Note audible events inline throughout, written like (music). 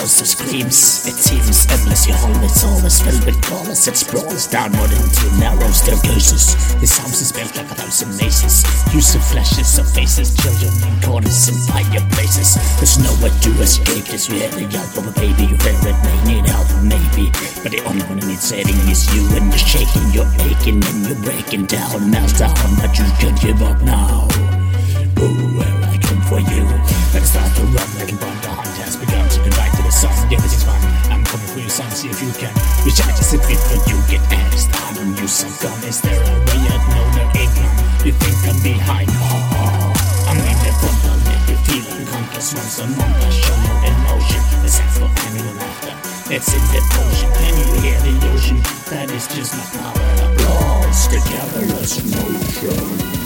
also screams. It seems endlessly hollowness always filled with promise. It sprawls downward into narrow staircases. This house is built like a thousand mazes. Use of flashes of faces, children in corners and fireplaces. There's nowhere to escape this. You hear the yelp of a baby, you hear it, may need help, maybe. But the only one who needs saving is you, and you're shaking, you're aching, and you're breaking down, meltdown. But you should give up now. Ooh, well, I come for you. Better start to run like a bomb. The hunt has begun. So goodbye to the sun. The everything's fine. I'm coming for you, son. See if you can. Which I just a bit, but you get asked. I don't use some gun. Is there a way out? No, there ain't none. You think I'm behind? Oh, oh. I'm in the front. I'll make you feel unconscious once a month. I show no emotion. Except for animal laughter. It's in the potion. Can you hear the ocean? That is just my power. Applause. The careless motion.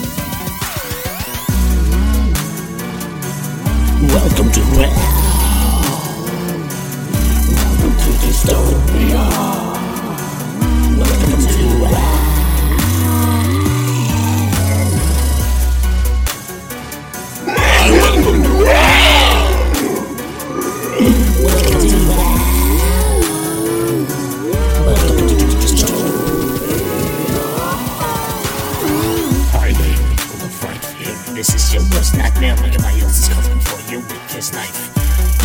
Welcome to hell. Welcome to dystopia. Welcome to hell. Welcome to hell. Welcome to dystopia. Hi there, full of fright here. This is your worst nightmare. Everybody else is coming for you with this knife.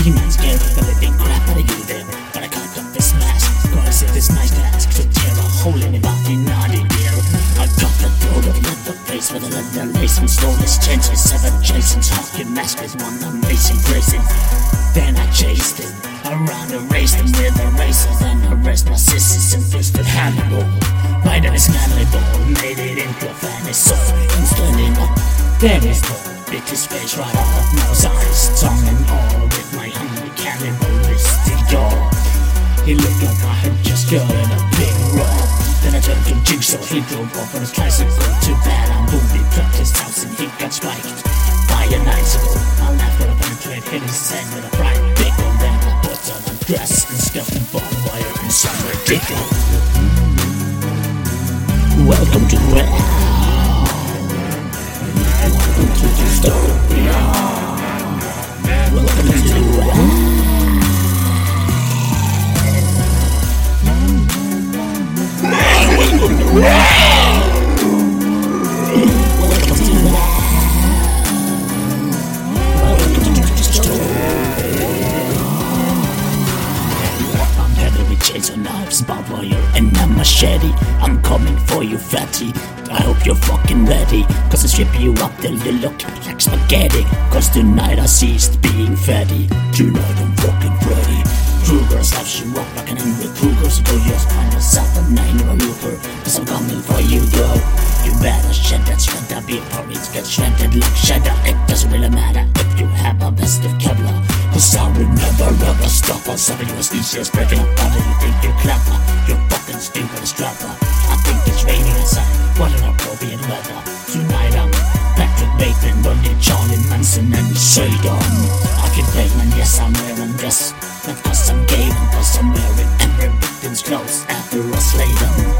Demons scare the living crap out of you there. But I can't cut this mask. Gotta save this nice task to tear a hole in the body, naughty dear. I got the throat of leather face with a leather lace and slowless changes. Seven Jason's hockey mask is one amazing gracing. Then I chased him around and raced him with a razor. Then I raised my sisters and fisted Hannibal. My name is Manly Ball, made it into a fantasy. I'm standing up, there is no bit his face right off, nose, eyes, tongue, and all with my uncanny ballistic jaw. He looked like I had just gotten a big roar. Then I turned to Jigsaw, he drove off on his tricycle. Too bad I'm wounded, trapped his house, and he got spiked by an icicle. I laughed when I penetrated, hit his head with a bright pickle. Then I put on a dress and stuffed the bonfire inside my dickle. Welcome to hell. Welcome to dystopia. Welcome to hell. Welcome to hell. Welcome to dystopia. I'm heavy with chainsaw knives, barbed wire, and a machete. I'm coming for you, fatty. I hope you're fucking ready. Cause I strip you up till you look like spaghetti. Cause tonight I ceased being fatty. Tonight I'm fucking Freddy. Krueger slaps you up like an angry Krueger. So go just find yourself a nine or a looper. Cause I'm coming for you, girl. You better shed that shredder. Be porridge, get shredded like cheddar. It doesn't really matter if you have a vest of Kevlar. Cause I would never ever stop on something you was easy as breaking up body. You think you're clever, you fucking stupid strapper. I think it's raining outside, what an appropriate weather. Tonight I'm Patrick Bateman, Bundy, Charlie Manson, and Sheldon. I can play man, yes I'm wearing this. Not cause I'm gay, but cause I'm wearing every victim's clothes after I slay them.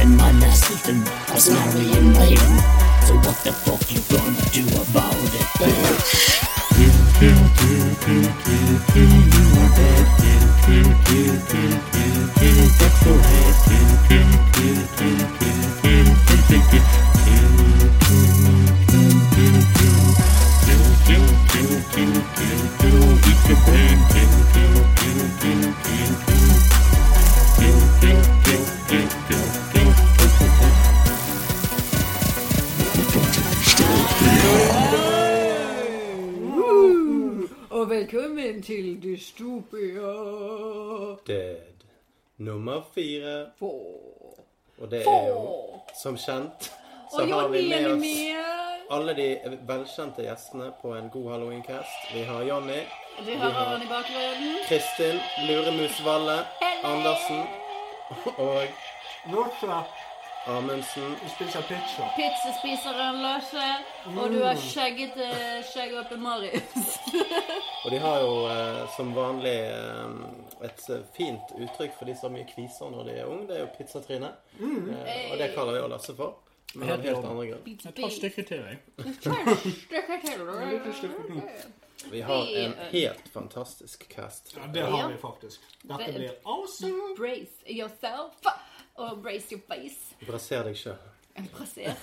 And my last victim was Marion Maiden. So what the fuck you gonna do about it, bitch? Og velkommen til Dystopia. Dead. Nummer fire. For Og det er jo Få. som kjent så Og har vi Jonny med er oss med. alle de velkjente gjestene på en god Halloween-cast. Vi har Jonny, Du hører han i bakgrunnen. Kristin, Luremus Valle, Andersen og Hvorfor Amundsen. spiser pizza? Pizzaspiseren Lasse. Og du har eh, skjeggete skjeggåpe Marius. Og de har jo eh, som vanlig eh, et fint uttrykk for de som har mye kviser når de er unge. Det er jo pizzatrine. Mm. Eh, og det kaller vi jo Lasse for. Men av helt andre grunn. Beats, (laughs) Jeg tar et stykke til, jeg. beats. Stykker til. Vi har en helt fantastisk cast. Ja, det har Ja. vi faktisk. Dette Det- blir awesome. Brace yourself og brace your face. Brasser deg sjøl. Brasser.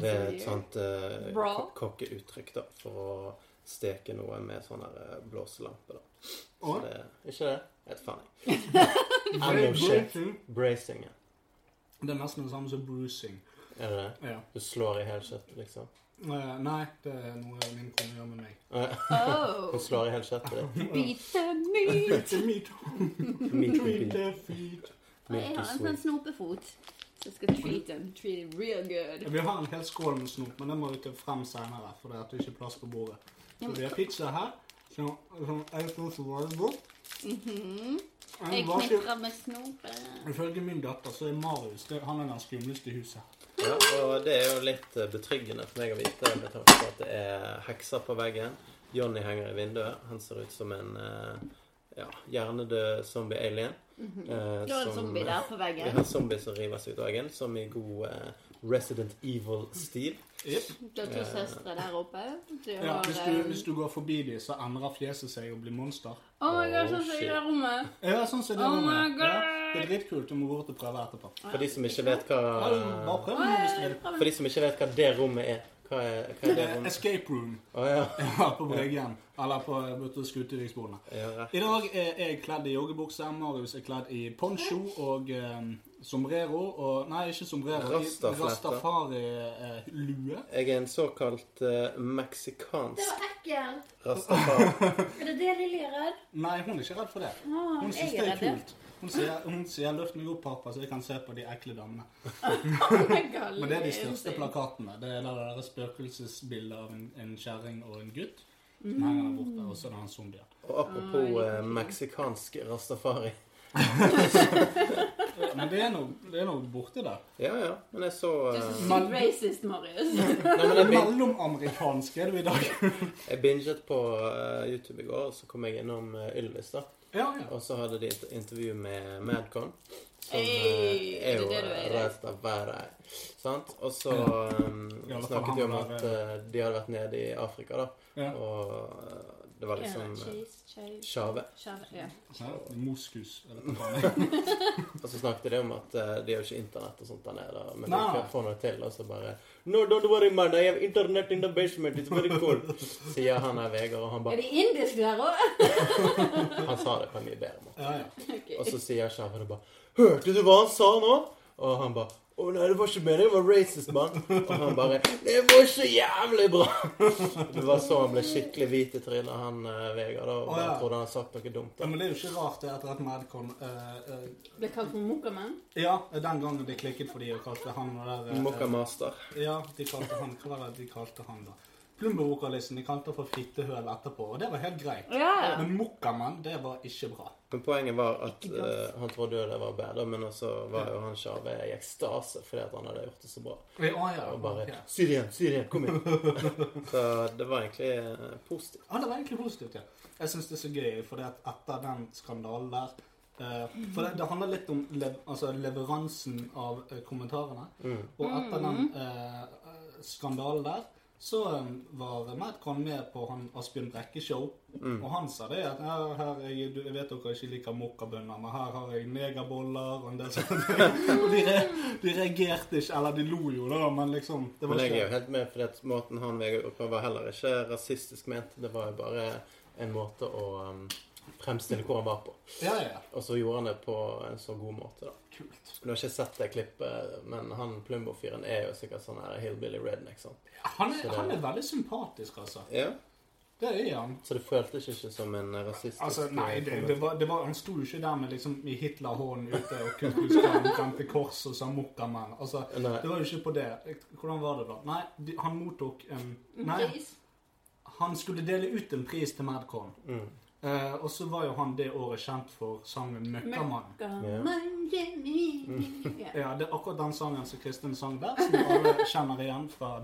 Det er et sånt eh, Bra. ko- kokkeuttrykk da, for å steke noe med sånn her eh, blåselampe. da. Så Og det ikke det? Jeg vet faen. jeg. (laughs) Ammo shit. bruising. Bracing. ja. Det er nesten det samme som bruising. Er det det? Ja. Du slår i helkjøttet, liksom? Eh, Nei, det er noe min kone gjør med meg. Oh, Hun slår i helkjøttet ditt. beat the (laughs) meat. It's a meat, Meat and treat beef. the feet. Jeg Meat har and en sånn sweet. snopefot. Så jeg skal treat them. Treat them real good. Vi har en hel skål med snop, men den må vi ta frem senere, for det er at det ikke er plass på bordet. Så vi har pizza her, som, som jeg tror som var god. Mhm. Jeg Jeg var ikke- knitrer med snopet. Ifølge min datter så er Marius det, han er den skumleste i huset. Ja, og det er jo litt eh, betryggende for meg å vite med tanke på at det er hekser på veggen. Johnny henger i vinduet. Han ser ut som en eh, ja, hjernedød zombie-alien. eh, Det var Mhm. en som- zombie der på Vi veggen. har zombier som river seg ut av veggen, som i god eh, Resident Eh, Evil-stil. Du har to søstre der oppe. Du Ja, har eh, hvis, du, hvis du går forbi dem, så endrer fjeset seg og blir monster. Oh my god, sånn Oh, som i shit. det rommet. Ja, sånn ser det Oh ut. my Ja, God. det er dritkult. Du må gå bort og prøve etterpå. For de som ikke vet Ja, du må hva bare prøv nå hvis du vil. For de som ikke vet hva det rommet er. Hva er, hva er Eh, Det det er rommet? Escape room Å ja. (laughs) ja, på Bryggen. Eller på Butte Skuteviksbordene. Jeg har rett. I dag er jeg kledd i joggebukse. Marius er kledd i poncho og eh, sombrero. Og, nei, ikke sombrero. i Rastaflette. Rastafari-lue. Jeg er en såkalt eh, Det meksikansk var ekkelt. rastafar. Er det det Lilly er redd? nei, hun er ikke redd for det. Å, Hun syns Ah, jeg det er er redd. kult. Hun sier, hun sier 'løft meg opp, pappa, så jeg kan se på de (laughs) ekle damene'. Oh my god, Men det er de Lilly største insane. plakatene. Det er der det er spøkelsesbilder av en, en kjerring og en gutt. Mm. Som henger der borte, og så er det han zombien. Og apropos eh, meksikansk rastafari. (laughs) Men det er noe, det er noe borti der. Ja, ja. Men jeg så Du er eh, så Men- sykt racist, Marius. (laughs) Nei, men jeg, bin Mellomamerikansk er du i dag. (laughs) jeg binget på eh, YouTube i går, og så kom jeg innom eh, Ylvis, da. Ja, ja. Og så hadde de et intervju med Madcon. Som Hey, eh, er jo det er det du er, det. reist av været. Sant? Og så Ja. um, I alle fall snakket de om han var at eh, de hadde vært nede i Afrika, da. ja. Og eh, det var liksom eh, Cheese, cheese, Sjave. kjære. Ja. ja. Moskus. jeg vet ikke hva det er. (laughs) Og så snakket de om at eh, de har jo ikke internett og sånt der nede. da, Men de Nei. kan få noe til. Og så bare No, don't worry, man. I have internet in the basement. It's very (laughs) cool. Sier han her, Vegard, og han Er bare det indisk der (laughs) òg? Han sa det på en mye bedre måte. Ja, ja. Og så sier Sjave det bare Hørte du hva han sa nå? Og han bare å nei, det var ikke meningen, det var racist, mann. Og han bare Det var så jævlig bra! (laughs) Det var så han ble skikkelig hvit i trynet, han eh, Vegard. da, Og Å, bare ja. trodde han hadde sagt noe dumt. ja. da. Men det er jo ikke rart det etter at Madcon eh, eh, Ble kalt for mokkamann. Ja, den gangen de klikket for de og kalte han og der eh, Mokka master. Ja, de kalte han Hva var det de kalte han, da? Plumbo-vokalisten. De kalte han for fittehøl etterpå, og det var helt greit. Ja. Men Mokkamann, det var ikke bra. Men poenget var at Ikke bra. eh, han trodde jo det var bedre, men også var jo han Sjave i ekstase fordi at han hadde gjort det så bra. Ja, ja, Og bare ja. Si det igjen, si det igjen, kom (laughs) igjen. Så det var egentlig eh, positivt. Ja, det var egentlig positivt, ja. Jeg syns det er så gøy, for at etter den skandalen der eh, For det, det handler litt om lev, altså leveransen av eh, kommentarene. Mm. Og etter den eh, eh, skandalen der så eh, var Madcon med på han Asbjørn Brekke-show. Mm. Og han sa det at ja, her, jeg, du- jeg vet dere ikke liker mokkabønner, men her har jeg negerboller og en del sånne ting. Og de, re, de reagerte ikke, eller de lo jo, da, men liksom det var Men jeg er ikke- jo helt med, for at måten han Vegard gjorde på, var heller ikke rasistisk ment. Det var jo bare en måte å um, fremstille hvor han var på. Ja, ja, ja. Og så gjorde han det på en så god måte, da. Kult. Du har ikke sett det klippet, men han Plumbo-fyren er jo sikkert sånn her hillbilly redneck, sant? Han Så er, det- han er veldig sympatisk, altså. Ja. Det er han. Så det føltes ikke som en rasistisk Altså, nei, det, kommentar. det var, det var, han sto jo ikke der med liksom i Hitler-hånden ute og kunstnerskapet brente kors og sa 'mokkamann'. Altså, Nei. det var jo ikke på det. Hvordan var det da? Nei, de, han mottok en Nei, Pris. han skulle dele ut en pris til Madcon. Eh, og så var jo han det året kjent for sangen 'Møkkamann'. Mokkamann, Mm. Jenny. Ja. Ja, det er akkurat den sangen som Kristin sang der, som alle kjenner igjen fra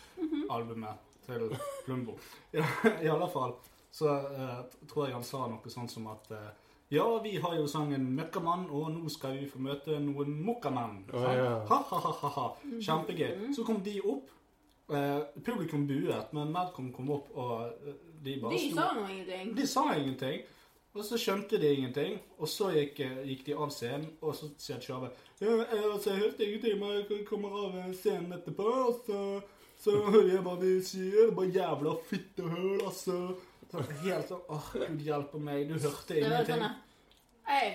Møkkamann-albumet til Plumbo. Ja, I alle fall så eh, tror jeg han sa noe sånn som at eh, ja, vi har jo sangen 'Møkkamann', og nå skal vi få møte noen mokkamann. Å, ja. Ha-ha-ha-ha. Kjempegøy. Så kom de opp. Eh, publikum buet, men Malcolm kom opp og eh, de bare De sto- sa nå ingenting. De sa ingenting. Og så skjønte de ingenting, og så gikk, eh, gikk de av scenen, og så sier Tjave ja, eh, altså, 'Jeg hørte ingenting, men jeg kommer av eh, scenen etterpå', og så, så hører jeg hva de sier. Det er bare jævla fittehøl, altså. Så Helt sånn åh, Gud hjelpe meg, du hørte Det var ingenting. sånn Hei,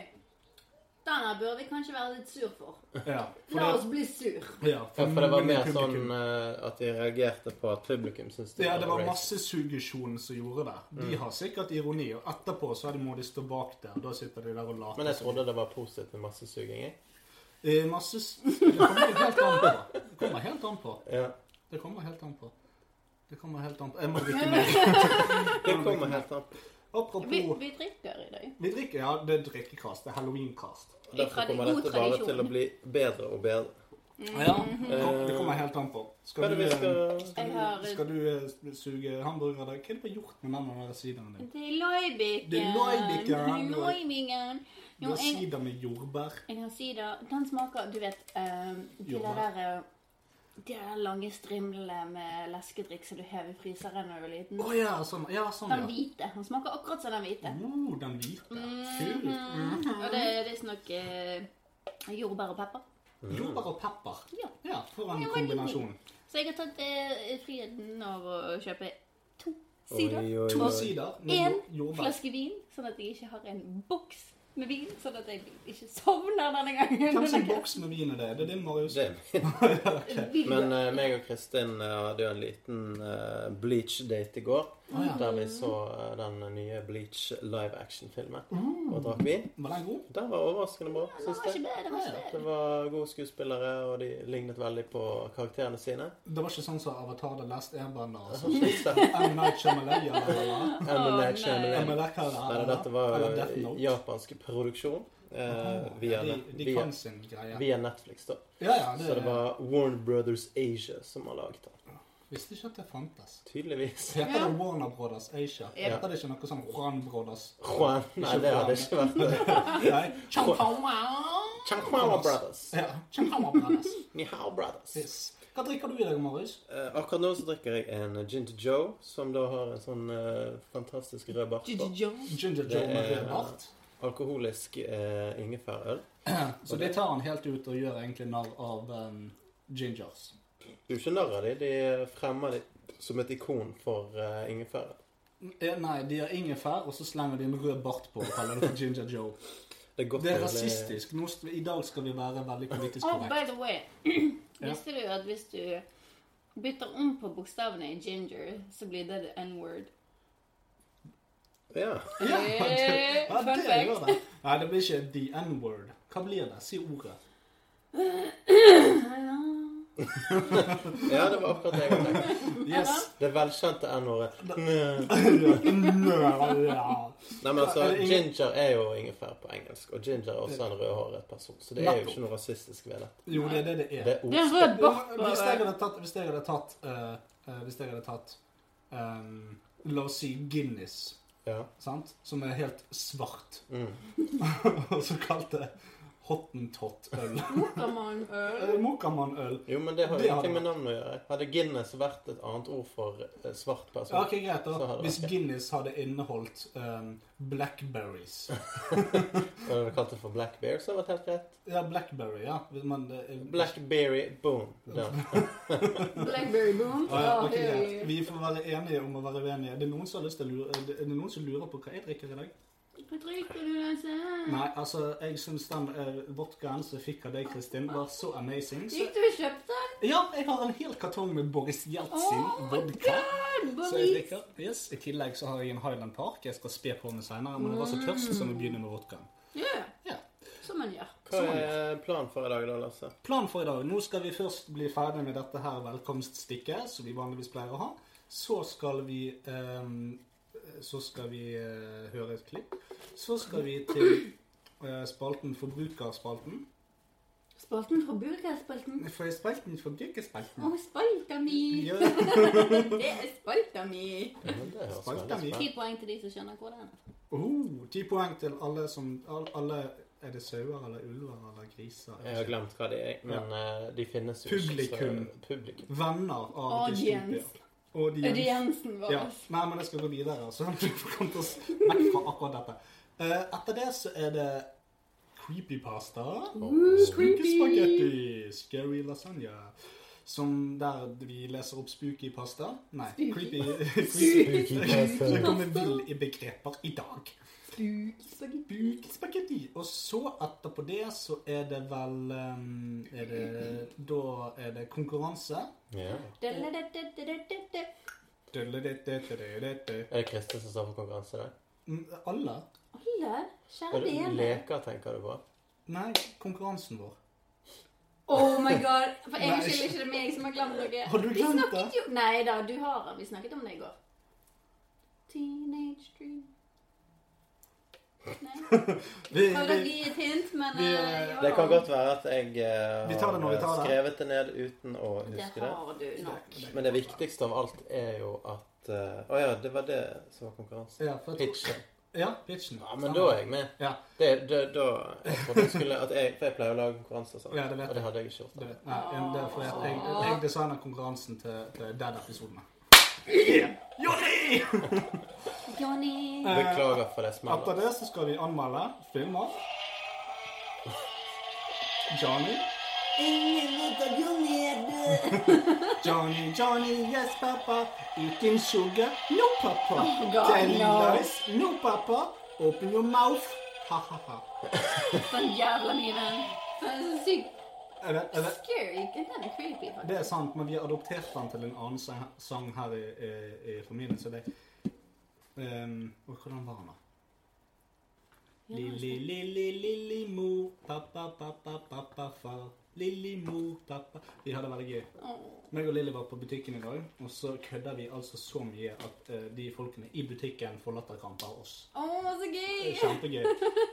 denne bør vi kanskje være litt sur for. Ja, for La det, oss bli sur. ja, Ja, for det var mer publikum. sånn eh, at de reagerte på at publikum syntes det Mm. Ja, det var racist. massesuggesjonen som gjorde det. De har sikkert ironi, og etterpå så er det må de stå bak der. Da sitter de der og later. Men jeg trodde det var positivt med massesuging. jeg. Eh, masse s- (laughs) Det kommer helt an på. Det kommer helt an på. Ja. Det kommer helt an på. Det kommer helt an på. Jeg må (laughs) drikke mer. Det kommer helt an på. Vi, Apropos vi drikker i dag. Vi drikker, ja, det er drikkekast. Det er halloweenkast. Derfor kommer god dette bare tradisjon. til å bli bedre og bedre. Ja, det kom- det kommer helt an på. Hva Skal er du, det vi eh, skal Jeg har skal du eh, suge hamburger i dag? Hva er det du har gjort med den der sideren din? Det er løybiken. Det er løybiken. Det er løybiken. Du Jo, har jeg, sider med jordbær. jeg kan si det. Den smaker Du vet eh, de Jordbær. der, eh, de der lange strimlene med leskedrikk som du hever i fryseren når du er liten. Å ja, sånn ja. Sånn, Mm. Den ja. hvite. Den smaker akkurat som den hvite. Oh, den hvite. Kult. Mm. Og det er visstnok eh, jordbær og pepper. Mm. Jordbær og pepper. Ja. Ja, for en Ja, veldig god. kombinasjon. Så jeg har tatt eh, friheten av å kjøpe to sider. Oi, oi, To oi. sider med En jord- jordbær. flaske vin, sånn at jeg ikke har en boks med vin. Sånn at jeg ikke sovner denne gangen. (laughs) Hvem sin boks med vin er det? Det er din, Marius. Det. Vin. Men eh, meg og Kristin eh, hadde jo en liten eh, Bleach-date i går. Ah, Der vi så eh, den nye Bleach live action-filmen og drakk vin. Mm. Var den god? Den var overraskende bra, Det syns var ikke jeg. bedre, det var ikke bedre. Det var gode skuespillere, og de lignet veldig på karakterene sine. Det var ikke sånn som Avatar The Last Airbender. Altså. Syns jeg. M. Night Shyamalan, ja, ja, ja. (laughs) M. Night nei. Shyamalan. M. Night Nei, Shyamalan, dette var eller Death eh, Note. japansk produksjon eh, via, de, net- de via, kan sin greie. via Netflix, da. Ja, ja, det, Så det var Warner Brothers Asia som har laget den. Visste ikke at det fantes. Tydeligvis. Heter Ja. det Warner Brothers Asia? Ja. Heter det ikke noe sånn Juan Brothers? Juan Nei, det hadde ikke vært det. (laughs) Nei. Changhawa. Changhuan Brothers. Ja, Changhawa (laughs) Brothers. Nihao Brothers. Yes. Hva drikker du i dag, Marius? Eh, akkurat nå så drikker jeg en Ginger Joe, som da har en sånn eh, fantastisk rød bart. på. Det Ginger Joe er- med rød bart. Alkoholisk eh, ingefærøl. (clears throat) Så det tar han helt ut og gjør egentlig narr av um, gingers. Du er ikke narr av dem. De fremmer dem som et ikon for eh, ingefæren. Eh, Nei, de har ingefær, og så slenger de en rød bart på og kaller det for Ginger Joe. Det er godt Det er å le- rasistisk. Nå, st- I dag skal vi være veldig politisk Oh, by the korrekt. way. (clears throat) Visste du at hvis du bytter om på bokstavene i ginger, så blir det the n-word? Ja. Ja, Eh, ja, fun det gjør fact. det. Nei, det blir ikke the n-word. Hva blir det? Si (clears throat) ordet. (laughs) ja, det var akkurat det jeg tenkte. (laughs) Yes. Det velkjente (laughs) n-ordet. Nei, Nettopp. men altså, Er det ingen- ginger er jo ingefær på engelsk, og ginger er også en rødhåret person, så det er jo Nettopp. ikke noe rasistisk ved dette. Jo, det er det det Det er. er Det er en ost. rød bart på Hvis jeg hadde tatt, hvis jeg hadde tatt, eh, eh, hvis jeg hadde tatt ehm, La oss si Guinness, Ja. sant? som er helt svart, Mm. (laughs) og så kalte det (laughs) hottentott-øl. Pokémon-øl. Eh, Mokamann-øl. Jo, men det har Det jo hadde ingenting med navnet å gjøre. Hadde Guinness vært et annet ord for eh, svart person? Ja, ok, greit Så da. hadde det Hvis vært det. Guinness hadde inneholdt ehm, blackberries (laughs) Hadde du kalt det for blackbear, så hadde det vært helt greit. Ja, blackberry, ja. Men, eh, Blackberry boom. Ja. (laughs) Blackberry boom. Ja, ja, Åh, ok, greit. høy. Vi får være enige om å være uenige. Er det noen som, har lyst til å lure, er det- er det noen som lurer på hva jeg drikker i dag? Hva drikker du, Lasse? Nei, altså, jeg syns den eh, vodkaen som jeg fikk av deg, Kristin, var så amazing. Så, Gikk du og kjøpte den? ja, jeg har en hel kartong med Boris Jeltsin Oh my vodka. God, Så Boris. jeg drikker. Yes. I tillegg så har jeg en Highland Park. Jeg skal spe på med senere, men jeg var så tørst, så vi begynner med vodkaen. Ja, Ja. som man gjør. Hva er planen for i dag, da, Lasse? Planen for i dag. Nå skal vi først bli ferdig med dette her velkomststikket, som vi vanligvis pleier å ha. Så skal vi ehm, Så skal vi eh, høre et klipp. Så skal vi til eh, spalten Forbrukerspalten. Spalten fra Burgerspalten. For spalten Forbrukerspalten. Å, spalta mi! Ja, (laughs) Det er spalta mi! Ja, men det høres Spalter veldig vi. spennende Ti poeng til de som skjønner hvor den er. oh, ti poeng til alle som all- Alle Er det sauer eller ulver eller griser? Jeg har glemt hva de er, men eh, de finnes jo ikke. så- Publikum. Publikum. Venner av Audience. dystopia. Og de Aud Jensen var ja. oss. Nei, men jeg skal gå videre, altså. (laughs) så vi får komme oss vekk fra akkurat dette. Eh, etter det så er det creepypasta. Spooky spaghetti. Scary lasagna. Som der vi leser opp spooky pasta. Nei, Spooky. (laughs) creepy Spooky pasta. Det kommer vill i begreper i dag. Spooky. Spooky spaghetti. Og så etterpå det så er det vel eh, er det, Da er det konkurranse. Ja. Da-da-da-da-da-da-da. Dødlededededede. Er det Kristin som står for konkurranse der? Mm, Alle? Alle, kjære Er det vene. leker tenker du på? Nei, konkurransen vår. Oh my god. For jeg Nei. skylder ikke det meg som har glemt noe. Har du Vi glemt snakket det? Jo... Nei da, du har det. Vi snakket om det i går. Teenage dream. Nei. Vi, Prøvde å gi et hint, men vi, eh, eh, ja. Det kan godt være at jeg eh, Vi tar det når vi tar har det. skrevet det ned uten å Det huske det. har du nok. Men det viktigste av alt er jo at eh, Å ja, det var det som var konkurranse. Ja, for jeg tror- Pitchen. Ja, pitchen. Ja, men da er jeg med. Ja, Det, det, da, jeg trodde jeg skulle, at jeg, for jeg pleier å lage konkurranser sånn. Ja, det vet og det hadde jeg ikke gjort. det, nei, en- det er fordi at jeg, jeg designer konkurransen til, til den episoden. Jori! Johnny. Beklager for det Etter smellet. det så skal vi anmelde filmer. Johnny. Johnny, Johnny, yes pappa. Eating sugar, no pappa. Oh, God, Telling no. lies, no pappa. Open your mouth. Ha-ha-ha. Sånn jævla mye den. Den er så sykt Jeg vet, jeg vet. scary. Den er creepy, Det faktisk. er sant, men vi har adoptert den til en annen sang- sang her i, i, i familien, så det um, Og hvordan var den, da? Lilli, lilli, lilli mor, pappa, pappa, pappa, far. Lilli mor, pappa Vi hadde det veldig gøy. Åh. Meg og Lilly var på butikken i dag, og så kødda vi altså så mye at eh, de folkene i butikken får latterkrampe av oss. Åh, så Det er gøy! Kjempegøy.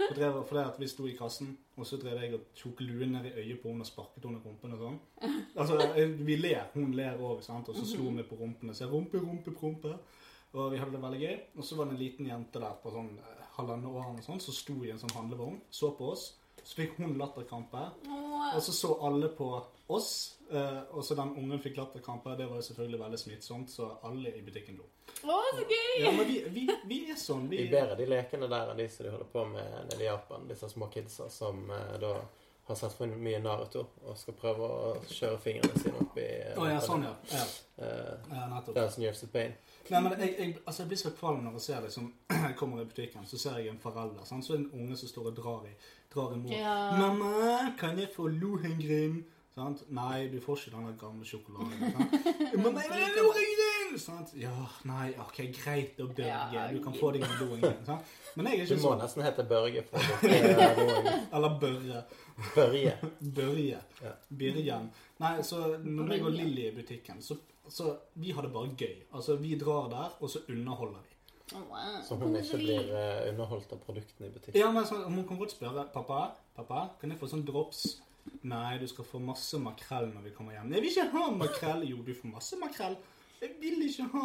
Og drev, for det at vi sto i kassen, og så drev jeg og tok luen ned i øyet på henne og sparket henne i rumpen og sånn. Altså, jeg- vi ler, hun ler òg, sant, og så slo vi på rumpene. Så jeg rumpe, rumpe, prompe. Og vi hadde det veldig gøy. Og så var det en liten jente der på sånn eh, halvannet år eller noe sånt, som sto i en sånn handlevogn, så på oss. Så fikk hun latterkrampe. Åh. Og så så alle på oss, eh, og så den ungen fikk latterkrampe. Det var jo selvfølgelig veldig smittsomt, så alle i butikken lo. Åh, så Ja, gøy! men vi, vi, vi er sånn. Vi bedre de lekene der enn de som de holder på med nede i Japan. Disse små kidsa som eh, da har sett for mye Naruto og skal prøve å kjøre fingrene sine opp i eh, Å ja, sånn, ja. ja. eh, ja nettopp. Dance and Jefferson Payne. Nei, men jeg, jeg, altså jeg blir så kvalm når jeg ser liksom, jeg (clears throat) kommer i butikken, så ser jeg en forelder. Sant? Så er det en unge som står og drar i, drar i mor. Ja. 'Mamma, kan jeg få lohengrin?' Sant? 'Nei, du får ikke den der gamle sjokoladen.' Sant? 'Mamma, jeg vil ha lohengrin!' Sant? 'Ja, nei, ok, greit å bølge. Ja, Du kan få deg en lohengrin.' sant? Men jeg er Du ikke må sånn. nesten hete Børge for (laughs) å få noen Eller Børre. Børje. (laughs) Børje. Ja. Birgen. Nei, så når jeg og Lilly er i butikken, så, så vi har det bare gøy. Altså, vi drar der, og så underholder vi. Åh, Så hun ikke koselig. blir eh, underholdt av produktene i butikken. Ja, men så, Hun kan godt spørre pappa, pappa, kan jeg få sånn drops. Nei, du skal få masse makrell når vi kommer hjem. Jeg vil ikke ha makrell. Jo, du får masse makrell. Jeg vil ikke ha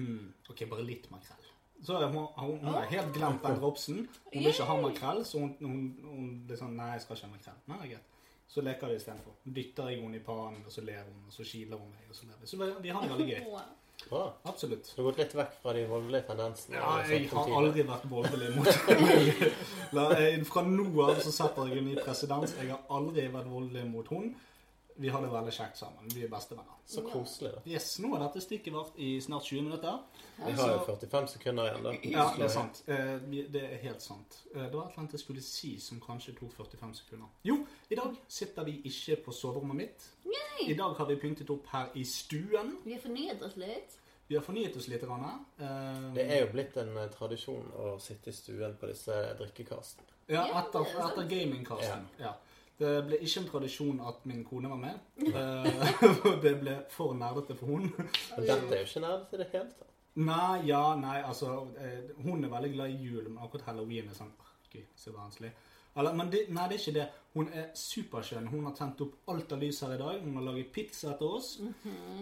hmm, OK, bare litt makrell. Ah. Så er hun, hun, hun har helt glemt den dropsen. Hun vil ikke ha makrell, så hun, hun, hun blir sånn Nei, jeg skal ikke ha makrell. Nei, det er greit. Så leker vi istedenfor. Dytter jeg henne i pannen, og så ler hun, og så kiler hun meg, og så ler vi. Så vi, vi har det (laughs) veldig gøy. Åh. Bra. Absolutt. Så du har gått litt vekk fra de voldelige tendensene. Ja, vi jeg snakket om har tidligere. aldri vært voldelig (laughs) mot henne. La, jeg- Fra nå av så setter jeg henne i presedens. Jeg har aldri vært voldelig mot henne. Vi har det veldig kjekt sammen. Vi er bestevenner. (laughs) Så koselig, da. Yes, nå har dette stikket vart i snart 20 minutter. Vi har jo 45 sekunder igjen, da. Ja, det er sant. Eh, vi- Det er helt sant. Eh, Det var et eller annet jeg skulle si som kanskje tok 45 sekunder. Jo, i dag sitter vi ikke på soverommet mitt. I dag har vi pyntet opp her i stuen. Vi har fornyet oss litt. Vi har fornyet oss litt. grann, eh. Det er jo blitt en eh, tradisjon å sitte i stuen på disse drikkekastene. Ja, Ja, etter, det er sant. etter gamingcasten. Ja. Det ble ikke en tradisjon at min kone var (laughs) med. Eh, (laughs) det ble for nerdete for hun. Men dette er jo ikke nærmest i det hele tatt. Nei, ja, nei, altså eh, Hun er veldig glad i jul, men akkurat halloween er sånn «Åh, Gud, så vanskelig. Eller, men det, nei, det er ikke det. Hun er superskjønn. Hun har tent opp alt av lys her i dag. Hun har laget pizza til oss.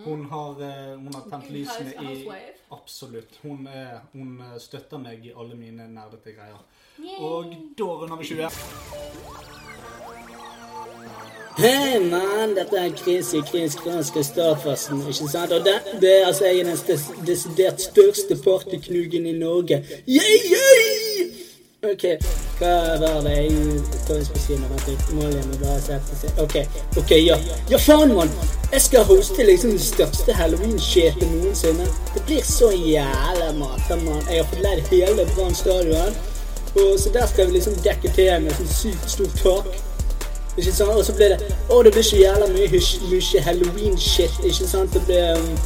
Hun har, eh, hun har tent Good lysene house- i housewife. Absolutt. Hun, er, hun eh, støtter meg i alle mine nerdete greier. Yay. Og da runder vi 20. Hei, mann, dette er Chris i Chris Kras Kristoffersen, ikke sant? Og det, det er altså en av den stes- desidert største partyknugen i Norge. Yeah, yeah! Ok, hva var det jeg tar en spesiell vent litt. Må jeg bare sette seg. Ok, ok, ja. Ja, faen, mann! Jeg skal hoste liksom den største Halloween-skjeten noensinne. Det blir så jævla mata, mann. Jeg har fått leid hele Brann stadion. Og så der skal vi liksom dekke til med sånn sykt stort tak. Ikke sant? Og så ble det Å, det ble så jævla mye hysj- mye halloween-shit, ikke sant? Det ble, um,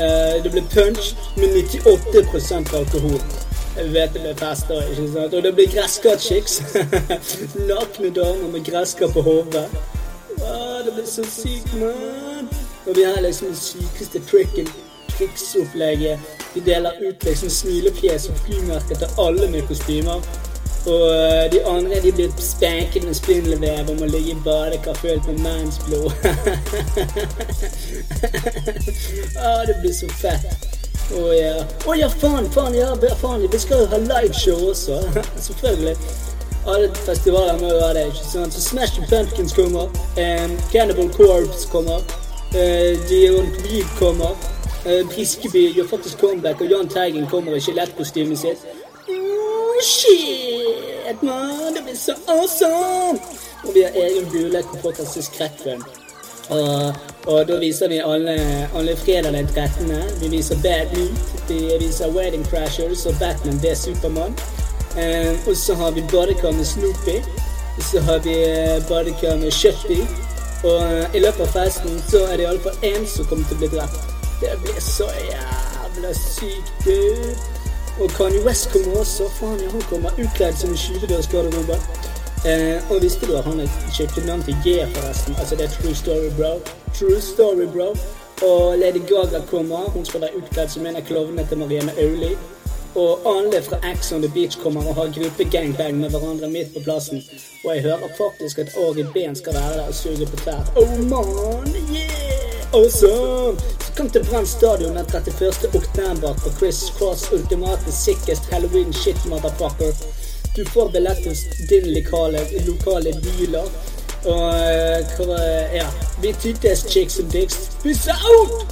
eh, det ble punch med 98 alkohol. Jeg vet det ble fester, ikke sant? Og det ble (laughs) gresskar-chicks. Nakne damer med gresskar på hodet. Å, det ble så sykt, mann. Og vi har liksom det sykeste tricken triksopplegget. Vi deler ut liksom smilefjes og flymerker til alle med kostymer. Og eh, de andre de blir spanket med spindelvev og må ligge i badekar fullt med mannsblod. (laughs) ah, det blir så fett. Å ja. Å ja, faen, faen, ja, ja, faen, vi skal jo ha liveshow også. (laughs) Selvfølgelig. Alle festivaler må jo ha det, ikke sant. Så Smash the Pumpkins kommer. Um, Cannibal Corps kommer. Uh, Dion Reed kommer. eh, Briskeby gjør faktisk comeback, og Jahn Teigen kommer i skjelettkostymet sitt. Oh, shit, man. Det blir så awesome! Og vi har egen bule på podkastens skrekkfilm. Og, og da viser vi alle, alle fredag den 13. Vi viser Bad Meat, vi viser Wedding Crashers og Batman v Supermann. Eh, og så har vi badekar med Snoopy. Og så har vi eh, badekar med Shutty. Og eh, i løpet av festen så er det iallfall én som kommer til å bli drept. Det blir så jævla sykt, du. Og Kanye West kommer også. Faen, ja, han kommer utkledd som en skyvedørsgarderobe. Eh, og visste du at han kjøpte navn til G, forresten? Altså, det er true story, bro. True story, bro. Og Lady Gaga kommer. Hun skal være utkledd som en av klovnene til Marianne Auli. Og alle fra X on the Beach kommer og har gruppe gangbang med hverandre midt på plassen. Og jeg hører faktisk at Ari Ben skal være der og suge på tær. Oh man, yeah! Awesome! Så kom til Brann stadion den 31. oktober på Chris Cross ultimate sickest Halloween shit motherfucker. Du får billett hos din lokale, lokale dealer. Og eh, hva var det? Ja. Vi tyttes chicks and dicks. Peace out!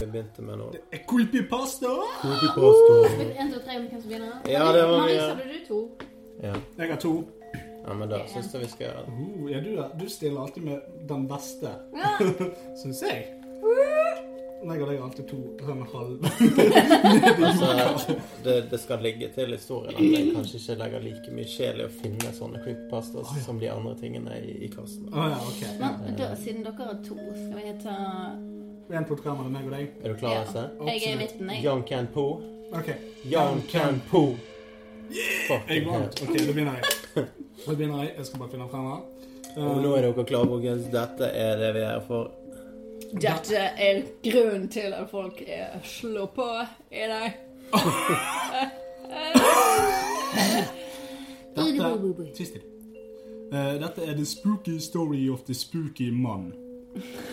Vi begynte med noe. Creepypasta! Creepypasta. En, to, tre, hvem som begynner? Ja, det var Marie, mye. sa du du to? Ja. Jeg har to. ja, men da syns jeg vi skal gjøre det. Oh, ja, du, er- du stiller alltid med den beste, (laughs) Ja. syns jeg. Jeg legger alltid to sånn halv (laughs) Altså, det, det skal ligge til historien at jeg kanskje ikke legger like mye sjel i å finne sånne creepypastas som de andre tingene i, i kassen. Eh, Å ja, OK. Ja. Men da, siden dere har to, skal vi ta En på hver mellom meg og deg. Er du klar, ja. Lasse? Jeg er i midten, jeg. Young can poo. OK. Young can poo. Jeg Fucking hell. vant. OK, da begynner jeg. Da begynner Jeg Jeg skal bare finne frem her. Og nå er dere klare, folkens. Dette er det vi er her for. Dette er grunnen til at folk er slår på i dag. Dette, tyst til. Eh, dette er The Spooky Story of the Spooky Man.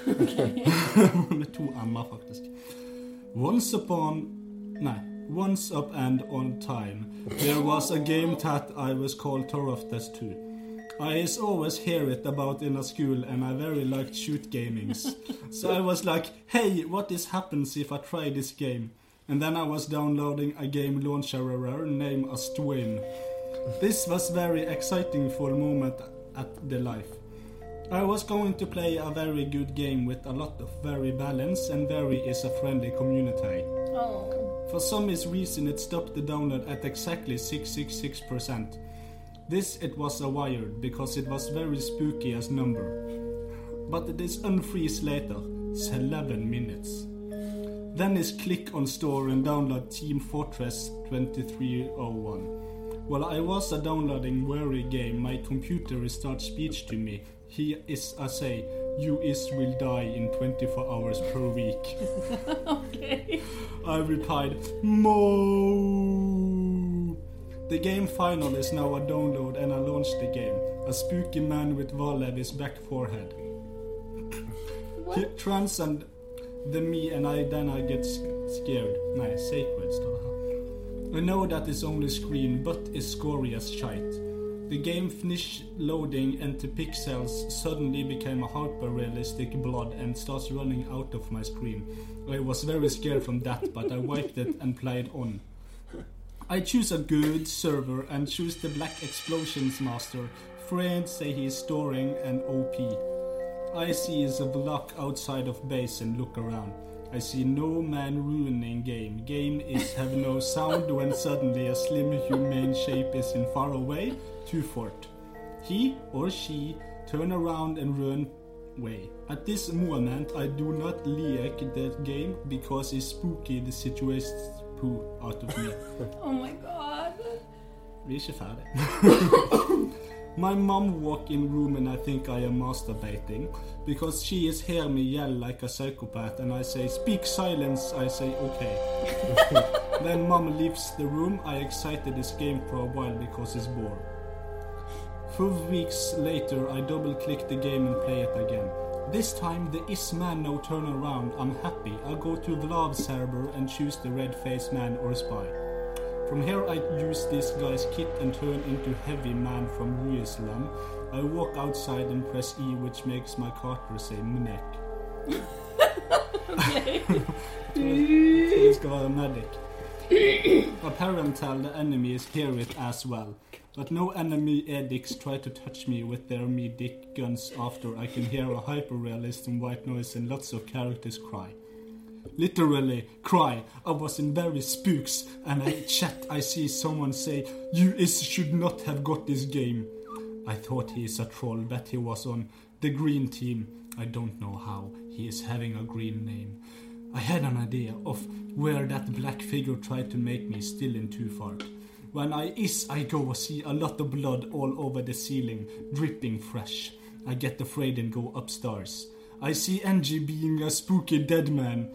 (laughs) Med to m-er, faktisk. Once upon Nei. Once up and on time. There was a game that I was called Toroftas to. I is always hear it about in a school and I very liked shoot gamings. So I was like, hey, what is happens if I try this game? And then I was downloading a game launcher named as Twin. This was very exciting for a moment at the life. I was going to play a very good game with a lot of very balance and very is a friendly community. Åh. For some is reason it stopped the download at exactly 666%. This it was a wired because it was very spooky as number. But it is unfreeze later, it's 11 minutes. Then is click on store and download Team Fortress 2301. While I was a downloading weary game, my computer restart speech to me. He is I say, you is will die in 24 hours per week. I replied, Mo. The game final is now a download and I launched the game. A spooky man with Valev is back forehead. He transcend the me and I then I get s- scared. Nah, sacred står det her. I know that is only screen but is scary as shite. The game finished loading and the pixels suddenly became a hyper-realistic blood and starts running out of my screen. I was very scared from that, but I wiped it and played on. I choose a good server and choose the Black Explosions Master. Friends say he is storing an OP. I see is a block outside of base and look around. I see no man ruining game. Game is have no sound when suddenly a slim humane shape is in far away to fort. He or she turn around and run way. At this moment I do not like that game because it's spooky the situation poo out of me. Oh my god. Vi er ikke ferdig. (laughs) My mom walk in room and I think I am masturbating because she is hear me yell like a psychopath and I say speak silence. I say okay. (laughs) then mom leaves the room. I excited this game for a while because it's bored. Four weeks later, I double click the game and play it again. This time, there is man no turnaround. I'm happy. I go to Vlad server and choose the red faced man or spy. From here, I use this guy's kit and turn into Heavy Man from Jerusalem. I walk outside and press E, which makes my carter say Mnek. Det skal være medic. Apparently, the enemy is here it as well. But no enemy addicts try to touch me with their me dick guns after I can hear a hyper-realist and white noise and lots of characters cry literally cry. I was in very spooks, and I chat. I see someone say, "You is should not have got this game." I thought he is a troll, but he was on the green team. I don't know how he is having a green name. I had an idea of where that black figure tried to make me still in too far. When I is, I go see a lot of blood all over the ceiling, dripping fresh. I get afraid and go upstairs. I see Angie being a spooky dead man.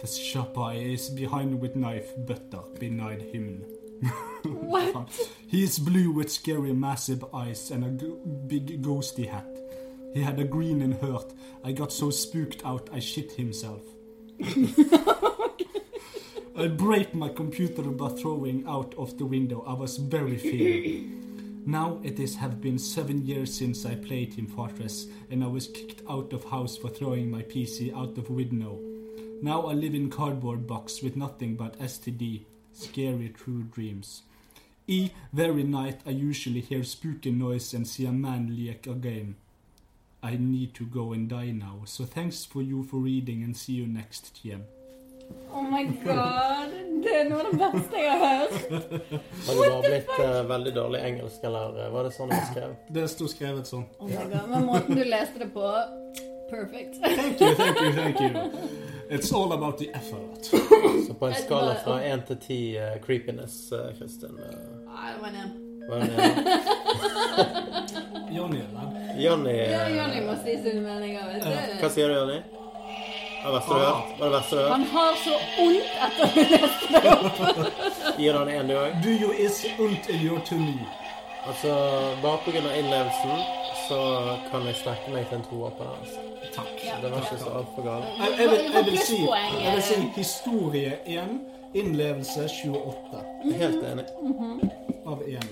The Shapai is behind with knife, butter denied him. What? He is blue with scary massive eyes and a g- big ghosty hat. He had a green and hurt. I got so spooked out I shit himself. I break my computer by throwing out of the window. I was very fear. Now it is have been seven years since I played Team Fortress, and I was kicked out of house for throwing my PC out of window. Now I live in cardboard box with nothing but STD, scary true dreams. E very night I usually hear spooky noise and see a man leak again. I need to go and die now, so thanks for you for reading and see you next TM. Oh my god. Det er noe av det verste jeg har hørt. (laughs) Har du bare blitt eh, veldig dårlig engelsk, eller eh, var det sånn jeg skrev? Det sto skrevet sånn. Oh my god. Men måten du leste det på Perfect. Thank you, (laughs) thank you, thank (laughs) you. It's all about the effort. Så på en Jeg skala bare- fra 1 til 10 eh, creepiness, eh, Kristin eh, Ah, det var en. hva (laughs) er (laughs) det? Johnny, eller? Johnny Ja, eh, Johnny må si sine meninger, vet Hva du. sier du, Johnny? Hva er det verste Ah. du har hørt? Hva er det verste du har hørt? Han har så ondt etter det. Gir han en, du òg? Do you is und in your tummy? Altså, bare pga. innlevelsen så kan jeg snakke meg til en toer på den. Altså. Takk. Ja. Det var ikke så altfor galt. Jeg, jeg, vil, jeg, vil si, Plusspoeng, jeg vil si eh. historie 1, innlevelse 28 Jeg er Helt enig. av 1.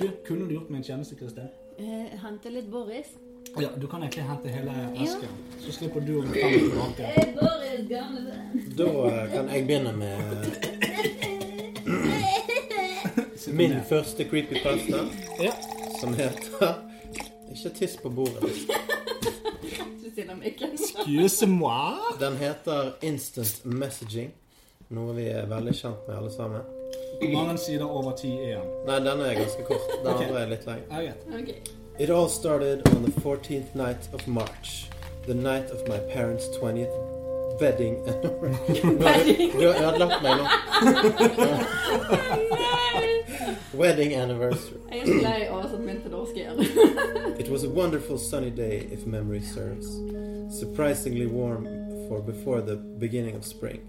Du, kunne du gjort meg en tjeneste, Kristin? Eh, Hente litt Boris. Ja, du kan egentlig hente hele esken. Så slipper du å gå fram og tilbake. Hey, Eh, Boris, gamle venn. Da eh, kan jeg begynne med min første creepypasta, Ja. som heter Ikke tiss på bordet. Du stiller meg ikke. Excuse moi. Den heter Instant Messaging. Noe vi er veldig kjent med, alle sammen. Hvor mange sider over 10 er den? Nei, denne er ganske kort. Den andre er litt lengre. Ja, greit. Ok. It all started on the 14th night of March, the night of my parents' 20th wedding Wedding. Du har ødelagt meg nå. Wedding anniversary. Jeg er så lei oversatt min til norsk igjen. It was a wonderful sunny day, if memory serves. Surprisingly warm for before the beginning of spring.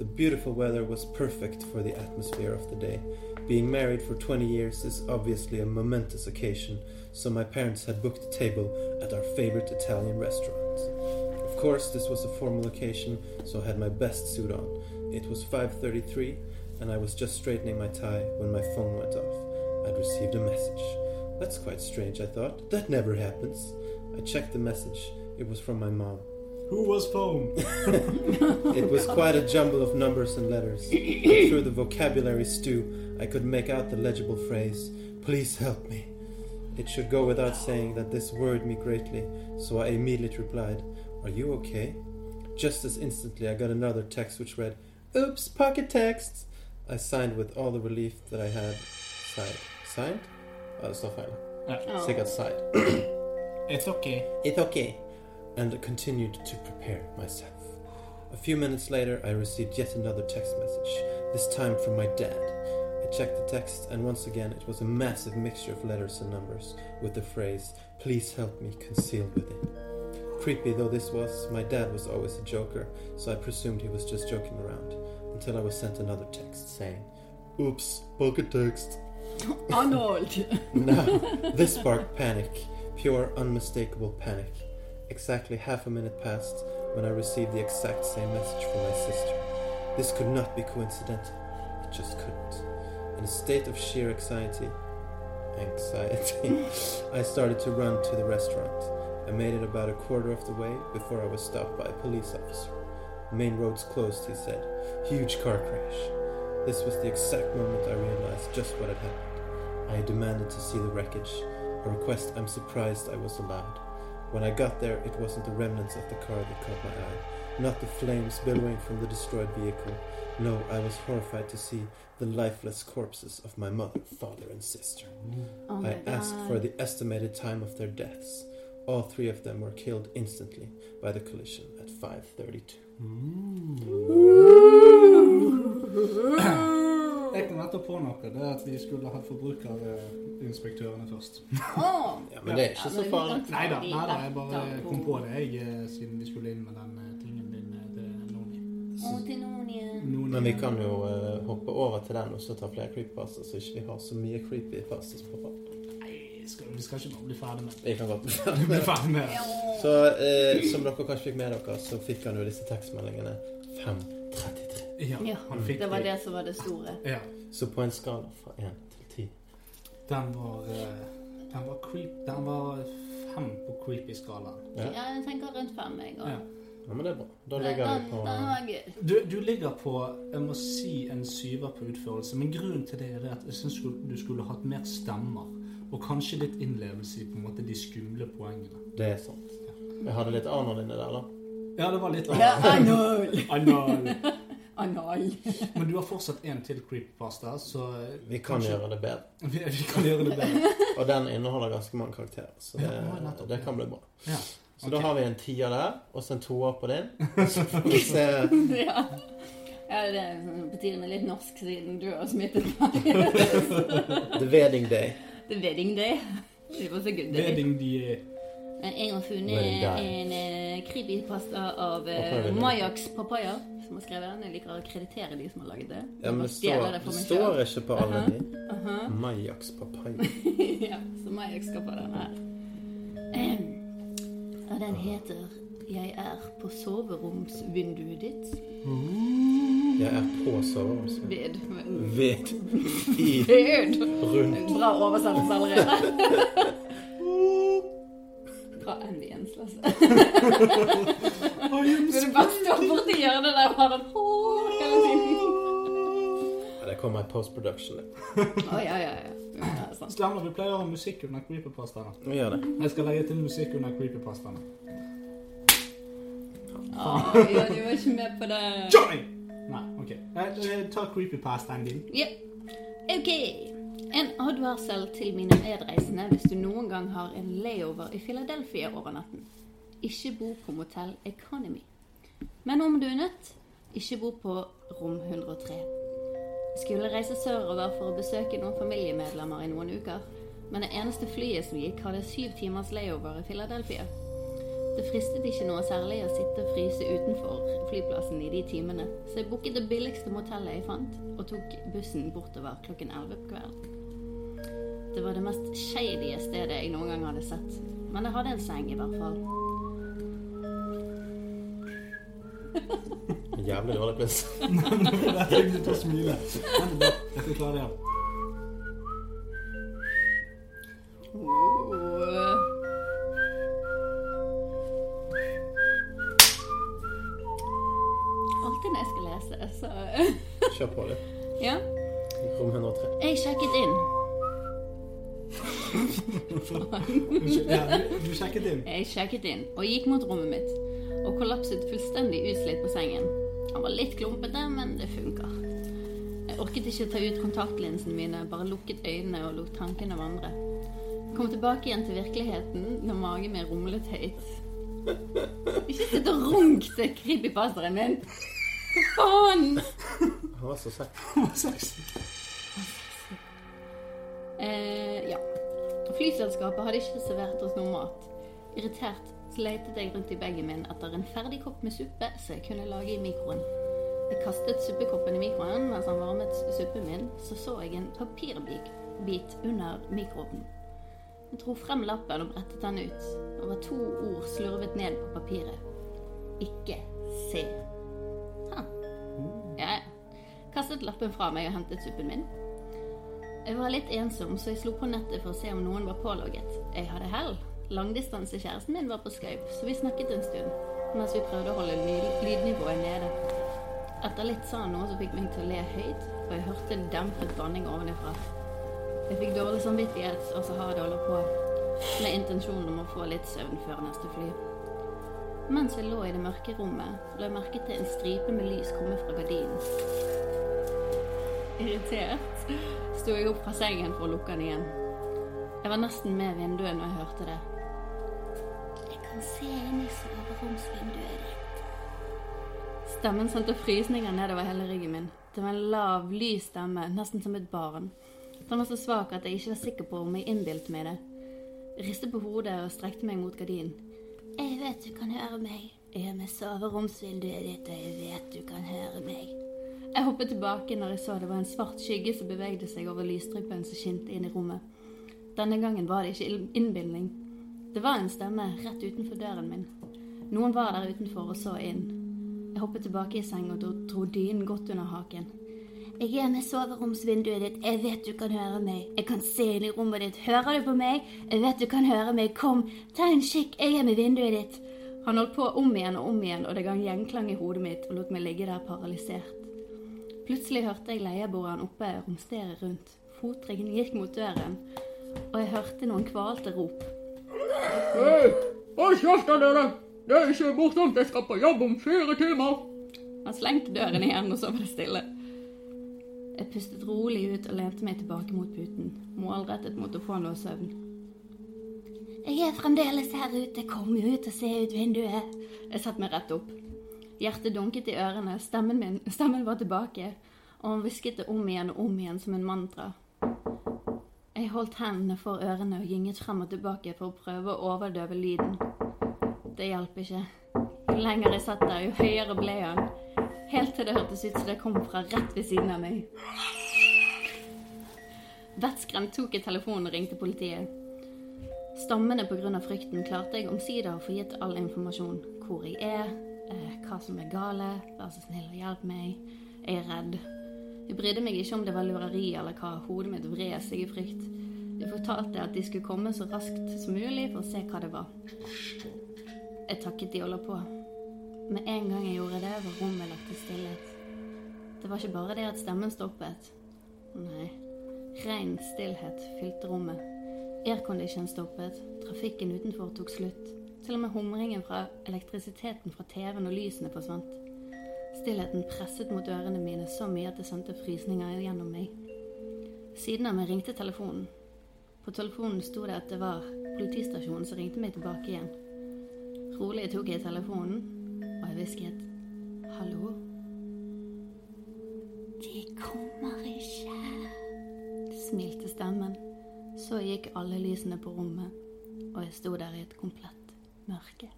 The beautiful weather was perfect for the atmosphere of the day. Being married for 20 years is obviously a momentous occasion, so my parents had booked a table at our favorite Italian restaurant. Of course, this was a formal occasion, so I had my best suit on. It was 5:33, and I was just straightening my tie when my phone went off. I'd received a message. That's quite strange, I thought. That never happens. I checked the message. It was from my mom. Who was phone? It was quite a jumble of numbers and letters. But through the vocabulary stew, I could make out the legible phrase, Please help me. It should go without saying that this worried me greatly, so I immediately replied, Are you okay? Just as instantly, I got another text which read, Oops, pocket texts! I signed with all the relief that I had. Sighed. Signed? Uh, it's not fine. Ja. Sikkert sighed. (clears throat) It's okay. It's okay. And continued to prepare myself. A few minutes later, I received yet another text message, this time from my dad. I checked the text, and once again, it was a massive mixture of letters and numbers, with the phrase, Please help me, concealed within. Creepy though this was, my dad was always a joker, so I presumed he was just joking around, until I was sent another text saying, Oops, pocket text. (laughs) Arnold! No, this sparked panic. Pure, unmistakable panic. Exactly half a minute passed when I received the exact same message from my sister. This could not be coincidental. It just couldn't. In a state of sheer anxiety, anxiety, (laughs) I started to run to the restaurant. I made it about a quarter of the way before I was stopped by a police officer. Main roads closed, he said. Huge car crash. This was the exact moment I realized just what had happened. I demanded to see the wreckage, a request I'm surprised I was allowed. When I got there, it wasn't the remnants of the car that caught my eye, not the flames billowing from the destroyed vehicle. No, I was horrified to see the lifeless corpses of my mother, father, and sister. Oh my I asked god. for the estimated time of their deaths. All three of them were killed instantly by the collision at 5:32. Jeg kan rette på noe. Det er at de skulle hatt forbrukerinspektørene først. Åh! (laughs) Ja, men det er ikke Ja, så men farlig. vi kan Nei da, ikke jeg bare vite kom på hvor- det, jeg, eh, siden vi skulle inn med den eh, tingen din eh, til Noni. Å, til noen igjen. Noni. Men vi kan jo eh, hoppe over til den og så ta flere creepypastas, så ikke vi har så mye creepypastas på farten. Nei, skal, vi skal ikke bare bli ferdig med det. Vi kan godt (laughs) Bli ferdig med det. Ja. Så eh, som dere kanskje fikk med dere, så fikk han jo disse tekstmeldingene 5.33. Ja, Ja, han fikk Det var det som var det store. Ja, Så på en skala fra 1 til 10 den var, eh, den var creep, den var fem på creepy-skalaen. Ja. Ja, jeg tenker rundt fem, jeg Ja. òg. Ja, men det er bra. Da Den, ligger den, vi på den var gøy. Du, du ligger på, jeg må si, en syver på utførelse, men grunnen til det er det at jeg syns du skulle hatt mer stemmer, og kanskje litt innlevelse i på en måte de skumle poengene. Det er sant. Jeg hadde litt aner inne der, da. Ja, det var litt Ja, (laughs) Arnold! (laughs) Anal. Arnold. Men du har fortsatt en til creepypasta, så Vi kan Kanskje- gjøre det bedre. (laughs) vi, vi kan gjøre det (laughs) bedre. Og den inneholder ganske mange karakterer, så det, Ja, nettopp, det ja. kan bli bra. Ja. Så Ok. da har vi en tier der, og så en toer på din. (laughs) Så får vi se (laughs) Ja. ja, det er sånn på tide med litt norsk siden du har smittet meg. The Wedding Day. The wedding day. Det var så good day. Wedding de Men jeg har funnet Wedding day. en eh, creepypasta av Hva eh, prøver du? Majax Papaya, som har skrevet den. Jeg liker å kreditere de som har laget det. Ja, Jeg men det stjeler står, det for meg står selv. ikke på alle de. Majax (laughs) papaya. ja, så Majax skal få den her. Og den heter 'Jeg er på soveromsvinduet ditt'. Mm. Jeg er på soverommet. Ved. Ved. I. (laughs) Ved. Rundt. Bra oversettelse (laughs) allerede. Bra ambience, Lasse. altså. Vil du bare stå borti hjørnet der og ha den «Åh», hele tiden? Ja, det kommer i post-production. det. Å, ja, ja, ja. ja. sant. Stemmer, vi pleier å ha musikk under creepypastaene. Vi gjør det. Jeg skal legge til musikk under creepypastaene. Å, ja, du var ikke med på det. Johnny! Nei, OK. Eh, eh, Ta creepypastaen din. (laughs) Ja. OK. En advarsel til mine medreisende hvis du noen gang har en layover i Philadelphia over natten. Ikke bo på Motel Economy. Men om du er nødt, ikke bo på rom 103. skulle reise sørover for å besøke noen familiemedlemmer i noen uker, men det eneste flyet som gikk, hadde syv timers layover i Philadelphia. Det fristet ikke noe særlig å sitte og fryse utenfor flyplassen i de timene, så jeg booket det billigste motellet jeg fant, og tok bussen bortover klokken 11 på kvelden. Det var det mest shady stedet jeg noen gang hadde sett, men det hadde en seng i hvert fall. Jævlig dårlig (laughs) pils. Jeg tenkte til å smile. Men det er bra. Jeg skal klare det. Oh. Alltid når jeg skal lese, så Kjør på, det. Ja. liksom. Rom 103. Jeg sjekket inn. Ja, du, du sjekket inn. Jeg sjekket inn og gikk mot rommet mitt og kollapset fullstendig utslitt på sengen. Han var litt klumpete, men det funker. Jeg orket ikke ta ut kontaktlinsene mine, bare lukket øynene og lot tankene vandre. Kom tilbake igjen til virkeligheten når magen min rumlet høyt. Ikke sitt og runk til creepypastaen min! Hva faen? Han var så søt. Eh, ja. Flyselskapet hadde ikke servert oss noe mat. Irritert så letet jeg rundt i bagen min etter en ferdig kopp med suppe som jeg kunne lage i mikroen. Jeg kastet suppekoppen i mikroen mens han varmet suppen min, så så jeg en papirbit bit under mikroovnen. Jeg dro frem lappen og brettet den ut. Det var to ord slurvet ned på papiret. Ikke se. Ha. Ja, ja. Kastet lappen fra meg og hentet suppen min. Jeg var litt ensom, så jeg slo på nettet for å se om noen var pålogget. Jeg hadde hell. Langdistansekjæresten min var på Skype, så vi snakket en stund mens vi prøvde å holde lyd lydnivået nede. Etter litt sa han noe som fikk meg til å le høyt, og jeg hørte en dempet banning ovenifra. Jeg fikk dårlig samvittighet, og så har jeg det holdt på med intensjonen om å få litt søvn før neste fly. Mens jeg lå i det mørke rommet, la jeg merke til en stripe med lys komme fra gardinen. Irritert sto jeg opp fra sengen for å lukke den igjen. Jeg var nesten med vinduet når jeg hørte det. Jeg kan se inn i soveromsvinduet ditt. Stemmen sendte frysninger nedover hele ryggen min. Det var en lav, lys stemme, nesten som et barn. Den var så svak at jeg ikke var sikker på om jeg innbilte meg det. Jeg ristet på hodet og strekte meg mot gardinen. Jeg vet du kan høre meg. Jeg er med soveromsvinduet ditt, og jeg vet du kan høre meg. Jeg hoppet tilbake når jeg så det var en svart skygge som bevegde seg over lysstripen som skinte inn i rommet. Denne gangen var det ikke ill- innbilning. Det var en stemme rett utenfor døren min. Noen var der utenfor og så inn. Jeg hoppet tilbake i seng og dro- dro dynen godt under haken. Jeg er med soveromsvinduet ditt, jeg vet du kan høre meg. Jeg kan se inn i rommet ditt, hører du på meg? Jeg vet du kan høre meg, kom, ta en kikk, jeg er med vinduet ditt. Han holdt på om igjen og om igjen, og det ga en gjenklang i hodet mitt og lot meg ligge der paralysert. Plutselig hørte jeg leieboeren oppe romstere rundt. Fotringen gikk mot døren, og jeg hørte noen kvalte rop. Hold kjeft av dere! Det er ikke morsomt. Jeg skal på jobb om fire timer. Han slengte døren igjen, og så var det stille. Jeg pustet rolig ut og lente meg tilbake mot puten, målrettet mot å få noe søvn. Jeg er fremdeles her ute. Kom jo ut og se ut vinduet. Jeg satte meg rett opp. Hjertet dunket i ørene. Stemmen min (laughs) stemmen var tilbake, og han hvisket det om igjen og om igjen som en mantra. Jeg holdt hendene for ørene og gynget frem og tilbake for å prøve å overdøve lyden. Det hjalp ikke. Jo lenger jeg satt der, jo høyere ble han. Helt til det hørtes ut som det kom fra rett ved siden av meg. Vettskremt tok jeg telefonen og ringte politiet. Stammende pga. frykten klarte jeg omsider å få gitt all informasjon. Hvor jeg er, eh, hva som er gale, vær så snill og hjelp meg. Jeg er redd. Jeg brydde meg ikke om det var lureri eller hva. Hodet mitt vred seg i frykt. Jeg fortalte at de skulle komme så raskt som mulig for å se hva det var. Jeg takket de holder på. Med en gang jeg gjorde det, var rommet lagt i stillhet. Det var ikke bare det at stemmen stoppet. Nei. Ren stillhet fylte rommet. Aircondition stoppet. Trafikken utenfor tok slutt. Til og med humringen fra elektrisiteten fra TV-en og lysene forsvant. Stillheten presset mot ørene mine så mye at det sendte frysninger gjennom meg. Siden av meg ringte telefonen. På telefonen sto det at det var politistasjonen som ringte meg tilbake igjen. Rolig tok jeg telefonen, og jeg hvisket 'hallo'. De kommer ikke, smilte stemmen. Så gikk alle lysene på rommet, og jeg sto der i et komplett mørke.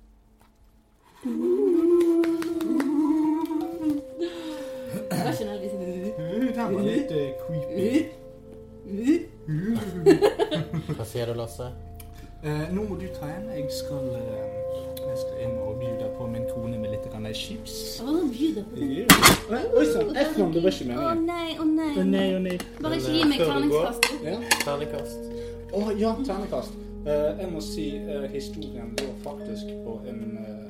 Det var ikke nødvendigvis en Uh, Den var litt eh, creepy. Hva sier du, Lasse? Eh, nå må du ta en. Jeg skal, eh, jeg skal inn og by deg på min kone med litt grann chips. Oi sånn. sann, Efron, det var ikke meningen. Å nei, å nei. nei. eh, Bare ikke gi meg Før du går. terningskastet. Terningkast. Å ja, ternekast. Eh, jeg må si eh, historien lå faktisk på en eh,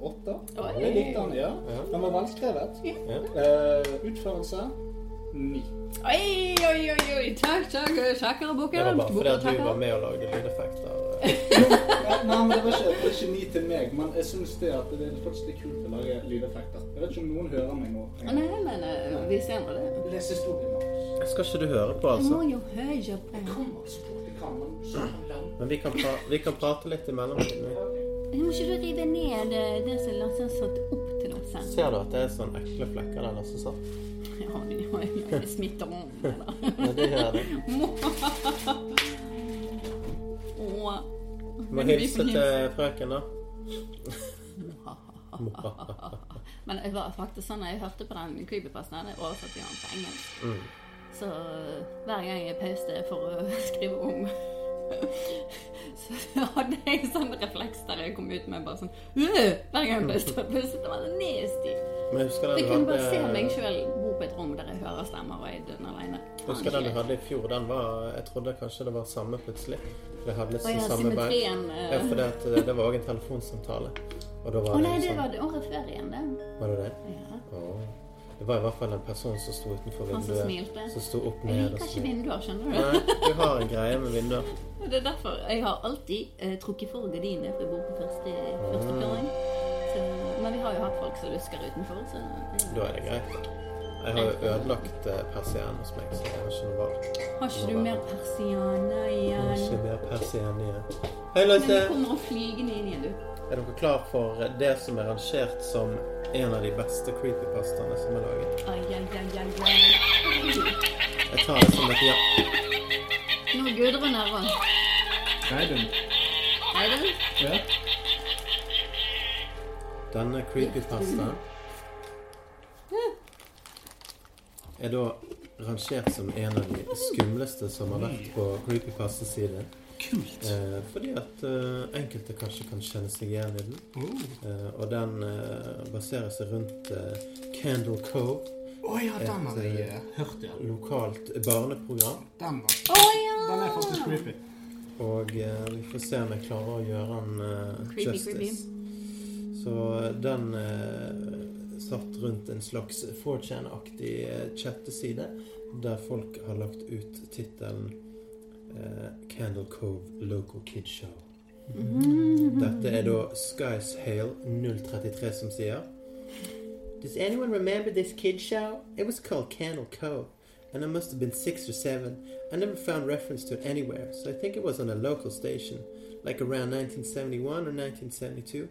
åtter. Oi. Jeg likte den, ja. Ja. Den var velskrevet. Ja. Eh, utførelse ni. Oi, oi, oi, oi. Takk, takk. Kjekkere Det bukker. var bare fordi at du Bukker, var med og lagde lydeffekter. Nei, nei, men det var ikke, det var ikke ni til meg, men jeg syns det at det er faktisk litt kult å lage lydeffekter. Jeg vet ikke om noen hører meg nå. takker. Nei, men eh, vi ser nå det. Les historien, Markus. Skal ikke du høre på, Jeg må altså? jo høre Jeg på. kommer så fort jeg kan, men så langt. Men vi kan, pra vi kan prate litt imellom. Må ikke du rive ned eh, det som Larsen satte opp til oss her? Ser du at det er sånne ekle flekker der? Lasse sa? Ja, det har jeg smitter (laughs) om. eller? Nei, det gjør det. Åh. Må Men vi hilse får til frøken, da. Men det var faktisk sånn når jeg hørte på den creepypasten, hadde jeg oversatt den til engelsk. Mm. Så hver gang jeg pauste for å (laughs) skrive om så hadde jeg sånn refleks der jeg kom ut med bare sånn «Øh!» Hver gang jeg pauste, pauste det var så nasty. Mm. Men husker Jeg den du kunne bare se meg hadde, sjøl bo på et rom der jeg hører stemmer og jeg dønner aleine. husker den du hadde i fjor? Den var Jeg trodde kanskje det var samme plutselig. For det hadde Og liksom ja, samme bein. symmetrien eh, Ja, for det, at, eh, det var òg en telefonsamtale. Og da Å var det nei, det liksom- var det året før igjen, det. Var det det? Ja. Åh. Det var i hvert fall en person som sto utenfor Han som vinduet. smilte. Som sto opp Jeg ned og liker ikke smilte. vinduer, skjønner du. Nei, du har en greie med vinduer. Og Det er derfor jeg har alltid eh, trukket for gardinene, for jeg bor på første, første fløring. Så- Men vi har jo hatt folk som lusker utenfor, så Da er det greit. Jeg har jo ødelagt eh, persiennen hos meg, så jeg har ikke noe valg. Har ikke du mer persianer Jeg har igjen? Ikke mer persienne igjen. Hei, Men Løyse! det kommer og flygende inn igjen, du. Er dere klar for det som er rangert som en av de beste creepypastaene som er laget? Ai, ai, ai, ai, ai. Jeg tar det som et ja. Nå er Gudrun her òg. Nei, du. Hei, du. Ja. Denne creepypastaen er da rangert som en av de skumleste som har vært på creepypasta-siden. Kult. Eh, fordi at eh, enkelte kanskje kan kjenne seg igjen i den. Å Eh, og den eh, baserer seg rundt eh, Candle Cove, ja, den har jeg Et, eh, hørt, ja. lokalt barneprogram. Den var Å ja! Den er faktisk creepy. Og eh, vi får se om jeg klarer å gjøre den eh, Creepy, justice. creepy. Så den eh, satt rundt en slags 4chan-aktig eh, chatteside, der folk har lagt ut tittelen eh, Candle Cove Local Kid Show. (laughs) Dette er da Skies Hale 033 som sier Does anyone remember this kid show? It was called Candle Cove, and I must have been six or seven. I never found reference to it anywhere, so I think it was on a local station, like around 1971 or 1972.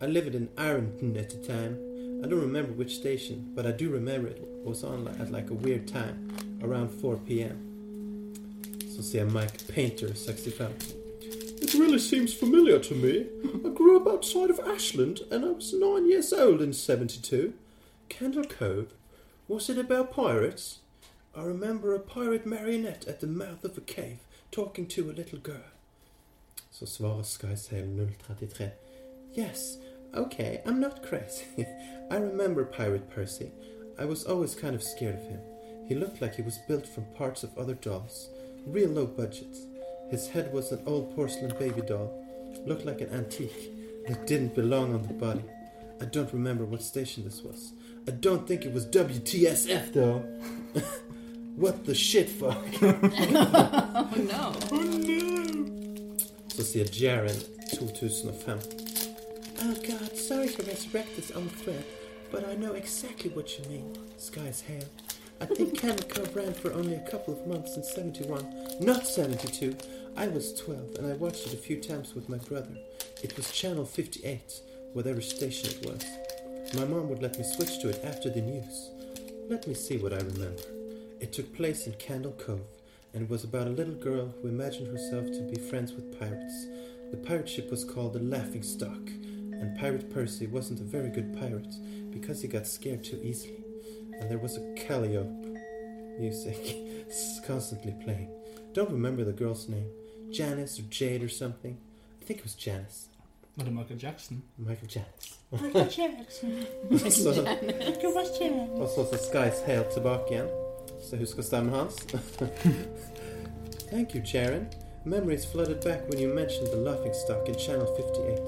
I lived in Ironton at the time. I don't remember which station, but I do remember it was on at like a weird time, around 4 p.m. So see, I'm Mike Painter, 65. It really seems familiar to me. I grew up outside of Ashland, and I was nine years old in 72. Candle Cove? Was it about pirates? I remember a pirate marionette at the mouth of a cave talking to a little girl. Så svarer Skysail 033. Yes, okay, I'm not crazy. (laughs) I remember Pirate Percy. I was always kind of scared of him. He looked like he was built from parts of other dolls, real low budgets. His head was an old porcelain baby doll, looked like an antique that didn't belong on the body. I don't remember what station this was. I don't think it was WTSF though. (laughs) what the shit fuck? Oh no. Så sier Jaren 2005. Oh god, sorry to resurrect this old thread, but I know exactly what you mean. Sky's hail. I think Kanako ran for only a couple of months in 71, not 72. I was 12 and I watched it a few times with my brother. It was channel 58, whatever station it was. My mom would let me switch to it after the news. Let me see what I remember. It took place in Candle Cove and was about a little girl who imagined herself to be friends with pirates. The pirate ship was called the Laughing Stock, and Pirate Percy wasn't a very good pirate because he got scared too easily. And there was a Calliope music (laughs) constantly playing. Don't remember the girl's name. Janice or Jade or something. I think it was Janice. Var det Michael Jackson? Michael Janice. (laughs) Michael Janice. Og så sa Skies helt tilbake igjen, så jeg husker stemmen hans. Thank you, Sharon. Memories flooded back when you mentioned the laughing stock in Channel 58.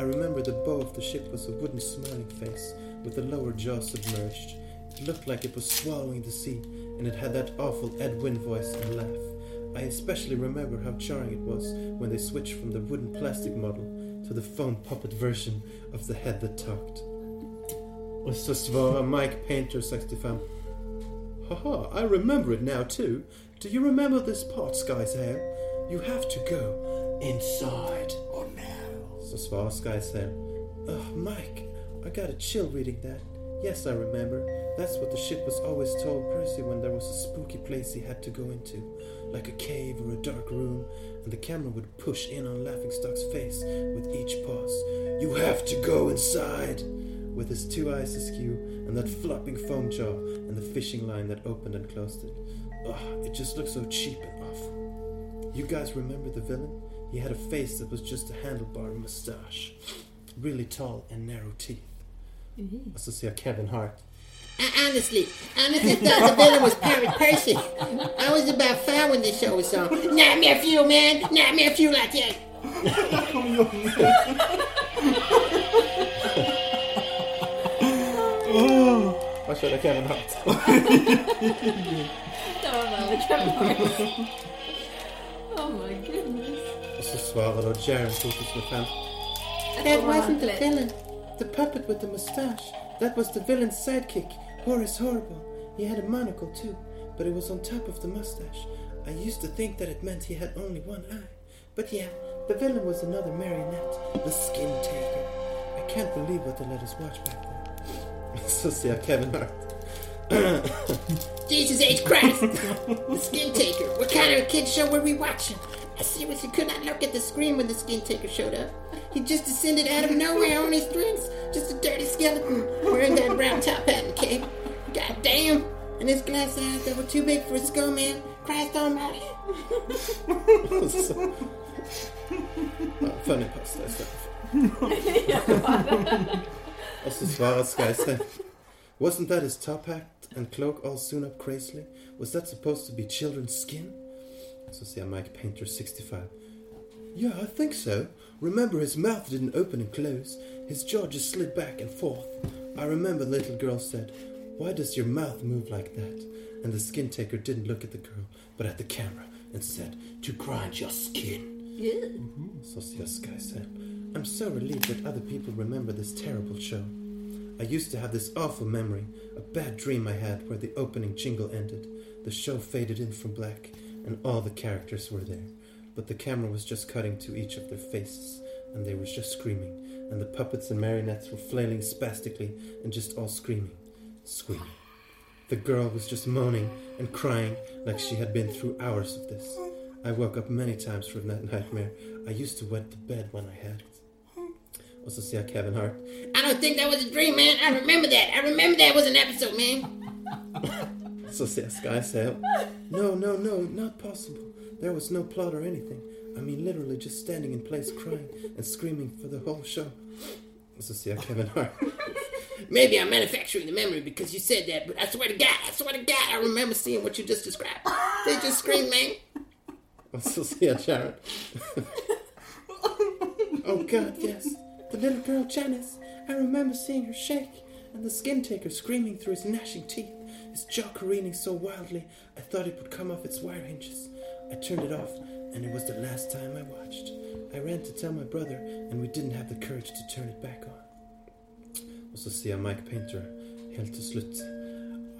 I remember the bow of the ship was a wooden smiling face with the lower jaw submerged. It looked like it was swallowing the sea, and it had that awful Ed Wynn voice and laugh. I especially remember how jarring it was when they switched from the wooden plastic model to the foam puppet version of the head that talked. Og så svarer Mike Painter 65 Haha, I remember it now too. Do you remember this part, Skysail? You have to go inside. Oh no. Så svarer Skysail. Ugh, Mike, I got a chill reading that. Yes, I remember. That's what the ship was always told Percy when there was a spooky place he had to go into, like a cave or a dark room, and the camera would push in on Laughingstock's face with each pause. You have to go inside! With his two eyes askew, and that flopping foam jaw, and the fishing line that opened and closed it. Ugh, it just looked so cheap and awful. You guys remember the villain? He had a face that was just a handlebar mustache. Really tall and narrow teeth. Mm-hmm. Og så sier Kevin Hart Honestly, honestly, I thought the villain was Pirate Percy. I was about five when this show was on. Not me a few, man. Not me a few like that. Hva skjer det, (laughs) Kevin Hart? Det var veldig kult. Oh my goodness. Og så svarer da Jaren 2005 That wasn't the villain. The puppet with the mustache. That was the villain's sidekick, Horace Horrible. He had a monocle too, but it was on top of the mustache. I used to think that it meant he had only one eye. But yeah, the villain was another marionette, the skin taker. I can't believe what they let us watch back then. (laughs) Så sier Kevin Hart. Jesus H. Christ. the Skin Taker. What kind of a kid show were we watching? I seriously could not look at the screen when the Skin Taker showed up. He just descended out of nowhere on his strings. Just a dirty skeleton wearing that brown top hat and cape. God damn. And his glass eyes that were too big for a skull, man. Christ almighty. Så. Ja, funny pasta istedenfor. Og så svarer Skystein. Wasn't that his top hat and cloak all sewn up crazily? Was that supposed to be children's skin? Så sier Mike Painter 65. Yeah, I think so. Remember, his mouth didn't open and close. His jaw just slid back and forth. I remember the little girl said, Why does your mouth move like that? And the skin taker didn't look at the girl, but at the camera, and said, To grind your skin. So sier Skysail. eh? I'm so relieved that other people remember this terrible show. I used to have this awful memory, a bad dream I had where the opening jingle ended. The show faded in from black, and all the characters were there. But the camera was just cutting to each of their faces, and they were just screaming, and the puppets and marionettes were flailing spastically and just all screaming, screaming. The girl was just moaning and crying like she had been through hours of this. I woke up many times from that nightmare. I used to wet the bed when I had it. Og så sier Kevin Hart I don't think that was a dream, man. I remember that. I remember that was an episode, man. Så sier Skysail No, no, no, not possible. There was no plot or anything. I mean literally just standing in place crying and screaming for the whole show. Og så sier Kevin Hart (laughs) Maybe I'm manufacturing the memory because you said that, but I swear to God, I swear to God, I remember seeing what you just described. They just screamed, man. Og så sier Sharon Oh god, yes. The little girl Janice. I remember seeing her shake and the skin taker screaming through his gnashing teeth, his jaw careening so wildly I thought it would come off its wire hinges. I turned it off, and it was the last time I watched. I ran to tell my brother, and we didn't have the courage to turn it back on. Og så sier Mike Painter helt til slutt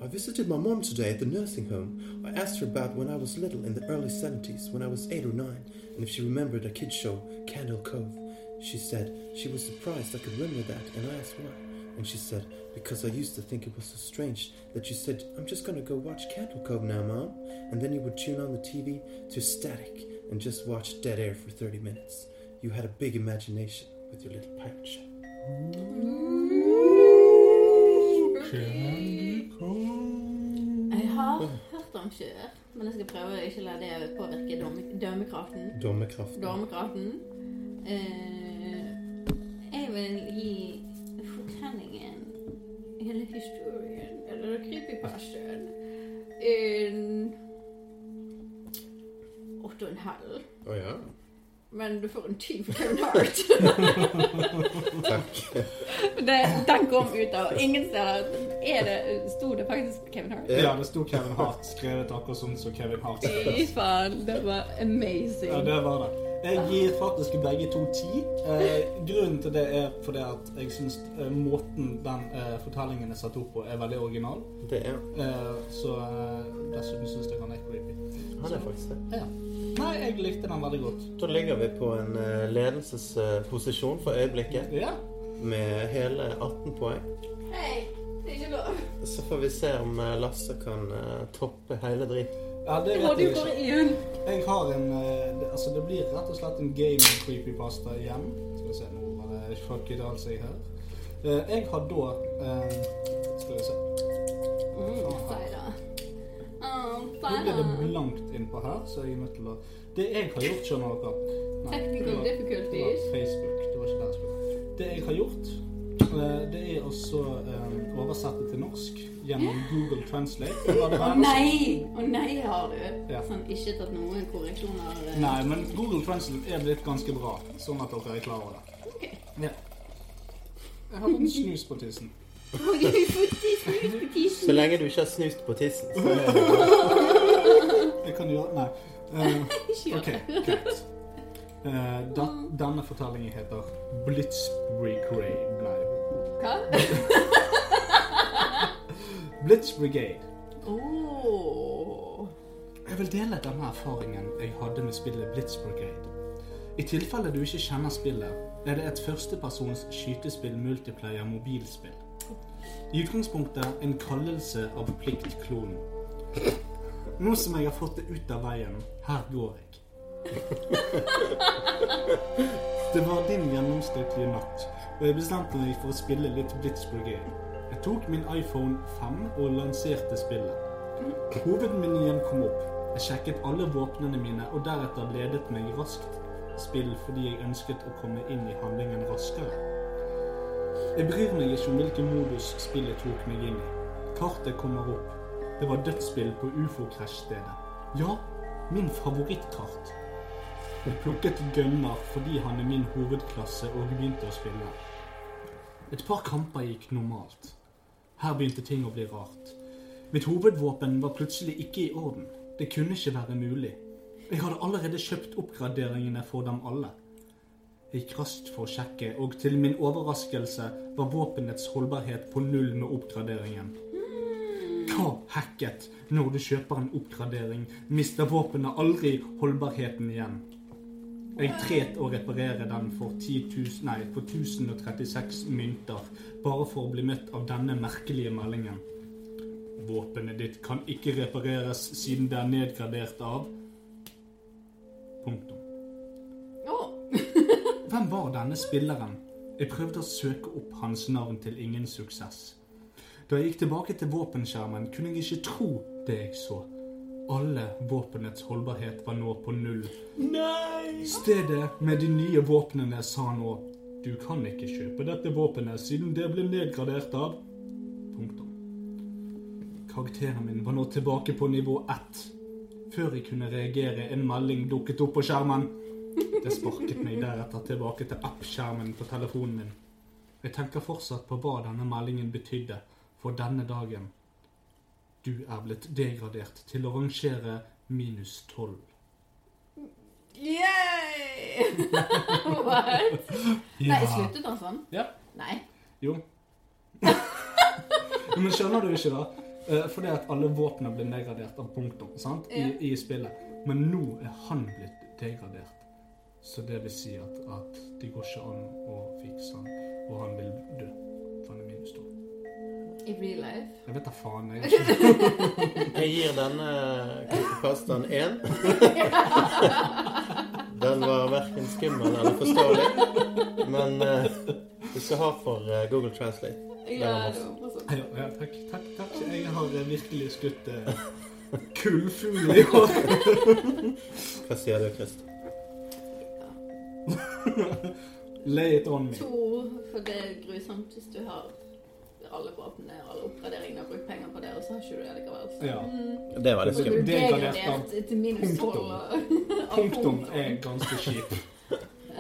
I visited my mom today at the nursing home. I asked her about when I was little in the early 70s, when I was 8 or 9, and if she remembered a kid's show, Candle Cove. She said she was surprised I could remember that, and I asked why. And she said, Because I used to think it was so strange that you said, I'm just gonna go watch Candle Cove now, Mom. And then you would tune on the TV to static and just watch dead air for 30 minutes. You had a big imagination with your little pirate show. Jeg har hørt om skjør, men jeg skal prøve å ikke la det påvirke dømme- dømmekraften. Dommekraften. Damekraften. Eh, jeg vil gi fortellingen Hele historien eller creepypastaen en åtte. Donald. Å ja. Men du får en tyv Donald. Takk. Det- Den kom ut av ingen steder. Er det, sto det faktisk Kevin Hart? Ja, det sto Kevin Hart skrevet akkurat sånn som Kevin Hart. Fy faen, det var amazing. Ja, det var det. Jeg gir faktisk begge to ti. Eh, grunnen til det er fordi at jeg syns eh, måten den eh, fortellingen er satt opp på, er veldig original. Det er Eh, så eh, dessuten syns jeg han er creepy. Han er faktisk det. Ja. Nei, jeg likte den veldig godt. Da ligger vi på en eh, ledelsesposisjon for øyeblikket Ja. med hele 18 poeng. Hei, det er ikke lov. Så får vi se om eh, Lasse kan eh, toppe hele driten. ja det Du vet hadde jo jeg bare ikke. én. Jeg har en eh, det- Altså, det blir rett og slett en game creepypasta igjen. Skal vi se nå var det fuck it all jeg her. Eh, jeg har da eh, Skal vi se. Mm, feira. Å, Nå ble det feira. blankt innpå her, så jeg er nødt til å Det jeg har gjort, skjønner dere Nei, det Technical var- Det var difficulties. Facebook. Det var ikke der jeg skulle. Det jeg har gjort, eh, det er også eh, oversette til norsk gjennom Google (laughs) Translate. Det var det Å her. nei! Å nei, har du. Ja. Sånn, ikke tatt noen korreksjoner. eh. Nei, men Google Translate er blitt ganske bra, sånn at dere er klar over det. Ok. Ja. Jeg har en snus på tissen. Oi, fordi snus på tissen. Så lenge du ikke har snust på tissen. så er Jeg kan gjøre Nei. Eh, Ikke gjør OK, det. greit. Eh, da, denne fortellingen heter Blitzbrig Nei. Hva? (laughs) Blitz Brigade. Åh. Jeg vil dele denne erfaringen jeg hadde med spillet Blitz Brigade. I tilfelle du ikke kjenner spillet, er det et førstepersons skytespill multiplayer mobilspill. I utgangspunktet en kallelse av pliktklonen. Nå som jeg har fått det ut av veien, her går jeg. Det var din gjennomsnittlige natt, og jeg bestemte meg for å spille litt Blitz Brigade. Jeg tok min iPhone 5 og lanserte spillet. Hovedmenyen kom opp. Jeg sjekket alle våpnene mine og deretter ledet meg raskt spill fordi jeg ønsket å komme inn i handlingen raskere. Jeg bryr meg ikke om hvilken modus spillet tok meg inn i. Kartet kommer opp. Det var dødsspill på ufo-krasjstedet. Ja, min favorittkart. Jeg plukket gunner fordi han er min hovedklasse og begynte å spille. Et par kamper gikk normalt. Her begynte ting å bli rart. Mitt hovedvåpen var plutselig ikke i orden. Det kunne ikke være mulig. Jeg hadde allerede kjøpt oppgraderingene for dem alle. Jeg gikk raskt for å sjekke, og til min overraskelse var våpenets holdbarhet på null med oppgraderingen. Hva hacket når du kjøper en oppgradering, mister våpenet aldri holdbarheten igjen. Jeg tret å reparere den for, 10 000, nei, for 1036 mynter, bare for å bli møtt av denne merkelige meldingen. Våpenet ditt kan ikke repareres siden det er nedgradert av Punktum. Åh. Hvem var denne spilleren? Jeg prøvde å søke opp hans navn til ingen suksess. Da jeg gikk tilbake til våpenskjermen, kunne jeg ikke tro det jeg så. Alle våpenets holdbarhet var nå på null. Nei! Stedet med de nye våpnene sa nå Du kan ikke kjøpe dette våpenet siden det ble nedgradert av Punktum. Karakteren min var nå tilbake på nivå ett. Før jeg kunne reagere, en melding dukket opp på skjermen. Det sparket meg deretter tilbake til app-skjermen på telefonen min. Jeg tenker fortsatt på hva denne meldingen betydde for denne dagen. Du er blitt degradert til å rangere minus tolv. Yay! (laughs) What? Nei, sluttet han sånn? Ja. Nei. Jo. (laughs) Men skjønner du ikke, da? Eh, Fordi at alle våpnene ble degradert av punktum sant? I, i spillet. Men nå er han blitt degradert. Så det vil si at, at det går ikke an å fikse han, og han vil dø. For han er minus tolv. I real life. Jeg vet da faen. (laughs) Jeg har ikke det- (laughs) Jeg gir denne pastaen (laughs) én. Den var verken skummel eller forståelig. Men eh, du skal ha for eh, Google Translate. Ja, var det var bare sånn. ja, ja, takk, (laughs) takk, takk. Jeg har eh, virkelig skutt eh, (laughs) kullfugl i år. (laughs) Hva sier du, Chris? Lay it on me. To, for det er grusomt hvis du har ja, alle våpnene, alle oppgraderingene og brukt penger på det, og så har ikke du det likevel. Så. Ja. Mm. Det var det Så Det skumle. du er gradert degradert til minus punktum. 12 (laughs) og- av Punktum er ganske kjip.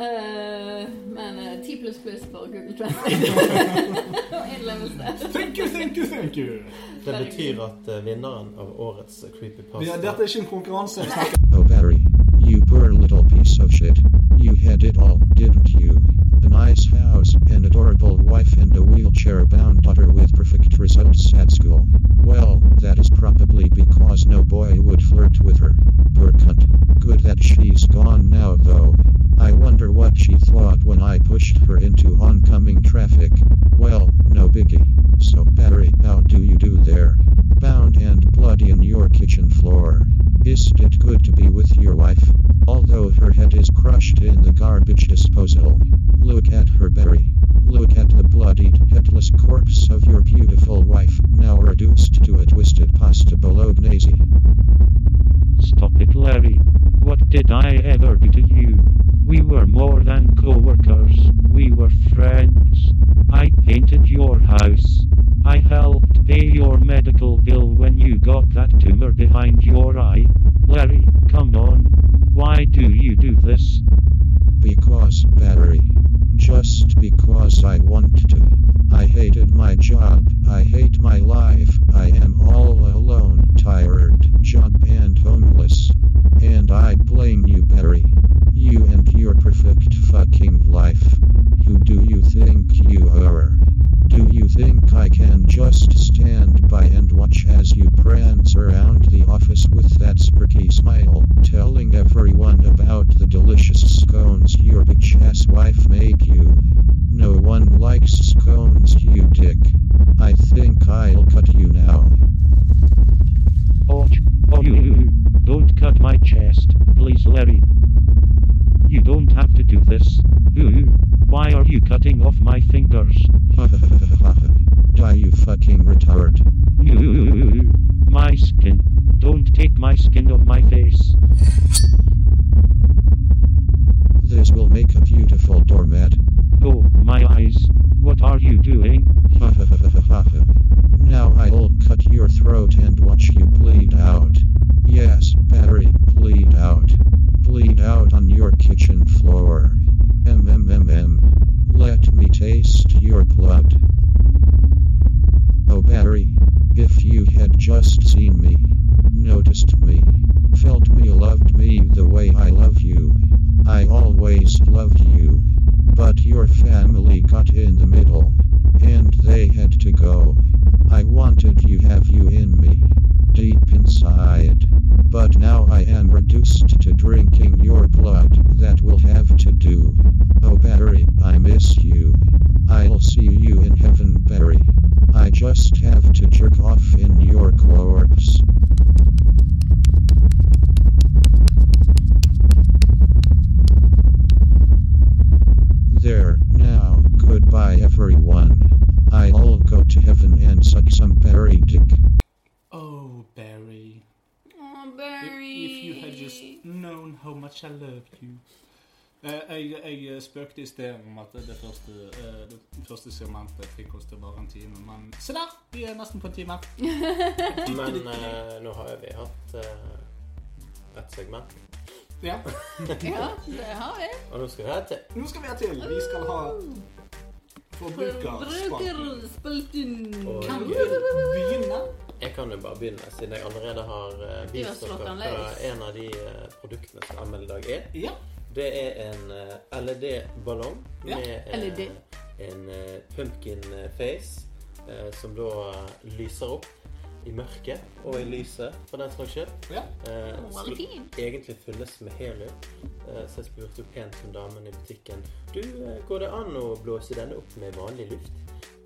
Eh, men eh, 10 pluss pluss for Google Translate (laughs) og innlevelse. Thank you, thank you, thank you. Det betyr at eh, vinneren av årets creepypasta Ja, dette er ikke en konkurranse. vi snakker Oh Barry, you poor little piece of shit. You had it all, didn't you? A nice house, an adorable wife, and a wheelchair bound daughter with perfect results at school. Well, that is probably because no boy would flirt with her. Poor cunt. Good that she's gone now, though. I wonder what she thought when I pushed her into oncoming traffic. Well, no biggie. So, Barry, how do you do there? Bound and bloody in your kitchen floor. Isn't it good to be with your wife? Although her head is crushed in the garbage disposal. Look at her, Barry. Look at the bloodied, headless corpse of your beautiful wife, now reduced to a twisted pasta bolognese. Stop it, Larry. What did I ever do to you? We were more than co workers, we were friends. I painted your house. I helped pay your medical bill when you got that tumor behind your eye. Larry, come on. Why do you do this? Because, Barry. Just because I want to. I hated my job, I hate my life, I am all alone, tired, job and homeless. And I blame you, Barry. You and your perfect fucking life. Who do you think you are? Do you think I can just stand by and watch as you prance around the office with that smirky smile, telling everyone about the delicious scones your bitch ass wife made you? No one likes scones, you dick. I think I'll cut you now. Ouch. Oh, you. Don't cut my chest, please, Larry. You don't have to do this. Ooh. Why are you cutting off my (laughs) fingers? Die, you fucking retard. Ooh. My skin. Don't take my skin off my face. This will make a beautiful doormat. Oh, my eyes. What are you (laughs) doing? now I'll cut your throat and watch you bleed out. Yes, Barry, bleed out. Bleed out on your kitchen floor. MMMM. Let me taste your blood. Oh, Barry, if you had just seen me, noticed me, felt me, loved me the way I love you, I always loved you. But your family got in the middle, and they had to go. I wanted you, have you in me, deep inside. But now I am reduced to drinking your blood, that will have to do. Oh, Barry, I miss you. I'll see you in heaven, Barry. I just have to jerk off in your corpse. There, now, goodbye everyone. I'll go to heaven and suck some berry dick. Oh, Barry. Å, Barry. If you had just known how much I loved you. Eh, Jeg, jeg eh, spøkte i sted om at det første, eh, det første segmentet fikk oss til bare en time, men se der! Vi er nesten på en (laughs) time. Men eh, nå har jo vi hatt eh, et segment. Ja, (laughs) Ja, det har vi. Mm. Og nå skal vi ha et til. nå skal vi ha til. Vi skal ha forbrukerspalten. Og Kan vi eh, begynne? jeg kan jo bare begynne, siden jeg allerede har eh, har vist slått dere den hva løs. en av de eh, produktene som anmelder i dag er. Ja. Det er en eh, LED-ballong Ja, med eh, LED. en eh, pumpkin eh, face eh, som da eh, lyser opp i mørket og i lyset, for den saks skyld. Ja. Eh, Å, skulle fin. egentlig fylles med helium, eh, så jeg spurte jo pent hun damen i butikken Du, eh, går det an å blåse denne opp med vanlig luft?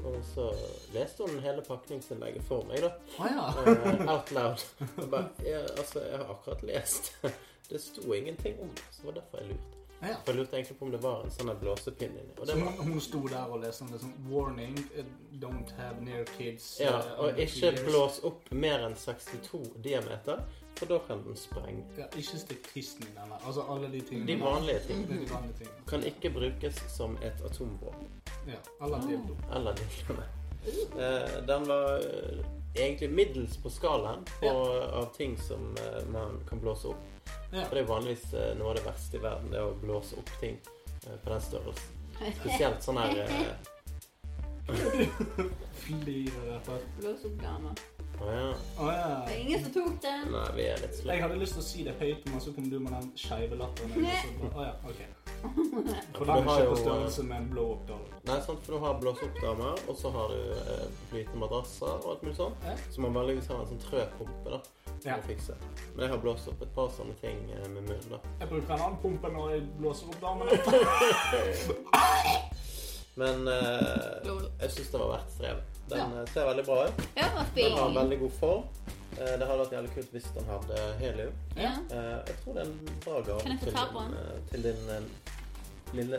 Og så leste hun hele pakningsinnlegget for meg, da. Å ja. Eh, out loud. Jeg bare, ja, altså, jeg har akkurat lest. (laughs) Det sto ingenting om det, så det var derfor jeg lurte. ja. For jeg lurte egentlig på om det var en sånn her blåsepinn inni. Og Så det hun, var, hun sto der og leste liksom Warning, eh, don't have near kids. eh, ja, og under ikke two years." (laughs) blås opp mer enn 62 diameter, for da kan den sprenge. Ja, ikke stikk tissen i den der. Altså alle de tingene. De vanlige ting Det er de vanlige tingene. kan ikke brukes som et atomvåpen. Ja, eller dildo. Eller lignende. Eh, den var eh, egentlig middels på skalaen på, av ting som eh, man kan blåse opp. Ja. For det er vanligvis eh, noe av det verste i verden, det er å blåse opp ting eh, på den størrelsen. Spesielt sånn her eh, Flyr etter. Blås opp damer. Å ja. Å Det ja. er ingen som tok den. Nei, vi er litt slemme. Jeg hadde lyst til å si det høyt, men så kom du med den skeive latteren. og så bare, Å ja, ok. (laughs) For Du den er har ikke på jo, størrelse med en blå oppdal. Nei, sant, for du har blåseoppdamer, og så har du eh, flytende madrasser og alt mulig sånt. Ja. Så man vanligvis har en sånn trøpumpe da, for Ja. å fikse. Men jeg har blåst opp et par sånne ting eh, med munnen da. Jeg bruker en annen pumpe når jeg blåser opp damene. Men eh, Lol. jeg syns det var verdt strevet. Den eh, ser veldig bra ut. Ja, det var Den har fin. veldig god form. Eh, det hadde vært jævlig kult hvis den hadde helium. Ja. Eh, jeg tror det er en bra Kan gave jeg få til, ta på din, eh, til din eh, lille, lille,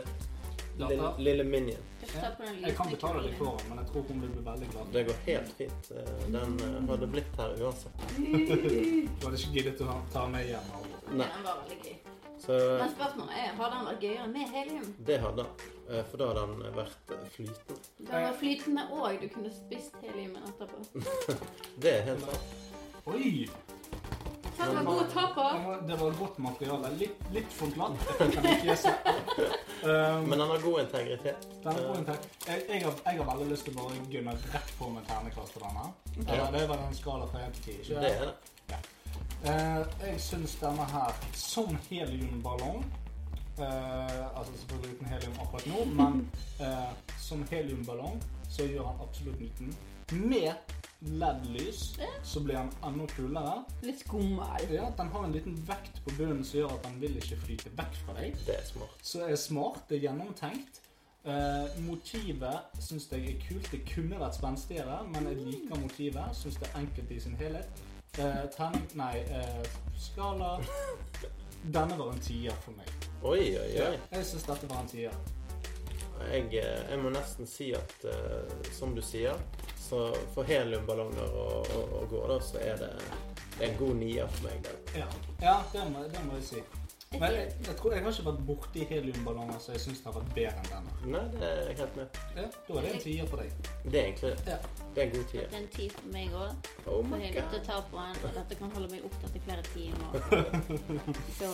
Latter. lille minion. Jeg får ta på den Jeg kan betale deg lysene. for den, men jeg tror hun vil bli veldig glad. Det går helt fint. Eh, den eh, hadde blitt her uansett. Du hadde ikke giddet å ta meg hjem. Alvor. Men den var veldig gøy. Så Men spørsmålet er, har den vært gøyere med helium? det hadde den. Eh, for da hadde den vært eh, flytende. Den var flytende òg. Du kunne spist heliumen etterpå. (laughs) Det er helt sant. eh, Oi! Den var god å ta på. Det var- Det var godt materiale. Litt, litt for glatt. Jeg kan ikke (laughs) se. Um, Men den har god integritet. Den er god inntekt. Jeg, jeg, har, jeg har veldig lyst til å bare gunne rett på med ternekast til denne. Eller, det er vel en skala fra 1 til 10, ikke Det er det. Eh, jeg syns denne her, som heliumballong eh, Altså selvfølgelig uten helium akkurat nå, men (laughs) eh, som heliumballong så gjør han absolutt nytten. Med LED-lys så blir han enda kulere. Litt skummel. Ja, Den har en liten vekt på bunnen som gjør at den vil ikke flyte vekk fra deg. Det er smart. Så er smart, det er gjennomtenkt. Eh, motivet syns jeg er kult. Det kunne vært spenstigere, men jeg liker motivet. Syns det er enkelt i sin helhet. Eh, terning Nei, eh, (laughs) skala Denne var en tier for meg. Oi, oi, oi. Jeg syns dette var en tier. Jeg, eh, jeg må nesten si at eh, som du sier, så for heliumballonger og, og, og går, da, så er det, det er en god nier for meg. Da. Ja, ja det, må, det må jeg si. Jeg Men jeg, sier- jeg tror jeg har ikke vært borti heliumballonger, så jeg syns det har vært bedre enn denne. Nei, det er jeg helt med. Ja, da er det en tier for deg. Det er egentlig Ja. det er en god tier. Den tid for meg òg. Oh For my jeg er nødt god. til å ta på den. og Dette kan holde meg opptatt i flere timer. Så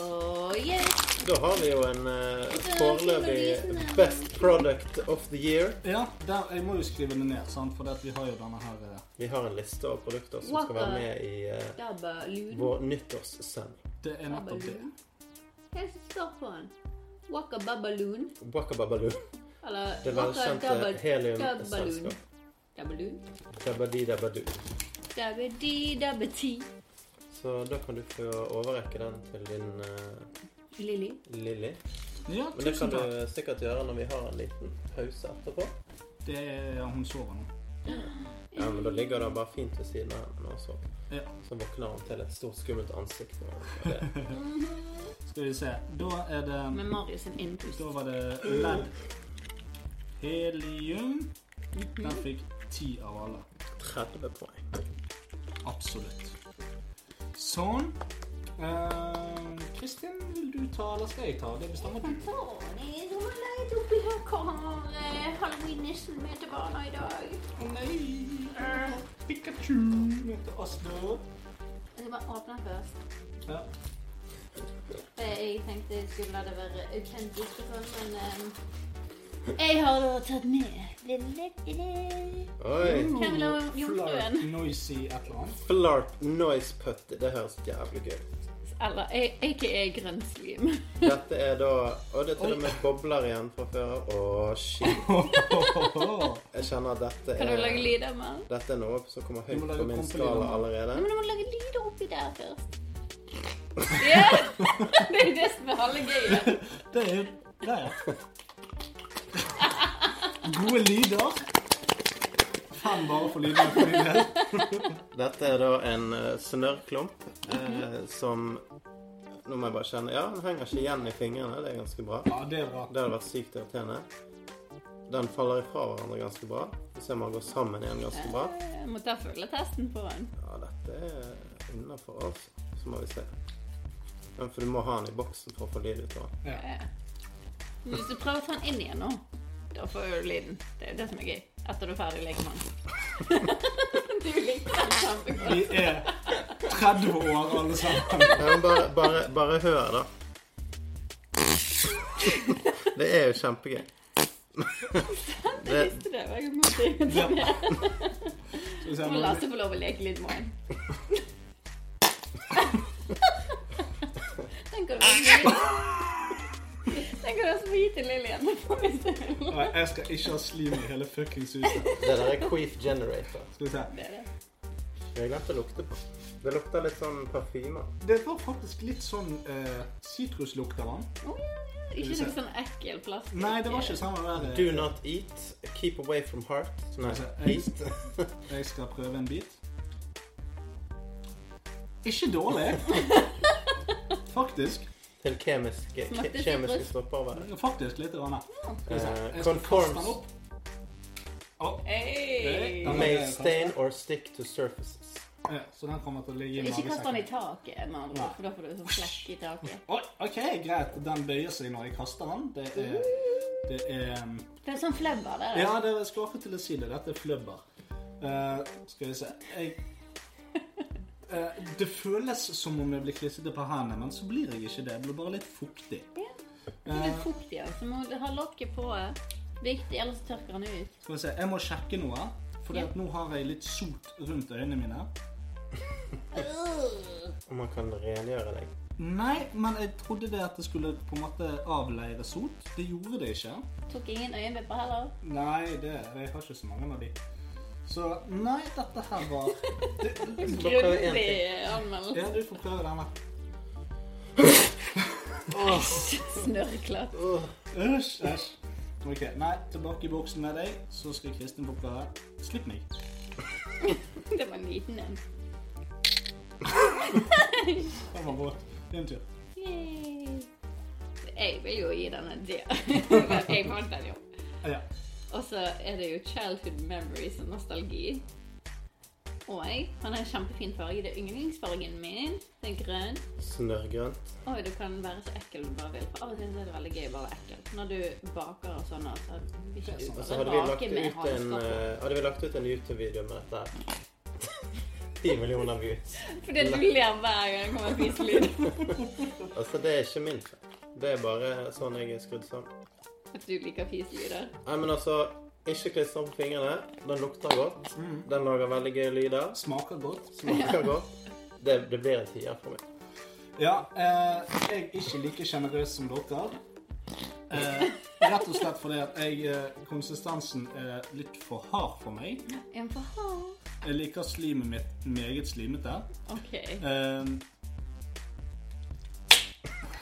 yes! Da har vi jo en eh, Det er foreløpig lysende. Best Product of the Year. Ja, der, jeg må jo skrive det ned, sant? for vi har jo denne her eh, Vi har en liste av produkter som What skal være the- med i eh, Dabba luden. vår nyttårssending. Det er Dabba nettopp det. luden. Hva er det som står på den? Waka Baba Loon. Waka Babaloo. Eller Det Waka velkjente Dabba Dabba Loon. heliumselskap. Dabba Loon. Dabadi-dabadu. Dabba di dabba ti. Så da kan du få overrekke den til din eh, Lilly. Lilly. Ja, Men det tusen kan takk. du sikkert gjøre når vi har en liten pause etterpå. Det er, ja, hun sover nå. Ja, men Da ligger den bare fint ved siden av henne, og så, Ja. så våkner hun til et stort, skummelt (laughs) ansikt. Og det, Skal vi se. Da er det Med Marius sin innpust. Da var det ledd. Helium. Mhm. Den fikk ti av alle. 30 poeng. Absolutt. Sånn. Eh, Kristin, vil du ta, eller skal jeg ta? Det bestemmer du. Så, det er så leit oppi her. Kommer eh, halloween-nissen med til barna i dag? Å nei! Eh, Pikachu møter Asda. Jeg skal bare åpne den først. Ja. Eh, Jeg tenkte jeg skulle la det være autentisk og sånn, men eh, Jeg har da tatt med lille Hvem Oi! vil ha jomfruen? Flark, noisy, et eller annet. Flarp noise putt. Det høres jævlig gøy ut. Eller jeg, ikke er grønn slim. Dette er da Og det er til og med bobler igjen fra før. Å, (laughs) shit. Ohohoho. Jeg kjenner at dette Kan du lage er lyder med den? Dette er noe som kommer Du høyt må lage på min kompelyder skala nå. allerede. Men du må lage lyder oppi der (laughs) først. Ja! (laughs) Det er jo det som er halve gøyet. Det er (laughs) Der, ja. Gode lyder. Fem bare for lyder for din del. Dette er da en eh, snørrklump eh, som Nå må jeg bare kjenne Ja, den henger ikke igjen i fingrene. Det er ganske bra. Ja, det er bra. Det hadde vært sykt irriterende. Den faller ifra hverandre ganske bra. Vi ser man går sammen igjen ganske bra. Eh, Jeg må ta fugletesten på den. Ja, dette er innafor, altså. Så må vi se. Men for du må ha den i boksen for å få lyd ut av den. Eh, Men hvis du prøver å ta den inn igjen nå, da får du lyden. Det er jo det som er gøy. etter du er ferdig (laughs) lekemann. du likte den kjempegodt. Vi er 30 år, alle sammen. Ja, men bare, bare, bare hør, da. Det er jo kjempegøy. Jeg visste det. Jeg måtte (laughs) informere. Skal vi se, Må nå- Lasse få lov å leke litt med den. (laughs) Den kan du også få gi til Lillian. hvis du vil. Nei, jeg skal ikke ha slim i hele fuckings huset. Det der er queef generator. Skal vi se. Det er det. Jeg glemte å lukte på. Det lukter litt sånn parfyme. Det var faktisk litt sånn eh, sitruslukt av den. Å, ja, ja. Ikke noe sånn ekkel plastikk. Nei, det var ikke samme der. eh. Altså, Do not eat. Keep away from heart. Nei, (laughs) eat. Jeg skal prøve en bit. Ikke dårlig. Faktisk. Til kjemiske, Smakte ke- kjemiske sitrus. stopper. Faktisk litt. Rane. Skal vi se. Eh, Jeg skal kaste den conforms. opp. Å, Hey. Nei. May stain or stick to surfaces. ja, så den kommer til å ligge i Ikke kast den i magesekken. taket, med andre ord, for da får du sånn flekk i taket. Oi, OK, greit. Den bøyer seg når jeg kaster den. Det er, det er um, Det er sånn flebber, det. Ja, det jeg skulle akkurat til å si det. Dette er fløbber. Eh, skal vi se jeg, Eh, Det føles som om jeg blir klissete på hendene, men så blir jeg ikke det. Jeg blir bare litt fuktig. Det er litt fuktig, ja, så må du ha lokket på. eh, Viktig, ellers tørker den ut. Skal vi se, Jeg må sjekke noe, for at nå har jeg litt sot rundt øynene mine. Og man kan rengjøre deg. Nei, men jeg trodde det at det skulle på en måte avleire sot. Det gjorde det ikke. Tok ingen øyenvipper heller. Nei, det, jeg har ikke så mange av de. Så nei, dette her var det, Så bare prøv en Grundig til. anmeldelse. Ja, du får prøve denne. Snørkla. Æsj, æsj. Ok, nei, tilbake i boksen med deg, så skal Kristin få prøve. Slipp meg. Det var en liten (laughs) en. Den var våt. Din tur. Yay. Jeg vil jo gi den en D. Jeg fant den jo. Ah, ja. Og så er det jo childhood memories og nostalgi. Og han er en kjempefin farge. Det er yndlingsfargen min. Det er grønn. Snørrgrønt. Oi, du kan være så ekkel du bare vil. For av og til så er det veldig gøy å være ekkel. Når du baker og sånn, så vil ikke du Og så bare hadde vi lagt bake med ut en, hansker på. eh, hadde vi lagt ut en YouTube-video med dette her. (laughs) 10 millioner views. Fordi du ler hver gang det kommer en fiselyd. Altså, det er ikke min feil. Det er bare sånn jeg er skrudd sammen. (laughs) At du liker fiselyder. Nei, men altså, ikke klistre på fingrene. Den lukter godt. Den lager veldig gøye lyder. Mm. Smaker godt. Smaker godt. Det, det blir en tier for meg. Ja, eh, jeg er ikke like sjenerøs som dere. Eh, rett og slett fordi at jeg, eh, konsistensen er litt for hard for meg. En for hard. Jeg liker slimet mitt meget slimete. OK. Eh,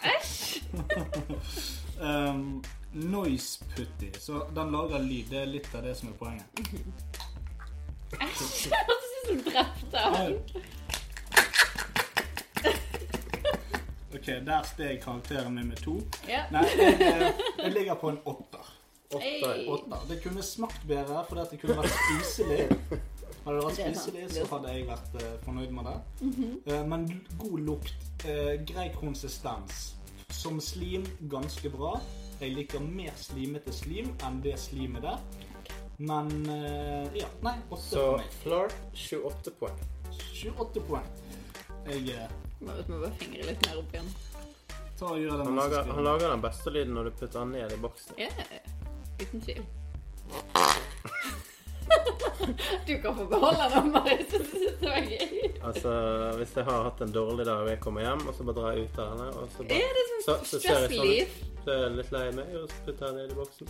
Æsj! eh, noise putty. Så den lager lyd. Det er litt av det som er poenget. Æsj! (laughs) Jeg hørtes ut som drepte han. Ok, der steg karakteren min med to. Ja. Nei, jeg, eh, jeg ligger på en åtter. Hey. Åtter. Det kunne smakt bedre, fordi at det kunne vært spiselig. Hadde det Det er vært sant. Mhm. spiselig, Det så er sant. hadde jeg vært eh, fornøyd med det. Eh, men l- god lukt, eh, grei konsistens. Som slim, ganske bra. Jeg liker mer slimete slim enn det slimet der. Men eh, ja, nei, åtte Så for meg. Flarp 28 poeng. 28 poeng. Jeg eh, Marit må bare fingre litt mer opp igjen. tar og gjør det Han mens jeg lager, spiller. han lager den beste lyden når du putter den ned i boksen. Ja, uten (laughs) tvil. Du kan få beholde den, Marit. Jeg synes Det var gøy. Altså, Hvis jeg har hatt en dårlig dag og jeg kommer hjem, og så bare drar jeg ut av henne og så bare, Er det sånn så, så ser jeg sånn stressliv? ut. Så er jeg litt lei meg, og så putter jeg den ned i boksen. (laughs)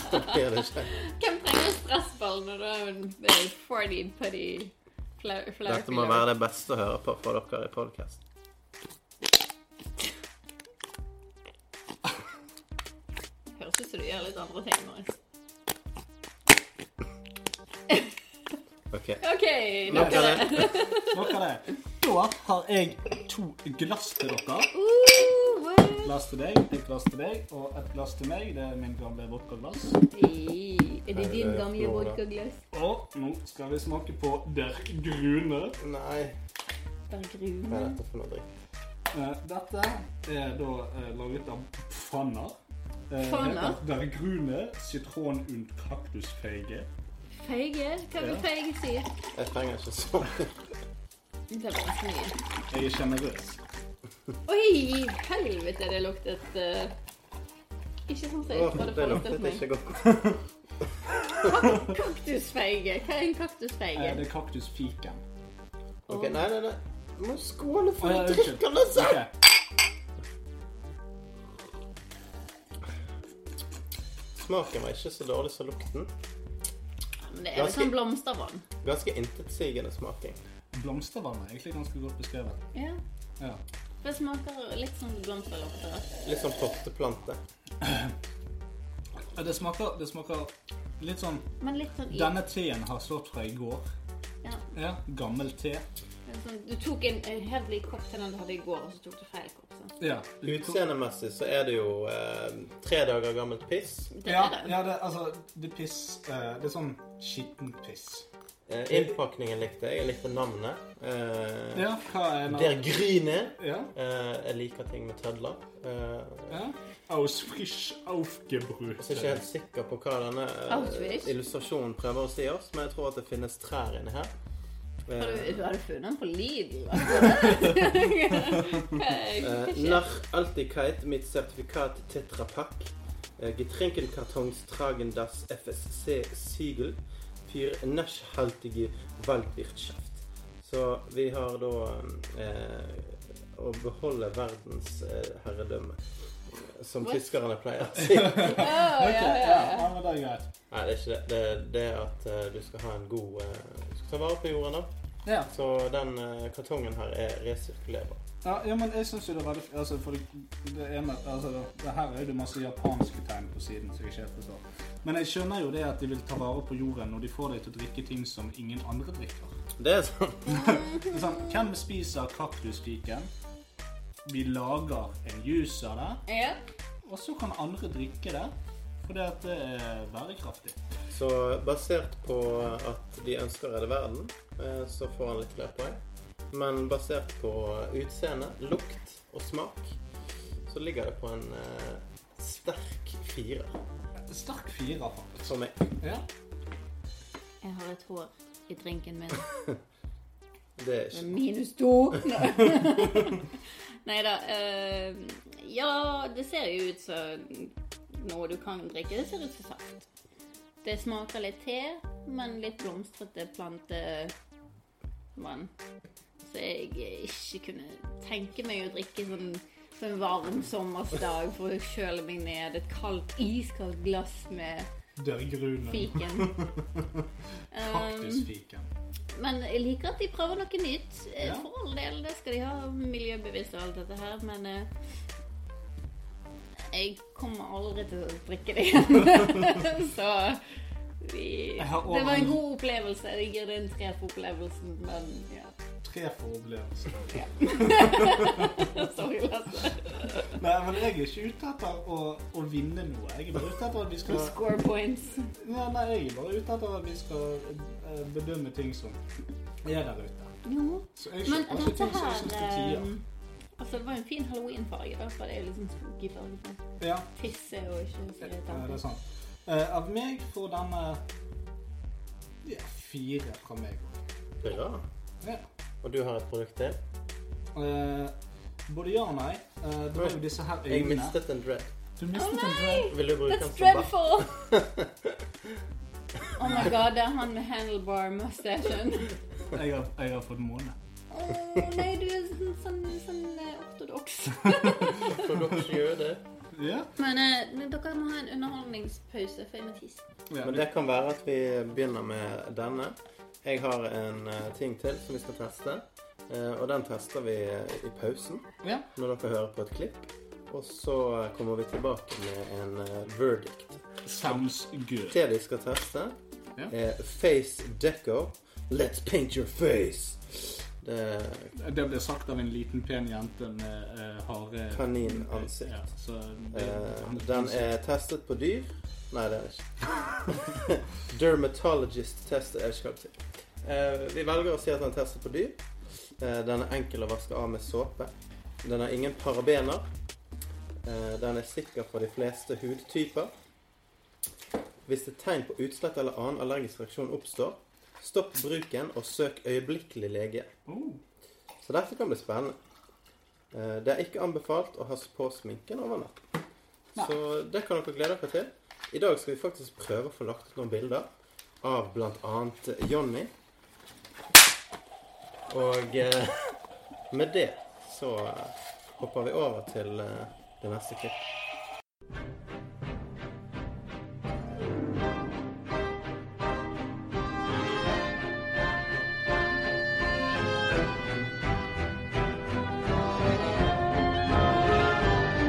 så blir det ikke. Hvem trenger stressball når du har en eh, 40 putty fla- flair Dette må filler? være det beste å høre på for dere i podkast. Høres ut som du gjør litt andre ting, Marit. OK. OK, Eh, Nok nok av av det. det. (laughs) Nok av det. Da har jeg to glass til dere. Uh, what? Glass til deg, et glass til deg og et glass til meg. Det er min gamle vodkaglass. Hey, Eh, Er det eh, Eh, din gamle vodkaglass? Og nå skal vi smake på der grune. Nei, Der hva gruer er dette for noe dritt? Eh, Dette er da eh, laget av Pfanner. Eh, Faner. Der er grune, sitron und kaktusfeige. Feige? Hva vil Ja. feige si? Jeg trenger ikke sånn. Det var nesten mye. Jeg er sjenerøs. Oi, helvete, det luktet eh, Ikke sånn som jeg Åh, hadde Det forestilt luktet meg. ikke godt. (laughs) Kaktusfeige. Hva er en kaktusfeige? Eh, Det er kaktusfiken. Ok, Nei, eh, nei, nei. Du må skåle Å, for å ja, unnskyld. drikke den selv! Ok. Smaken var ikke så dårlig som lukten. Men det er litt sånn blomstervann. Ganske intetsigende smaking. Blomstervann er egentlig ganske godt beskrevet. Ja. Ja. Det smaker litt sånn blomsterlokter. Litt sånn potteplante. Ja, Det smaker, det smaker litt sånn Men litt sånn i. Denne teen har stått fra i går. Ja. Ja, Gammel te. Det er Sånn, du tok en, en hevlig kopp til den du hadde i går, og så tok du feil kopp. Sånn. Ja. Utseendemessig så er det jo eh, tre dager gammelt piss. Det Ja, er det. ja det, altså, det er piss eh, Det er sånn skittent piss. Eh, innpakningen likte jeg. Jeg likte navnet. Eh, Ja, hva er Der navnet? Gryne. Ja, Eh, jeg liker ting med tødler. Eh, ja. Aus frisch aufgebrüht. Jeg er ikke helt sikker på hva denne eh, Outfish. illustrasjonen prøver å si oss, men jeg tror at det finnes trær inni her. Har du, Eh, du hadde funnet den på Lidl? altså. eh, Hva- hva skjer? Nach Altigkeit mit Zertifikat Tetra Pak. Eh, Getränkenkartons tragen das FSC-Siegel für naschhaltige Waldwirtschaft. Så vi har da eh, å beholde verdensherredømme, som What? tyskerne pleier å (laughs) si. Å, Ok, ja, ja, ja, ja. ja, men det er greit. Nei, det er ikke det. Det er det at eh, du skal ha en god eh, Du skal ta vare på jorden, da. Ja. Så den eh, kartongen her er resirkulerbar. Ja, ja, men jeg syns jo det er veldig Altså, for det, det ene altså, det Her er det jo masse japanske tegn på siden som jeg ikke helt forstår. Men jeg skjønner jo det at de vil ta vare på jorden når de får deg til å drikke ting som ingen andre drikker. Det er sånn. (laughs) Det er Sånn, hvem spiser kaktusfiken? Vi lager en juice av det, ja. og så kan andre drikke det. Fordi at det er bærekraftig. Så basert på at de ønsker å redde verden, eh, så får han litt flere poeng. Men basert på utseende, lukt og smak, så ligger det på en eh, sterk firer. Sterk firer, faktisk. For meg. Ja. Jeg har et hår i drinken (laughs) min. Det Det er ikke er Minus (laughs) to. Nei da. eh, ja, det ser jo ut som noe du kan drikke. Det ser ut som saft. Det smaker litt te, men litt blomstrete plantevann. Så jeg ikke kunne tenke meg å drikke sånn på en varm sommersdag for å kjøle meg ned et kaldt, iskaldt glass med Dørgrunen. fiken. (laughs) Um, Kaktusfiken. men jeg liker at de prøver noe nytt. Eh, Ja. For all del, det skal de ha miljøbevisst og alt dette her, men eh, Jeg kommer aldri til å drikke det igjen. (laughs) Så vi, Jeg har Det var overall- en god opplevelse. Jeg gir det en tre for opplevelsen, men ja. Tre for (laughs) opplevelse. (laughs) Sorry, Lasse. Nei, men jeg er ikke ute etter å, å vinne noe. Jeg er bare ute etter at vi skal Score points. ja, Nei, jeg er bare ute etter at vi skal eh, bedømme ting som er der ute. Jo. Så jeg Men kjøper ikke dette ting som jeg syns er her tier. eh, Altså, det var en fin halloweenfarge, da, for det er jo liksom skoggifarge på Ja, tisse og ikke så ja, det er det er tanken. sant. Eh, Av meg får denne ja, fire fra meg. bra. Ja. Og du har et produkt til? Eh, både ja og nei. Eh, det var jo disse her Jeg øynene. mistet en dread. Du mistet en Vil du bruke den That's som bæsj? dreadful! (laughs) oh my god, det er han med handlebar mustachen. drøm. Jeg har, jeg har fått måne. Åh, nei, du er sånn, sånn, sånn eh, ortodoks. Produkt jøde. (laughs) Ja. Men eh, men dere må ha en underholdningspause, for jeg må tisse. ja. Men det kan være at vi begynner med denne. Jeg har en eh, ting til som vi skal teste. eh, Og den tester vi eh, i pausen Ja. når dere hører på et klipp. Og så eh, kommer vi tilbake med en eh, verdict. Sounds good. Det vi skal teste, Ja. er Face Deco. Let's paint your face! Det er Det ble sagt av en liten, pen jente med eh, harde kaninansikt. Ja, så det, Eh, den er testet på dyr. Nei, det er den ikke. (laughs) Dermatologist test er ikke hva det betyr. Eh, vi velger å si at den er testet på dyr. Eh, den er enkel å vaske av med såpe. Den har ingen parabener. Eh, Den er sikker for de fleste hudtyper. Hvis et tegn på utslett eller annen allergisk reaksjon oppstår, stopp bruken og søk øyeblikkelig lege. Oh. Så dette kan bli spennende. Eh, Det er ikke anbefalt å ha på sminken over natt. Så det kan dere glede dere til. I dag skal vi faktisk prøve å få lagt ut noen bilder av bl.a. Jonny. Og eh, med det så eh, hopper vi over til eh, det neste klipp.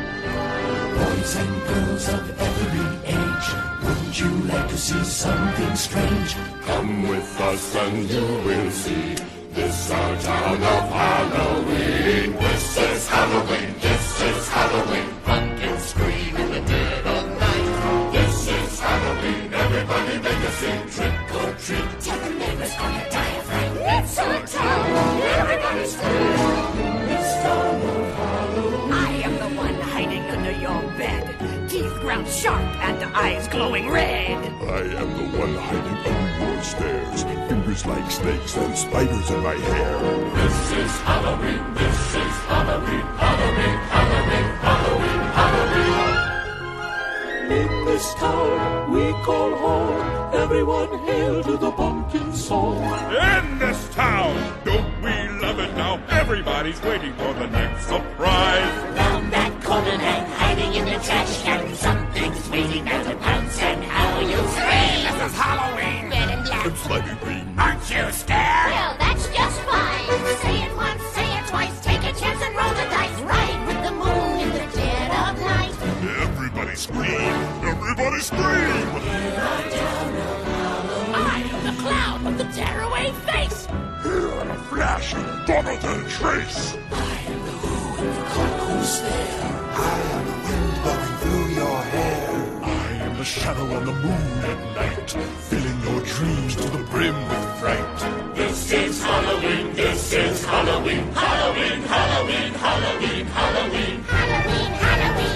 Boys and girls of every age, wouldn't you like to see something strange? Come with us and you will see. This is our town of Halloween. This is Halloween. This is Halloween. Pumpkins scream in the dead of night. This is Halloween. Everybody make a scene. Trick or treat. Tell the neighbors on your diaphragm. It's our town. Everybody's free. It's town of Halloween. I am the one hiding under your bed, teeth ground sharp and eyes glowing red. I am the one hiding under your stairs. Fingers like snakes and spiders in my hair. This is Halloween. This is Halloween. Halloween. Halloween. Halloween. Halloween. In this town we call home. Everyone hail to the pumpkin soul. In this town, don't we love it now? Everybody's waiting for the next surprise. Round that corner and hiding in the trash can, something's waiting now to pounce, and how you'll scream. This is Halloween. Red and black. It's like a green. Aren't you scared? Well, that's just fine. Say it once, say it twice, take a chance and roll the dice. Ride with the moon in the dead of night. Everybody scream! Everybody scream! I am the clown with the tearaway face. Here in a flash, you follow their trace. I am the shadow on the moon at night, filling your dreams to the brim with fright. This is Halloween, this is Halloween, Halloween, Halloween, Halloween, Halloween. Halloween, Halloween.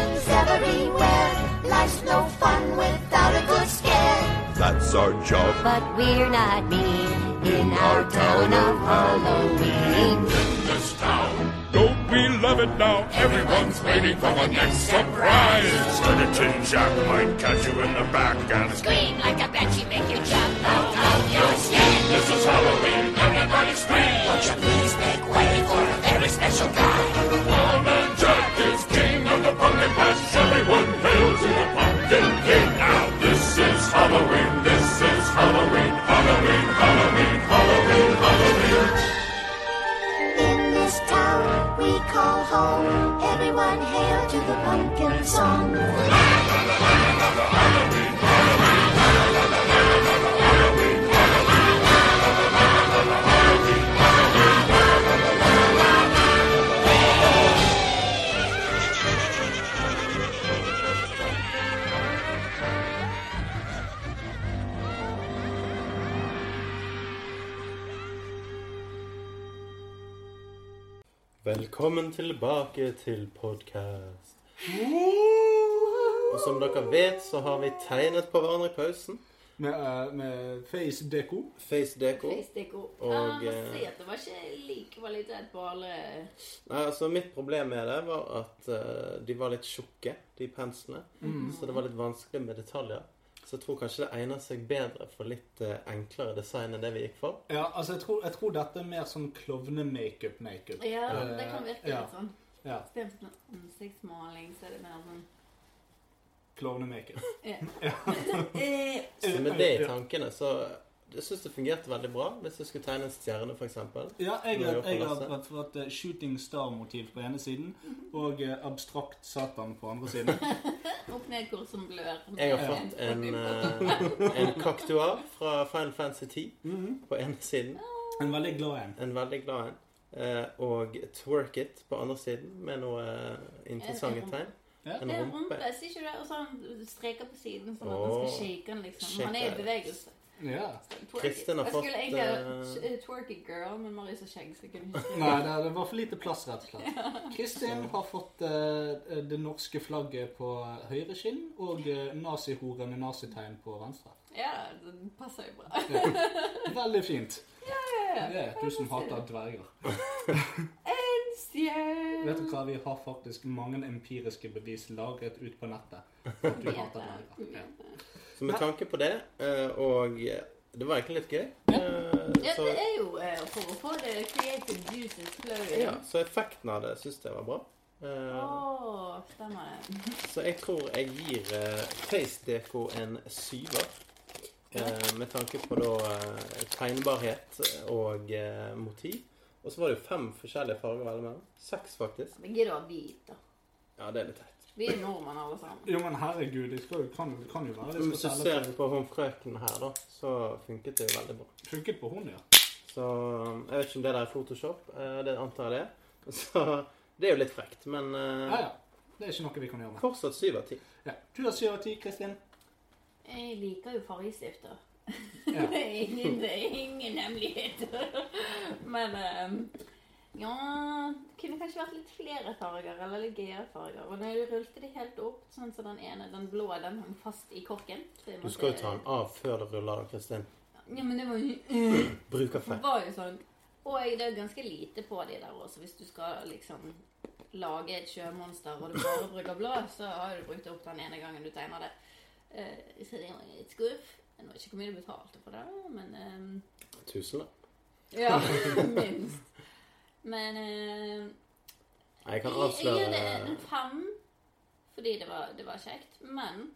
Tinderlumplings everywhere. Life's no fun without a good scare. That's our job But we're not mean in our town of Halloween. in this town. Don't we love it now? Everyone's waiting for the next surprise. Skeleton Jack might catch you in the back and Scream like a banshee, make you jump out of your skin. This is Halloween, everybody scream! Won't you please make way for a very special guy? Lawman Jack is king of the pumpkin patch. Everyone hail to the pumpkin king now. This is Halloween, this is Halloween, Halloween, Halloween, Halloween, Halloween. In this town we call home, everyone hail to the pumpkin song. Velkommen tilbake til podkast. Og som dere vet, så har vi tegnet på hverandre i pausen. Med, eh, med face deko. Face deco. Facedeko. Og, Ah, må eh, si at det var ikke lik kvalitet på alle Nei, altså Mitt problem med det var at eh, de var litt tjukke, de penslene. Mm. Så det var litt vanskelig med detaljer. Så jeg tror kanskje det egner seg bedre for litt eh, enklere design enn det vi gikk for. Ja, altså jeg tror, jeg tror dette er mer sånn klovne-makeup-makeup. Ja, Eh, det kan virke ja. litt sånn. Ja, Istedenfor sånn ansiktsmaling, så er det mer sånn klovne-makeup. eh, Så med det i tankene, så jeg syns det fungerte veldig bra. Hvis jeg skulle tegne en stjerne, f.eks. Ja, jeg, Når vi jeg, er på har lasset. vært for at eh, shooting star-motiv på ene siden, Mhm. og eh, abstrakt satan på andre (laughs) siden. eh, opp ned kor som blør. Jeg har (laughs) fått en, eh, en kaktuar fra Final Fantasy 10 på ene siden. Mhm. En veldig glad en. En veldig glad en. Eh, og twerk it på andre siden med noe eh, interessante En rumpe. tegn. Ja. En Det er rumpe. rumpe, sier ikke du det? Og så har han streker på siden, sånn at han skal Åh. shake den, liksom. Han er i Shake it. bevegelse. Ja. Twerk- Kristin har Jeg fått, skulle egentlig ha eh, t- eh, twerky girl, men Marius har skjegg, så jeg kunne ikke Nei, det det var for lite plass, rett og slett. Ja. Kristin har fått eh, det norske flagget på eh, høyre skinn og eh, nazihore med nazitegn på venstre. Ja, det passer jo bra. Ja. Veldig fint. (laughs) Ja, ja, ja. Det er du som hater dverger. En stjerne Vet du hva, vi har faktisk mange empiriske bevis lagret ut på nettet. for At du hater dverger. Ja. (laughs) Så med tanke på det, eh, og eh, det var egentlig litt gøy, eh, Ja, så, det er jo eh, for å få det creative juices flowing. ja, så effekten av det syns jeg var bra. Å, Eh, stemmer det. Så jeg tror jeg gir eh, Face Deco en syver. Eh, med tanke på da eh, tegnbarhet og eh, motiv. Og så var det jo fem forskjellige farger å velge mellom. Seks, faktisk. Men gidder å ha hvit, da. Ja, det er litt teit. Vi er nordmenn, alle sammen. Jo, men herregud, det skal, jo- kan, kan jo være Men det Hvis du skal ser selge på håndfrøken her, da, så funket det jo veldig bra. Funket på hun, ja. Så um, jeg vet ikke om det der er Photoshop. eh, Det antar jeg det. (laughs) er. Så det er jo litt frekt, men eh, Ja, ja. Det er ikke noe vi kan gjøre med. fortsatt syv av ti. Ja. Du har syv av ti, Kristin. Jeg liker jo fargestifter. Ja. Det er (laughs) ingen, det er ingen hemmeligheter. Men eh, ja Det kunne kanskje vært litt flere farger, eller litt gøyere farger. Og når jeg rullte de helt opp, sånn som den ene, den blå, den hang fast i korken. så jeg Du måtte- skal jo ta den av før du ruller, da, Kristin. Ja, men det var jo Bruk Det effekt. var jo sånn Og det er ganske lite på de der også. Hvis du skal liksom lage et sjømonster og du bare bruker blå, så har du brukt opp den ene gangen du tegner det. Eh, så det var litt skuff. Jeg vet ikke hvor mye du betalte for det, men eh, Tusen, da. Ja, (laughs) (laughs) minst. Men eh, Nei, Jeg kan jeg avsløre gir det en fem, fordi det var, det var kjekt. Men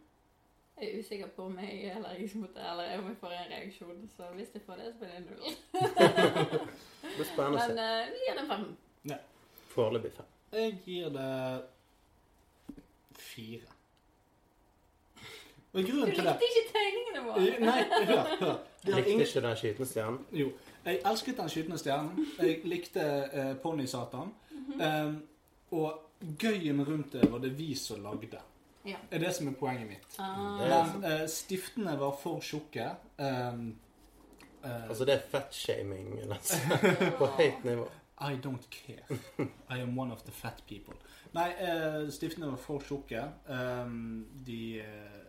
jeg er usikker på om jeg er allergisk mot det, eller om jeg får en reaksjon. Så hvis jeg får det, så blir det null. Det blir spennende å Men se. eh, vi gir det en fem. Foreløpig fem. Jeg gir det fire. Og Du grunnen til det Eh, likte ikke tegningene våre. Nei, hør, hør. Det Jeg (laughs) har likte ingen... ikke den skytende stjernen. Jo. Jeg elsket Den skytende stjernen. Jeg likte uh, Ponnisatan. Mhm. og gøyen rundt det var det vi som lagde. Ja. er det som er poenget mitt. Ah, Det er, Men eh, stiftene var for tjukke. ehm, eh, altså, det er fettshaming (laughs) (laughs) nesten. På høyt nivå. I don't care. I am one of the fat people. Nei, eh, stiftene var for tjukke. Ehm, de eh,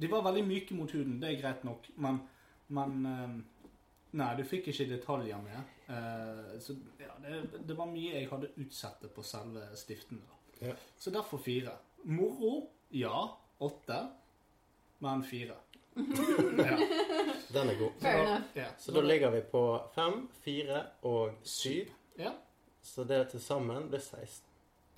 De var veldig myke mot huden, det er greit nok, men, men ehm, Nei, du fikk ikke detaljer med. Eh, så ja, det, det var mye jeg hadde utsettet på selve stiftene. da. Ja. Så derfor fire. Moro? Ja. Åtte. Men fire. ja. Den er god. Fair enough. ja. Så da ligger vi på fem, fire og syv. Ja. Så det til sammen blir 16.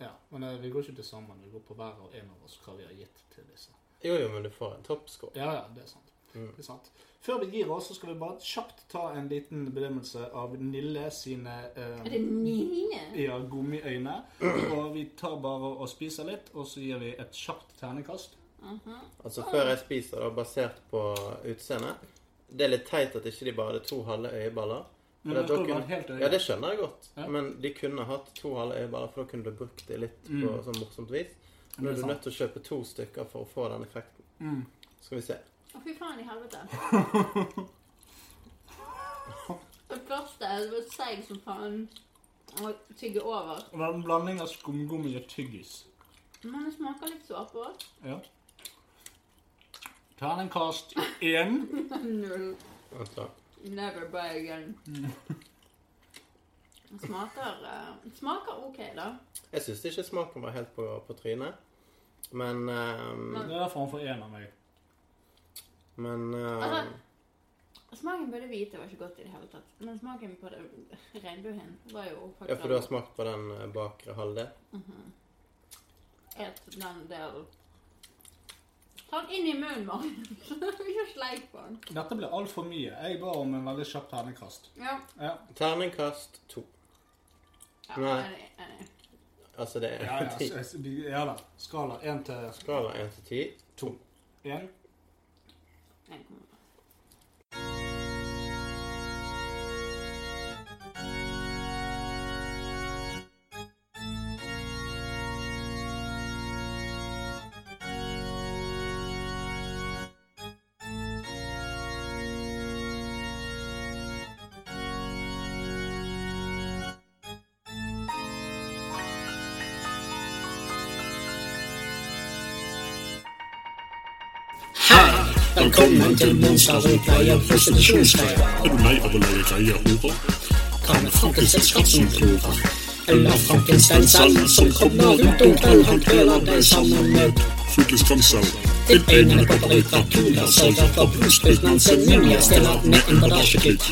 Ja, men eh, vi går ikke til sammen. Vi går på hver og en av oss hva vi har gitt til disse. Jo, jo, men du får en toppscore. Ja, ja, det er sant. Mm. Det er sant. Før vi gir oss, så skal vi bare kjapt ta en liten bedømmelse av Nille sine eh, Er det Nine? ja, gummiøyne. Og vi tar bare og spiser litt, og så gir vi et kjapt ternekast. Mhm. Altså før jeg spiser, da, basert på utseendet Det er litt teit at ikke de bare hadde to halve øyeballer. Men For jeg at tror det dere- var helt øye. Ja, det skjønner jeg godt, Ja. men de kunne hatt to halve øyeballer, for da kunne du brukt de litt på Mm. sånn morsomt vis. Det Men er er du sant. nødt til å kjøpe to stykker for å få den effekten. Mm. Skal vi se. Å, fy faen i (laughs) helvete. Det første det var seig som faen å tygge over. Det var en blanding av skumgummi og tyggis. Men det smaker litt såpe òg. Ja. Ternekast én. (laughs) Null. Vent da. Never buy again. Det Smaker, eh, smaker OK, da. Jeg syns ikke smaken var helt på, på trynet. Men ehm, Det er derfor han får én av meg. Men ehm, Altså, Smaken på det hvite var ikke godt i det hele tatt. Men smaken på det regnbuen var jo Ja, faktisk for du har smakt på den eh, bakre halvdel? Mhm. Et den delen. Ta den inn i munnen, Marius. (laughs) Ikke sleik på den. Dette ble altfor mye. Jeg ba om en veldig kjapp ternekast. Ja. Ja. Terningkast to. ja Nei. enig, enig. Altså (laughs) det Ja, er ja, ti. s- s- vi- ja da. Skala én til Skala én til ti. én. Jeg kommer. Thank Velkommen til Monsters og pleier prostitusjonsgreier. Er du lei av å leie greie horer? Kan Frankenstein-skatt som klorer. Eller Frankenstein selv som kommer ut om kvelden. Han kveler deg sammen med Fylkesgrenser. ditt egne kopper i krakkuler. Sørger for blodsprut mens en ninja stiller med en bandasjeklikk.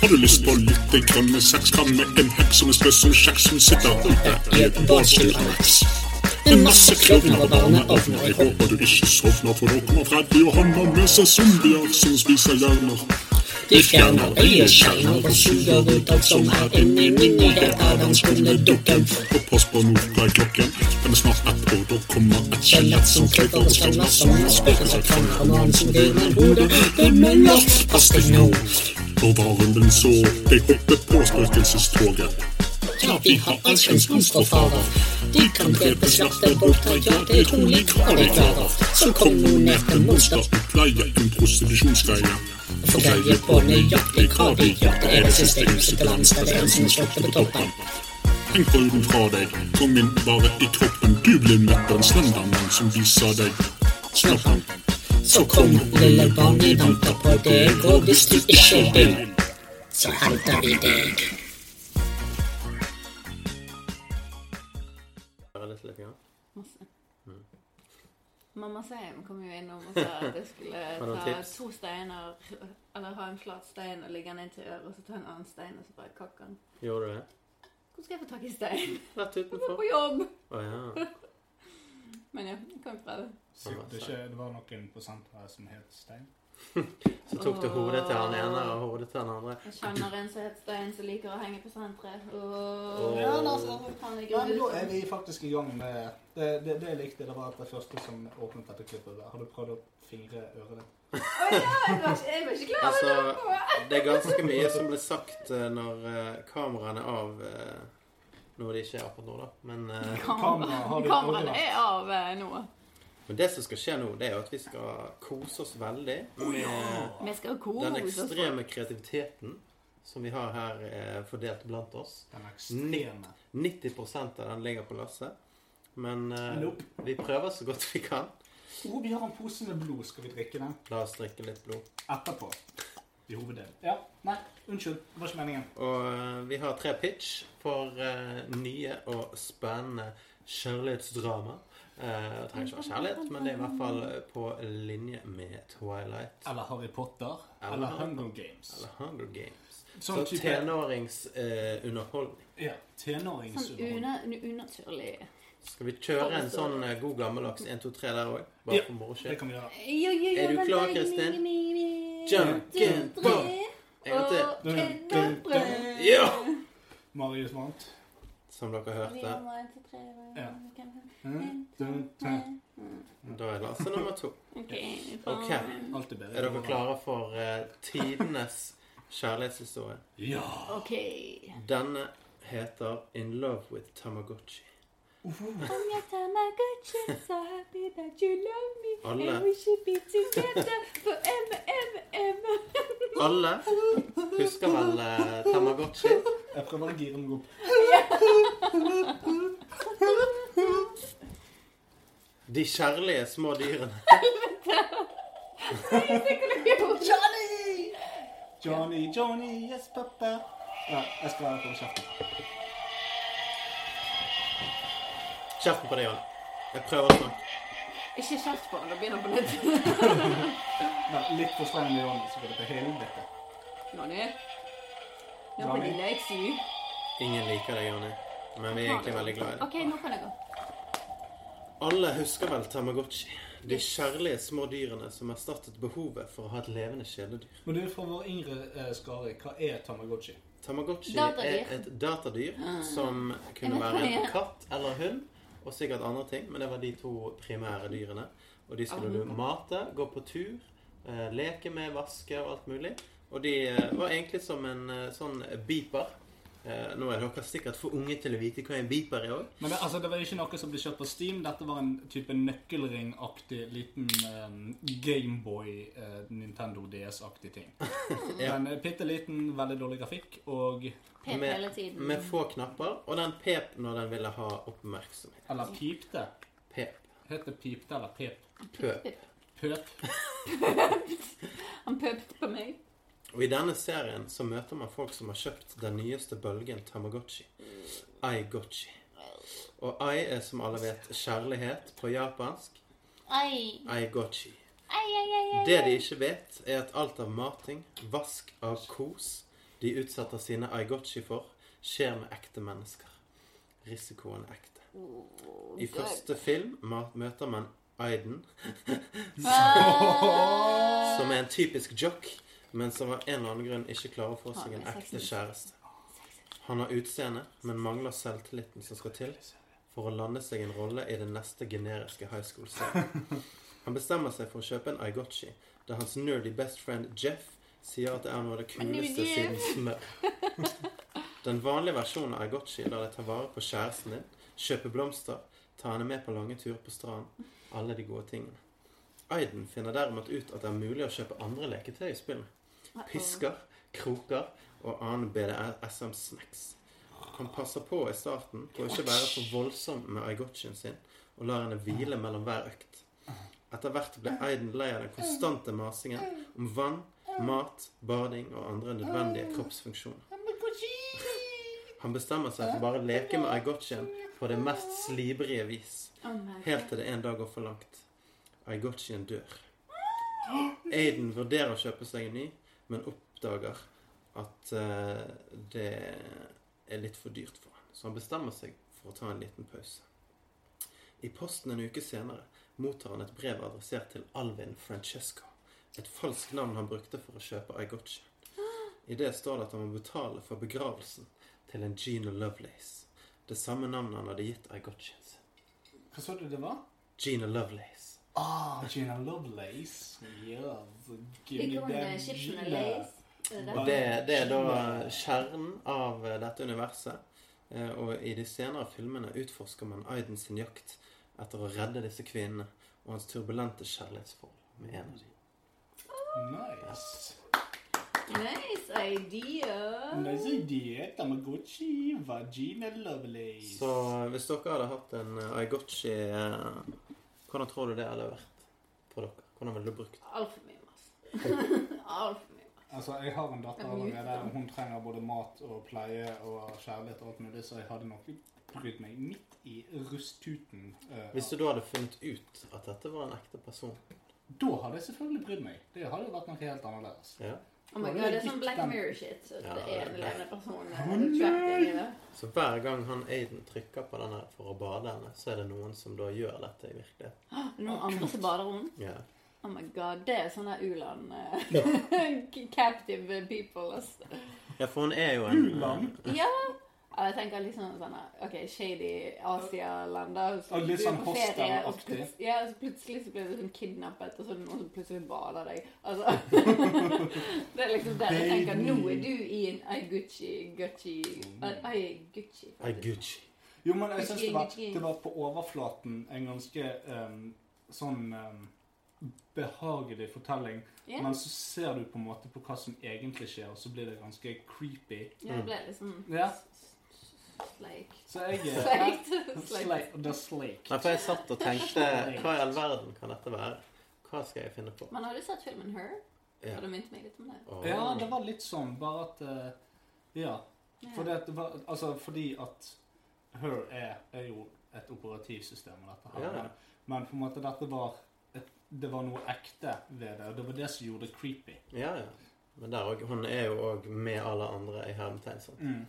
Har du lyst på litt grønne sexkram med en heks som er spøs som kjekk som sitter oppe i et badstue av heks? Med masse klovner og barneovner. Jeg håper du ikke sovner, for nå kommer Freddy og han har med seg zombier som spiser hjerner. De fjerner øyeskjerner og suger ut alt som er inni minnet. Helt av den skumle dukken. Og pass på nå, det er klokken. Den er snart ett, og da kommer et Skjelett som klipper og skremmer som en spøker som krangler om han som griner hodet. Det muller. Pass deg nå. Og varen den så, de hoppet på spøkelsestoget. Ja, vi har alskens monsterfarer. De kan drepe, slakte, voldta, ja, det er utrolig hva de klarer. Så kom nå ned til monster, Oppleie en prostitusjonsgreie. for deg er på nøyaktig hva de gjør. Det er det siste huset til lands, det er en som er sluppet på toppen. Heng bruden fra deg, kom inn bare i kroppen. Du blir møtt av en slendermann som viser deg snoppen. Så kom, lille barn, vi venter på deg, og hvis du ikke vil, så henter vi deg. Bare litt Mm. litt, ja. Masse. Mamma Seim kom jo innom og sa at jeg skulle (laughs) Har du noen ta tips? to steiner, eller ha en flat stein og legge den inn til øret, og så ta en annen stein og så bare kakke den. Gjorde du det? Hvor skal jeg få tak i stein? Rett utenfor. Gå på jobb! Å ja. (laughs) Men ja, jeg kan jo prøve. Sykt det ikke det var noen på senteret som het Stein. (laughs) Så tok du hodet til han ene og hodet til han andre. Jeg kjenner en som heter Stein, som liker å henge på senteret. Åh. Åh, ja, la oss håpe han er Ja, men da er grunn. vi faktisk i gang med Det, det, det jeg likte, det var at det første som åpnet dette klippet der. Har du prøvd å fingre øret ditt? Jeg var ikke- jeg var ikke klar over det! Altså, (laughs) det er ganske mye som ble sagt eh, når eh, kameraene er av eh, Noe de ikke er akkurat nå, da. Men, eh, Kamera- Kameraet er av eh, nå. men det som skal skje nå, det er jo at vi skal kose oss veldig med Vi skal kose den oss. ekstreme kreativiteten som vi har her eh, fordelt blant oss. Den ekstreme. 90 av den ligger på Lasse. Men eh, Nope. vi prøver så godt vi kan. Å, vi har en pose med blod. Skal vi drikke den? La oss drikke litt blod. Etterpå. I hoveddelen. Ja. Nei, unnskyld. Det var ikke meningen. Og eh, vi har tre pitch for eh, nye og spennende kjærlighetsdrama. Eh, det trenger ikke være kjærlighet, men det er i hvert fall på linje med Twilight. Eller Harry Potter. Eller Eller Harry Hunger Games. Eller Hunger Games. så Sånn eh, type- tenåringsunderholdning. Ja. Sånn Tenåringsunderholdning. una, nu- unaturlig. Skal vi kjøre en sånn eh, god gammeldags 1, 2, 3 der òg? Bare Ja, for moro Det skyld. kan vi gjøre. Ja, ja, ja, Er du men klar, nei, Kristin? mi, mi, mi. Junkin' Tre, Bob! En gang til. og knapper. Ja! Marius vant. Som dere Vi hørte. må en til tre, og Ja. vi kan- Mm, dun, dun. Mm. Da er Lasse nummer to. (laughs) Ok, faen. Ok. Alltid bedre. Er dere klare for eh, tidenes kjærlighetshistorie? Ja. Ok. Denne heter In Love With Tamagotchi. I'm your Tamagotchi, so happy that you love me. Alle. And we should be together forever, ever, ever. Alle husker vel eh, Tamagotchi? Jeg prøver å gire meg opp. De kjærlige små dyrene. Johnny! Johnny, Johnny, yes, pappa. Nei, jeg skal være på kjeften. Kjeften på deg, Jan. Jeg prøver sånn. å snakke. Ikke kjeft på han, da begynner han på (laughs) nytt. Nei, litt for streng med Johnny, så går det til helvete. Johnny. Nå blir det leksy. Ingen liker deg, Jonny. Men vi er egentlig veldig glad i deg. Ok, nå kan jeg gå. Alle husker vel Tamagotchi? De kjærlige små dyrene som erstattet behovet for å ha et levende kjæledyr. Men du, fra vår yngre eh, skare, hva er Tamagotchi? Tamagotchi Datadyr. er et datadyr som vet kunne hva være det en er. katt eller hund, og sikkert andre ting, men det var de to primære dyrene. Og de skulle du mate, gå på tur, eh, leke med, vaske og alt mulig. Og de eh, var egentlig som en eh, sånn beeper. Eh, Nå er dere sikkert for unge til å vite hva en beeper er òg. Men det, altså, det var ikke noe som ble kjøpt på Steam. Dette var en type nøkkelringaktig liten eh, Gameboy eh, Nintendo DS-aktig ting. (laughs) Ja. Men eh, bitte liten, veldig dårlig grafikk, og Pep hele tiden. med få knapper, og den pep når den ville ha oppmerksomhet. Eller pipte. Pep. Het det pipte eller pep? Pøp. Pøp. (laughs) Han pøpte på meg. Og I denne serien så møter man folk som har kjøpt den nyeste bølgen Tamagotchi. Aigotchi. Og ai er som alle vet kjærlighet på japansk. Ai. Aigotchi. Ai, ai, ai, ai. Det de ikke vet, er at alt av mating, vask av kos de utsetter sine aigotchi for, skjer med ekte mennesker. Risikoen er ekte. I God. første film ma- møter man Aiden, Ah. som er en typisk jock, men som av en eller annen grunn ikke klarer å få seg en Har med ekte sexen. kjæreste. Han har utseende, men mangler selvtilliten som skal til for å lande seg en rolle i den neste generiske high school-serien. Han bestemmer seg for å kjøpe en Aigotchi, da hans nerdy best friend Jeff sier at det er noe av det Men det er jo kuleste siden Jeff. smør. Den vanlige versjonen av Aigotchi lar deg ta vare på kjæresten din, kjøpe blomster, ta henne med på lange turer på stranden, alle de gode tingene. Aiden finner derimot ut at det er mulig å kjøpe andre leketøy i spillet. Pisker, kroker og annen BDSM-snacks. Han passer på i starten på å ikke være for voldsom med aigotchien sin, og lar henne hvile mellom hver økt. Etter hvert ble Aiden lei av den konstante masingen om vann, mat, bading og andre nødvendige kroppsfunksjoner. Han bestemmer seg for bare å leke med aigotchien på det mest slibrige vis, Oh my God. helt til det en dag går for langt. Aigotchien dør. Aiden vurderer å kjøpe seg en ny, men oppdager at eh, det er litt for dyrt for han. Så han bestemmer seg for å ta en liten pause. I posten en uke senere mottar han et brev adressert til Alvin Francesco. Et falskt navn han brukte for å kjøpe Aigotchi. I det står det at han må betale for begravelsen til en Gina Lovelace. Det samme navnet han hadde gitt Aigotchi. Hva sa du det var? Gina Lovelace. Ah, Gina Lovelace. Yes. Give Ikke me hun, eh, that Chipsen Gina. Lace. Det Og det, det er da kjernen av eh, dette universet. Eh, Og i de senere filmene utforsker man Aiden sin jakt etter å redde disse kvinnene og hans turbulente kjærlighetsforhold med en av dem. Nice. Nice idea. Nice idea. Tamagotchi. Vagina Lovelace. Så hvis dere hadde hatt en eh, Aigotchi eh, Hvordan tror du det hadde vært på dere? Hvordan ville du brukt det? Altfor mye mas. Altfor mye. Altså, Jeg har en datter Jeg må ut, allerede, da. og hun trenger både mat og pleie og kjærlighet og alt mulig, så jeg hadde nok brydd meg midt i rusttuten. eh, Hvis du da hadde funnet ut at dette var en ekte person? Da hadde jeg selvfølgelig brydd meg. Det hadde jo vært noe helt annerledes. Ja. Oh my Da hadde god, det jeg er sånn likt Black den. Mirror-shit. Så Ja, det er det er en det. eller annen person Å, er trapped inn i det. Så hver gang han Aiden trykker på denne for å bade henne, så er det noen som da gjør dette i virkeligheten? (gasps) Hå, Noen andre som bader rundt. Ja. Oh my god, det er sånne u-land eh, Ja. (laughs) Captive people, altså. Ja, for hun er jo en eh, (laughs) Ja. Ja, Jeg tenker litt sånn sånn OK, shady Asia-land. da, så Og litt du er sånn på ferie, hostel-aktig. og så plutselig- Ja, og så plutselig så blir du sånn kidnappet, og så er det noen som plutselig bader deg. (laughs) Altså Det er liksom der jeg tenker Nå er du i en Aiguchi-gucci Mm. Aiguchi. Aiguchi. Jo, men jeg synes det var, Gucci, Gucci. det var på overflaten en ganske em, sånn em, behagelig fortelling. Ja. Men så ser du på en måte på hva som egentlig skjer, og så blir det ganske creepy. Ja, det ble liksom Ja. Sleik. Så jeg eh, er Sleikt. Sleik. The Slake. Nei, for jeg satt og tenkte Hva i all verden kan dette være? Hva skal jeg finne på? Men har du sett filmen Her? Ja. Og det minte meg litt om det. Åh. Ja, det var litt sånn, bare at eh, Ja. Fordi at, det var, altså, fordi at Her er, er jo et operativsystem, og dette her. Ja, ja. men- Men på en måte, dette var et, Det var noe ekte ved det, og det var det som gjorde det creepy. Ja, ja. Men der, og- hun er jo òg med alle andre i hermetegn. sant? Mm.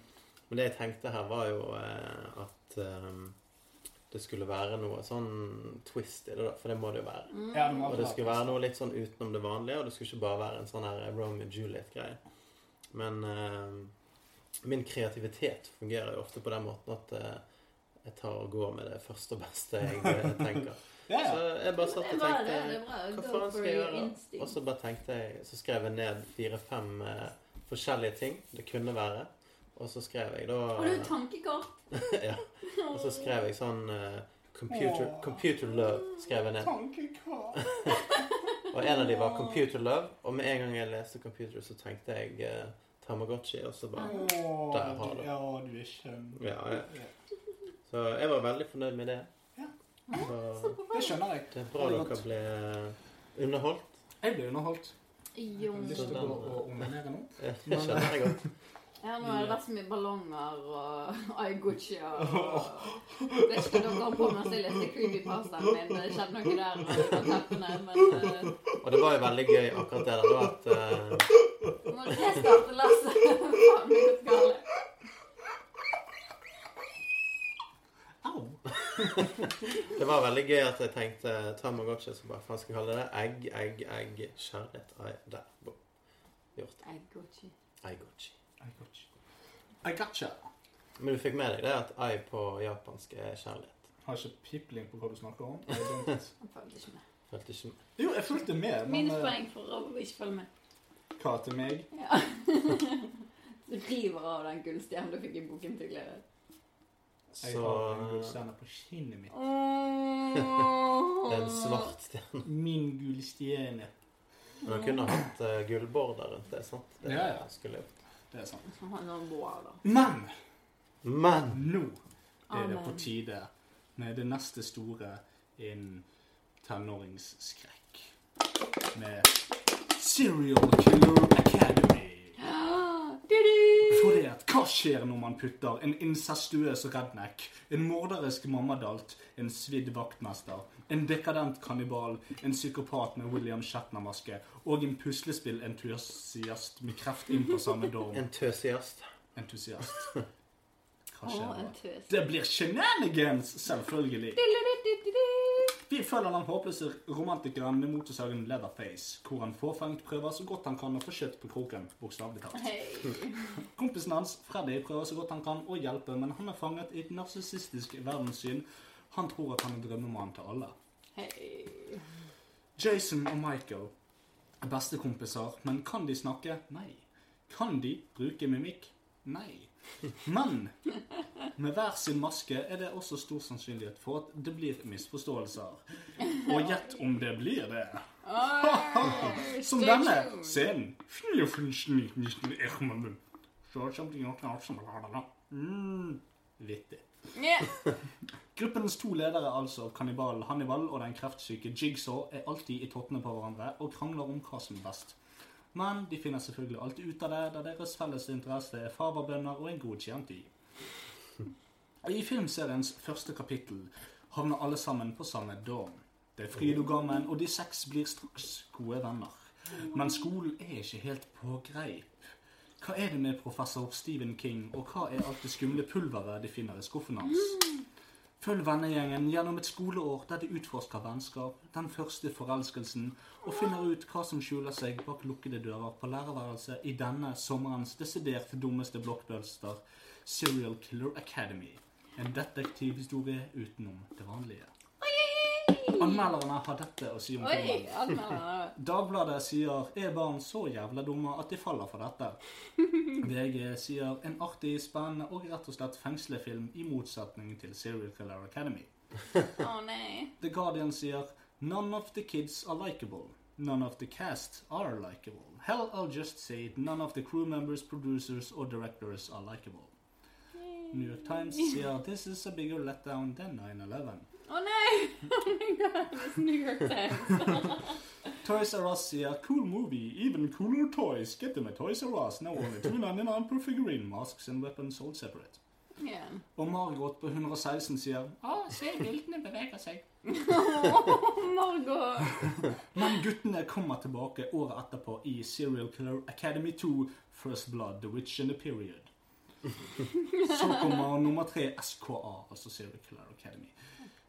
Men det jeg tenkte her, var jo eh, at eh, det skulle være noe sånn twist i det, da. For det må det jo være. Mm. Ja, det må og være det skulle twist. være noe litt sånn utenom det vanlige, og det skulle ikke bare være en sånn her Romeo and Juliet-greie. Men eh, min kreativitet fungerer jo ofte på den måten at eh, jeg tar og går med det første og beste jeg eh, (laughs) tenker. Ja, ja. Så jeg bare satt Det er og bra, tenkte det er bra. Hva Go faen for skal jeg your gjøre? instinct. Og så bare tenkte jeg Så skrev jeg ned fire-fem eh, forskjellige ting det kunne være. Og så skrev jeg da eh, Har du tankekort? (laughs) ja. Og så skrev jeg sånn eh, computer, Åh. computer love skrev jeg ned. Tankekort. (laughs) Og en av de var Computer Love, og med en gang jeg leste Computer, så tenkte jeg eh, Tamagotchi, og så bare Åh, Der har du- du. Ja, du er skjønn. Ja, ja. Så jeg var veldig fornøyd med det. Så Det skjønner jeg. det er bra Veldig dere eh, godt. ble Underholdt? Jeg ble underholdt. Jo. Jeg har lyst til å gå og onanere nå. Ja, det skjønner jeg godt. Ja, nå har det vært så mye ballonger og Ai Gucci og eh, Jeg Vet ikke om dere har bundet seg litt til creepypastaen min. Det skjedde noe der på teppene, men eh, Og det var jo veldig gøy akkurat det der, da, at eh, Må restarte lasset. Faen, det er galt. Det var veldig gøy at jeg tenkte Tamagotchi, så bare faen skal jeg kalle det egg, egg, egg, kjærlighet. Ai, der. Bom. Gjort. Ai Gucci. Aigotchi. I gotcha. Men du fikk med deg det at ai på japansk er kjærlighet. Har ikke pipling på hva du snakker om. I don't. Han følte ikke med. Følte ikke med. Jo, jeg fulgte med, men eh, Minuspoeng for å ikke følge med. hva til meg? Ja. Så river av den gullstjernen du fikk i boken (laughs) tidligere. Jeg Så har en gullstjerne på kinnet mitt. Mm. det er Den (laughs) en svart stjerne. Min gullstjerne. Men han kunne hatt uh, gullborder rundt det, sant? Det Ja, ja. skulle jeg gjort. Det er sant. Han har lår, da. Men Men nå er det Amen. på tide med det neste store innen tenåringsskrekk. Med Serial Killer Academy. Fordi at hva skjer når man putter en incestuøs redneck, en morderisk mammadalt, en svidd vaktmester, en dekadent kannibal, en psykopat med William Shatner-maske og en puslespillentusiast med kreft inn på samme dorm? entusiast. Entusiast. Hva Å, skjer en nå? tøs. Det blir shenanigans, selvfølgelig. Vi følger den håpløse romantikeren med motorsagen Leatherface, hvor han fåfengt prøver så godt han kan å få kjøtt på kroken, bokstavelig talt. Hei. Kompisen hans, Freddy, prøver så godt han kan å hjelpe, men han er fanget i et narsissistisk verdenssyn. Han tror at han er drømmemannen til alle. Hei. Jason og Michael er bestekompiser, men kan de snakke? Nei. Kan de bruke mimikk? Nei. Men med hver sin maske er det også stor sannsynlighet for at det blir misforståelser. Og gjett om det blir det. Oi, Som stay denne tuned. scenen. Så kjempe jeg klart som radene. Mm, Vittig. Ja. (laughs) Gruppens to ledere, altså kannibalen Hannibal og den kreftsyke Jigsaw, er alltid i tottene på hverandre og krangler om hva som er best. Men de finner selvfølgelig alltid ut av det, da deres felles interesse er faverbønder og en godkjent y. I filmseriens første kapittel havner alle sammen på samme dorm. Det er fryd og gammen, og de seks blir straks gode venner. Men skolen er ikke helt på greip. Hva er det med professor Stephen King, og hva er alt det skumle pulveret de finner i skuffen hans? Følg vennegjengen gjennom et skoleår der de utforsker vennskap, den første forelskelsen, og finner ut hva som skjuler seg bak lukkede dører på lærerværelset i denne sommerens desidert dummeste blockbuster, Serial Killer Academy. En detektivhistorie utenom det vanlige. Anmelderne har dette å si om Oi, filmen. anmelderne. Dagbladet sier er barn så jævla dumme at de faller for dette. VG sier en artig, spennende og rett og slett fengslefilm i motsetning til Serial Killer Academy. Å nei. The Guardian sier none of the kids are likable. None of the cast are likable. Hell, I'll just say it. None of the crew members, producers or directors are likable. New York Times sier this is a bigger letdown than 9-11. Å nei! Oh my god, it's New York Times. (laughs) Toys R Us sier cool movie, even cooler toys. Get them at Toys R Us. Now only 299 per figurine. Masks and weapons sold separate. Ja. Og Margot på 116 sier ah, se viltene beveger seg. Åh, Margot. Men guttene kommer tilbake året etterpå i Serial Killer Academy 2, First Blood, The Witch and the (laughs) Period. Så kommer nummer tre, SKA, altså Serial Killer Academy.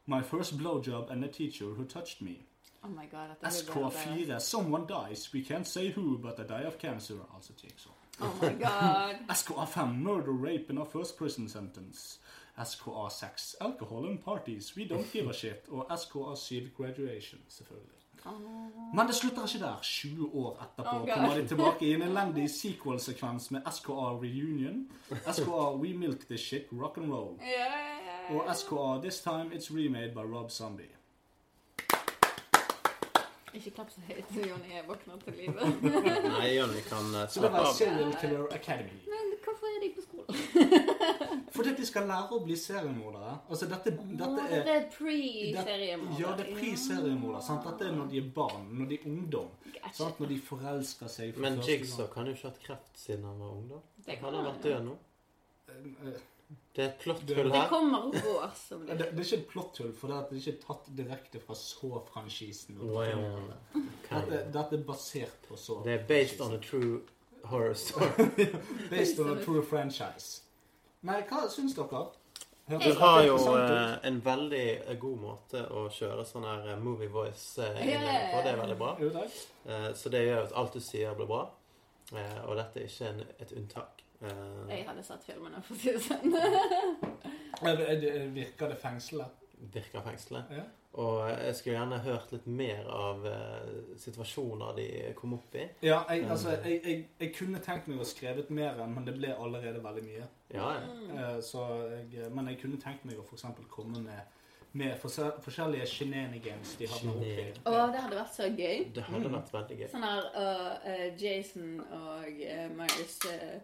My first blowjob and the teacher who touched me. Oh my god, dette blir bedre og bedre. SK4, someone dies, we can't say who, but I die of cancer, altså er Jigsaw. Oh my god. (laughs) SKA5 murder, rape in our first prison sentence. SKA6 alcohol and parties, we don't give a shit. Og SKA7 graduation, selvfølgelig. Men det slutter ikke der. 20 år etterpå Oh, God. kommer de tilbake i en elendig sequel-sekvens med SKA Reunion, SKA We Milk This Shit Rock and Roll Ja, ja, ja. og SKA This Time It's Remade by Rob Zombie. (laughs) Ikke klapp så høyt så Jonny våkner til livet. (laughs) (laughs) Nei, Jonny kan eh, Så det slappe var av. Serial Killer Academy. Men hvorfor er de på skolen? Fordi at de skal lære å bli seriemordere. Altså, dette, dette Å, er det er pre-seriemorder. Ja, det er pre-seriemorder. sant? Dette er når de er barn, når de er ungdom. Gotcha. Sant? Når de forelsker seg for Men første gang. Jigsaw kan jo ikke ha hatt kreft siden han var ung, da. Det kan Han har han, vært ja. død nå. Det er et plotthull Det her. kommer år som Ja, det Det, det er ikke et plotthull, for det er at det ikke er tatt direkte fra så-franchisen. Wow. Dette, dette er basert på så Det er based on a true horror story. (laughs) Based on a true franchise. Nei, hva syns dere? Høres Du dette har jo interessant ut? eh, en veldig eh, god måte å kjøre sånn her eh, movie voice eh, Ja, ja, ja, innlegg på. Det er ja. veldig bra. Jo, takk. Eh, Så det gjør at alt du sier, blir bra. Eh, Og dette er ikke en, et unntak. Eh, Jeg hadde sett filmene, for å si det sånn. (laughs) Ja, det- det- Virker det fengselet? Virker fengselet. Ja. Og eh, jeg skulle gjerne hørt litt mer av eh, situasjoner de kom opp i. Ja, jeg, Eh, altså, jeg, jeg, jeg kunne tenkt meg å ha skrevet mer, men det ble allerede veldig mye. Ja, ja. Mm. Eh, Så jeg, men jeg kunne tenkt meg å for eksempel komme med, med forse- forskjellige shenanigans de hadde oppi. Å, det hadde vært så gøy. Det Mm. hadde vært veldig gøy. Sånn her og, eh, Jason og uh, Marius eh,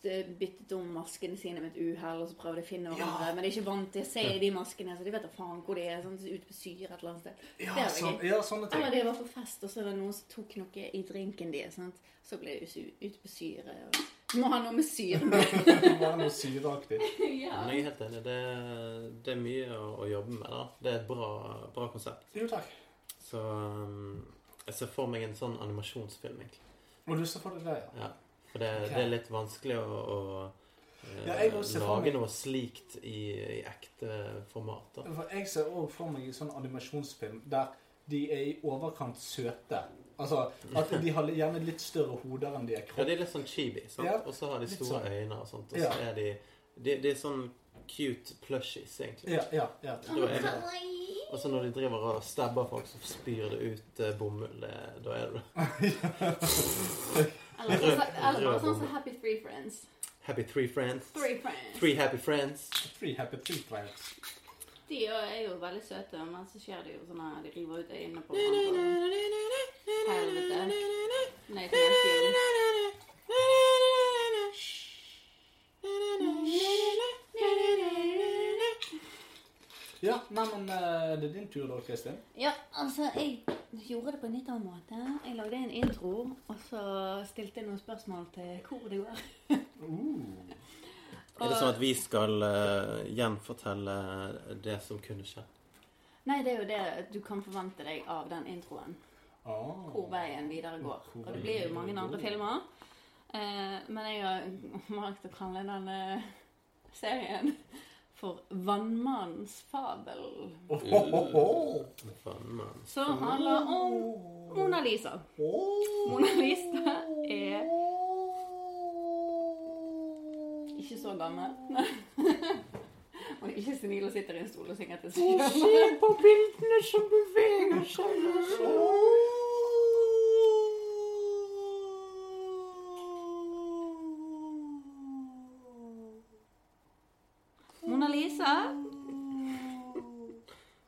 de byttet om maskene sine med et uhell, og så prøvde de å finne hverandre. Men de er ikke vant til å se de maskene, så de vet da faen hvor de er. Sånn, ute på syre et eller annet sted. Ja, Det hadde vært sånn- gøy. ja, sånne ting. Eller de var på fest, og så var det noen som tok noe i drinken deres. Sant? Så ble de su- ute på syre. Og... Du må ha noe med syre. (laughs) Bare noe syreaktig. ja. Men jeg er helt enig. Det, det er mye å, å jobbe med. da. Det er et bra, bra konsept. Jo, takk. Så um, jeg ser for meg en sånn animasjonsfilm, egentlig. Og du ser for deg det, ja. Ja. For det, Ok. det er litt vanskelig å, å eh, Ja, jeg også ser for lage meg- noe slikt i, i ekte format. da. For jeg ser også for meg en sånn animasjonsfilm der de er i overkant søte. Altså, at de har gjerne litt større hoder enn de er Ja, kropp. de er litt sånn chibi, sant? Ja, og så har de litt store sånn. øyne og sånt. Og Ja. så er de, de De er sånn cute plushies, egentlig. Ja, ja, ja. Da er det- Og så når de driver og stabber folk, så spyr det ut eh, bomull. Det, da er det Eller, sånn som- eller Rød bare sånn bomull. som Happy Free Friends. Happy three friends. Three friends. Three happy friends. Three happy three friends. De jo er jo veldig søte, men så skjer det jo sånn her De river ut øynene på hverandre. Helvete. Nei, det er ikke Ja, nei, men eh, det er din tur da, Kristin. Ja, altså, jeg gjorde det på en litt annen måte. Jeg lagde en intro, og så stilte jeg noen spørsmål til hvor det går. Uh. Er det sånn at vi skal eh, gjenfortelle eh, det som kunne skjedd? Nei, det er jo det du kan forvente deg av den introen. Hvor Ah. veien videre går. Og det blir jo mange andre filmer. Eh, men jeg har valgt å kalle denne serien for Vannmannens fabel. Faen, mann. Som handler om Mona Lisa. Mona Lisa er ikke så gammel. (laughs) Og ikke senil og sitter i en stol og synger til seg selv. på bildene som beveger seg. Mona Lisa. Du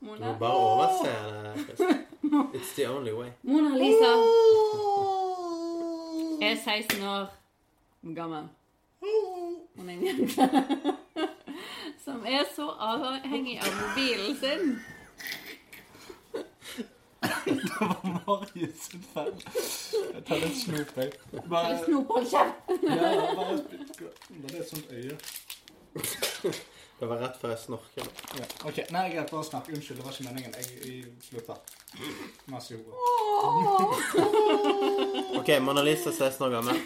Mona, må bare Oh. overse det. Chris. uh, It's the only way. Mona Lisa er 16 år gammel. Hun er en jente (laughs) som er så avhengig av mobilen sin. (laughs) Det var Marius sin feil. Jeg tar litt snop, jeg. Bare, Eller snop, hold kjeft! ja, ja, bare (laughs) spytt. Det er et sånt øye. Det var rett før jeg snorket. Ja, ok. Nei, greit, bare snakk. Unnskyld, det var ikke meningen. Jeg, jeg slutter. Masse ord. OK, Mona Lisa 16 år gammel.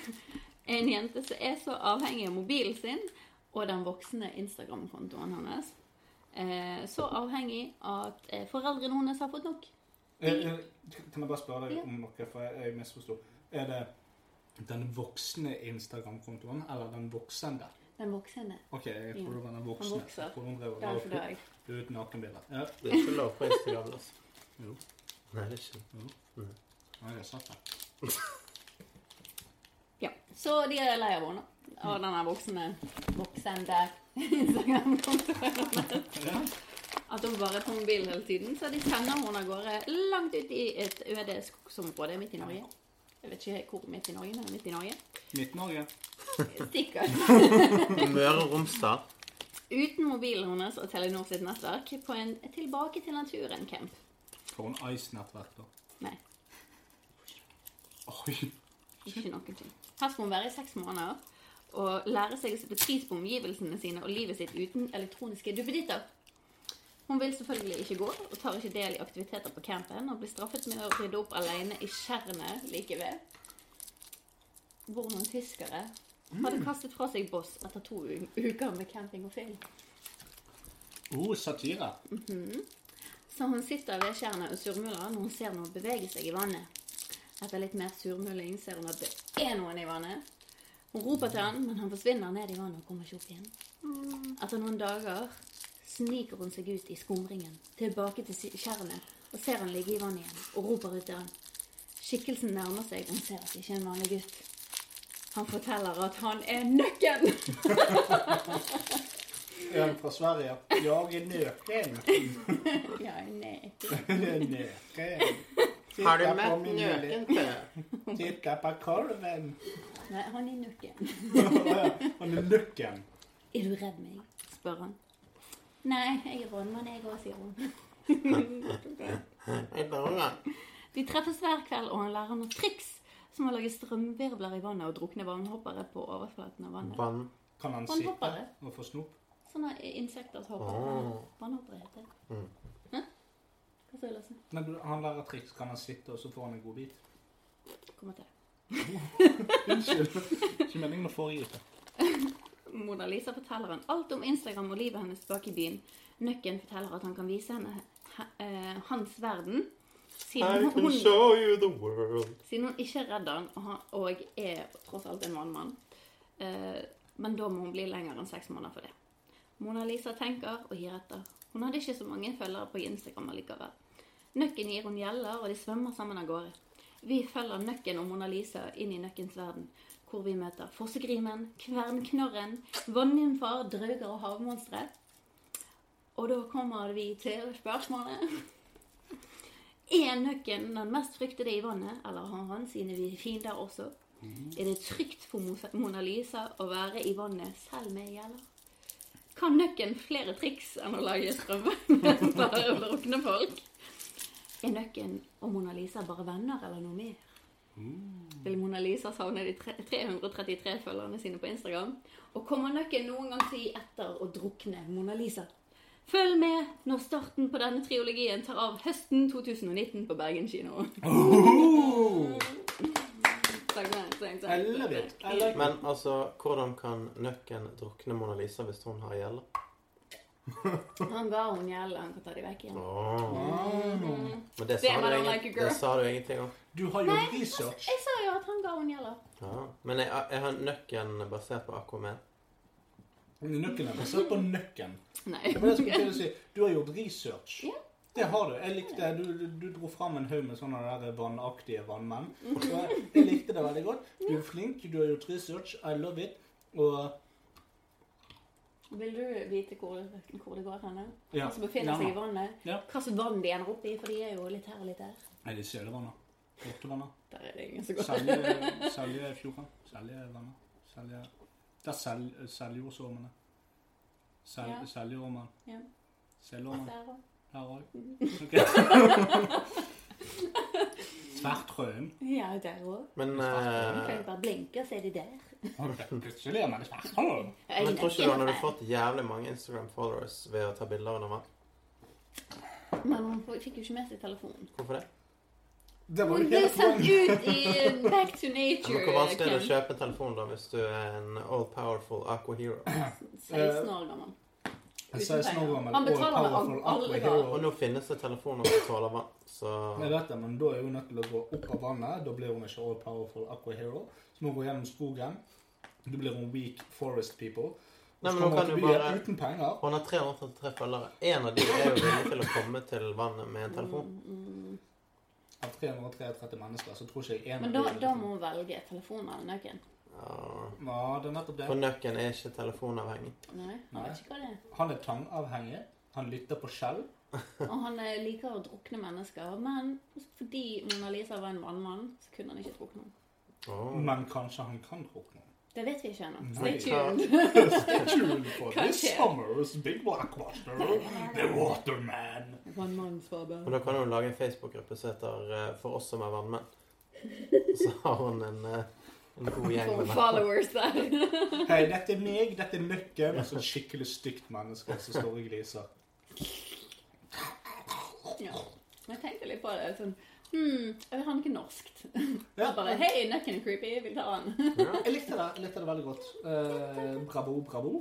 En jente som er så avhengig av mobilen sin og den voksne Instagram-kontoen hennes. Eh, så avhengig at eh, foreldrene hennes har fått nok. Eh, eh, Kan jeg bare spørre Ja. deg om noe, for jeg, jeg misforsto. Er det den voksne Instagram-kontoen, eller den voksende? Den voksne. Ok, jeg tror det var den voksne. Han vokser. Jeg tror hun drev og la Derfor dør jeg. opp ut nakenbilder. Ja. Det er ikke lov på Instagram. Altså. Jo. Nei, det er ikke. Nei, jeg satt der. Ja, så de er lei av henne. Og denne voksne voksende (laughs) Instagram-kontoen. At hun bare er på mobilen hele tiden. Så de sender henne av gårde langt ut i et øde skogsområde midt i Norge. Jeg vet ikke hvor midt i Norge, men midt i Norge. Midt-Norge. Sikkert. Møre og Romsdal. Uten mobilen hennes og Telenor sitt nettverk på en Tilbake til naturen-camp. For en Ice-nettverk, da. Nei, Oi. ikke noen ting. Her skal hun være i seks måneder og lære seg å sette pris på omgivelsene sine og livet sitt uten elektroniske duppeditter. Hun vil selvfølgelig ikke gå og tar ikke del i aktiviteter på campen og blir straffet med å rydde opp alene i skjernet like ved. Hvor noen tyskere hadde kastet fra seg boss etter to u- uker med camping og film. Oh, satire. Mhm. Så hun sitter ved skjernet og surmuler når hun ser noe bevege seg i vannet. Etter litt mer surmuling ser hun at det er noen i vannet. Hun roper til han, men han forsvinner ned i vannet og kommer ikke opp igjen. Etter noen dager sniker hun seg ut i skumringen, tilbake til si- skjernet, og ser han ligge i vannet igjen, og roper ut til han. Skikkelsen nærmer seg, og hun ser at det ikke er en vanlig gutt. Han forteller at han er nøkken! En fra Sverige. Jag är nöken. ja, (laughs) nei. Nöken. (laughs) Titta Har du mött på min nöken, lille- Titta på korven. Nei, han er (laughs) nøkken. Han är nöken. Er du redd meg? spør han. Nei, jeg er rådmann, jeg òg, sier (laughs) hun. Jeg bare De treffes hver kveld, og han lærer noen triks, som å lage strømvirvler i vannet og drukne vannhoppere på overflaten av vannet. Vann. Kan han sitte Vannhoppere. og få snop? Sånne insekters hoppere. Åh. Vannhoppere heter det. Mm. Hæ? Hva sa jeg, Lasse? Når du- han lærer triks, kan han sitte, og så får han en god bit. Kommer til. Unnskyld. Ikke meningen å foregripe. Mona Lisa forteller han alt om Instagram og livet hennes bak i byen. Nøkken forteller at han kan vise henne he- eh, hans verden. I Siden can hun, show you the world. siden hun ikke er redd han, og han- og er tross alt en vannmann. Eh, Men da må hun bli lenger enn seks måneder for det. Mona Lisa tenker og gir etter. Hun hadde ikke så mange følgere på Instagram allikevel. Nøkken gir hun gjeller, og de svømmer sammen av gårde. Vi følger Nøkken og Mona Lisa inn i Nøkkens verden, hvor vi møter fossegrimen, kvernknorren, vannymfer, drauger og havmonstre. Og da kommer vi til spørsmålet. Er Nøkken den mest fryktede i vannet, eller har han sine fiender også? Er det trygt for Mo- Mona Lisa å være i vannet selv med gjeller? Kan Nøkken flere triks enn å lage (laughs) strømvernvær og drukne folk? Er Nøkken og Mona Lisa bare venner eller noe mer? Vil Mona Lisa savne de tre- 333 følgerne sine på Instagram? Og kommer Nøkken noen gang til å gi etter å drukne Mona Lisa? Følg med når starten på denne triologien tar av høsten 2019 på Bergen kino. Takk, takk, takk, takk. Men altså, hvordan kan nøkken drukne Mona Lisa hvis hun har gjeld? Han ga henne gjeld, han kan ta dem vekk igjen. Ah. Åh. Men det Damn, I sa, du don't ingen, like you, girl. det sa du ingenting om. Du har Nei, altså, research. Jeg sa jo at han ga henne gjelder. Ja. Men er, er han nøkken basert på Aquaman? Nøkken er basert på nøkken. Nei. Men jeg skulle til å si, du har gjort research. Det har du. Jeg likte, du, du, du dro fram en haug med sånne der vannaktige vannmenn. Og jeg, jeg likte det veldig godt. Du er flink, du har gjort research. I love it. Og Vil du vite hvor, hvor det går henne? Ja. Han som befinner seg Ja. i vannet? Ja. Hva slags vann de ender opp i, for de er jo litt her og litt der. Nei, det er Sølvannet. Hjortevannet. Der er det ingen som går. Selje- Seljefjorden. Seljevannet. Selje... Det er sel, Seljordsåmene. Sel, Ja. Seljormen. Ja. Selormen. Der også. Her òg. Mhm. Ok. (laughs) Svertrøen. Ja, der òg. Men, Du kan eh, jo bare blinke, så er de der. Plutselig er man i Svertrøen. Men tror ikke du han hadde fått jævlig mange Instagram-followers ved å ta bilder under vann? Men hun fikk jo ikke med seg telefonen. Hvorfor det? Det Hun ble sendt ut i eh, Back to Men Hvor vanskelig er det å Nature-camp. kjøpe en telefon da hvis du er en all-powerful aqua (clears throat) hero? 16 år gammel. Jeg Uten penger. Han betaler med alle Og nå finnes det telefoner som tåler vann, så Jeg vet det, men da er hun nødt til å gå opp av vannet. Da blir hun ikke all powerful aqua hero. Så må hun gå gjennom skogen. Da blir hun weak forest people. Og Nei, så men nå kommer kan hun du til byen bare uten penger. Hun har 333 følgere. En av de er jo villig til å komme til vannet med en telefon. Mm, Av 333 mennesker, så tror ikke jeg en Men av da, de da må hun velge telefonen eller nøkken. Ja, det er nettopp det. For nøkken er ikke telefonavhengig. Nei, han vet ikke hva det er. Han er tangavhengig. Han lytter på skjell. Og han eh, liker å drukne mennesker, men fordi Mona Lisa var en vannmann, så kunne han ikke drukne henne. Men kanskje han kan drukne. Det vet vi ikke ennå. Nei. Stay tuned. Stay tuned (laughs) for this Kanskje. summer's big blockbuster, The Waterman. One man's barber. Men da kan hun lage en Facebook-gruppe som heter eh, 'For oss som er (laughs) vannmenn'. Så har hun en, eh, en god gjeng For med followers der. Hei, dette er meg, dette er nøkken, og så et skikkelig stygt menneske som står og gliser. Ja. Men Jeg tenkte litt på det. sånn, hmm, Jeg vil ha noe (laughs) norskt. Så bare, Hei, nøkken er creepy. Jeg vil ta han. Jeg likte det, jeg likte det veldig godt. Eh, bravo, bravo.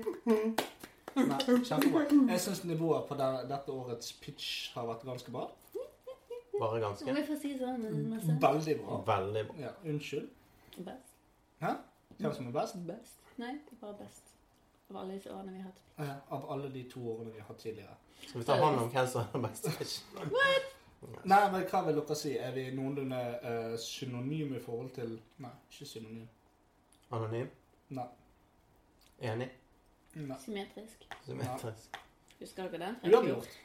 Nei, kjempebra. Jeg syns nivået på det, dette årets pitch har vært ganske bra. Bare Om jeg får si sånn masse. Veldig bra. Veldig bra. Ja, unnskyld. Best. Hæ? Hvem som er best? Best. Nei, det er bare best. Av alle disse årene vi har hatt. Eh, av alle de to årene vi har hatt tidligere. Skal vi ta hånd om hvem som er den beste pitchen? Nei, men hva vil dere si? Er vi noenlunde eh, synonyme i forhold til Nei, ikke synonym. Anonym? Nei. Enig? Nei. Symmetrisk. Symmetrisk? Husker dere den? Uavgjort.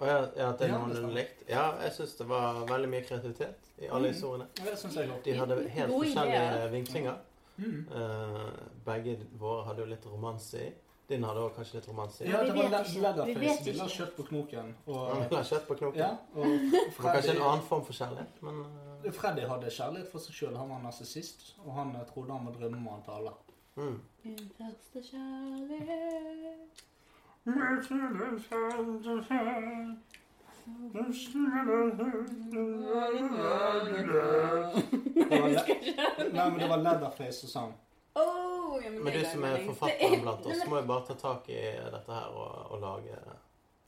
Og ja, ja, at det er Ja, noenlunde likt? Ja, jeg syns det var veldig mye kreativitet i alle Mm. historiene. Ja, det synes jeg også. De hadde helt Gode forskjellige ideer. vinklinger. Mm. Eh, begge våre hadde jo litt romanse i. Din hadde også kanskje litt romanse i. Ja, det var ikke. le- Vi vet Leatherface. Vi ikke. la kjøtt på knoken. Og, Han ville ha kjøtt på knoken. Ja, og Det var kanskje en annen form for kjærlighet, men eh, Freddy hadde kjærlighet for seg sjøl. Han var narsissist, og han eh, trodde han var drømmemannen til (laughs) alle. Mm. Min første kjærlighet. Det var le- Nei, men det var Leatherface som sang. Oh, ja, men, Men det du ga som jeg er mening. Det forfatteren er- blant Nei, oss, men- (laughs) må jo bare ta tak i dette her og, og lage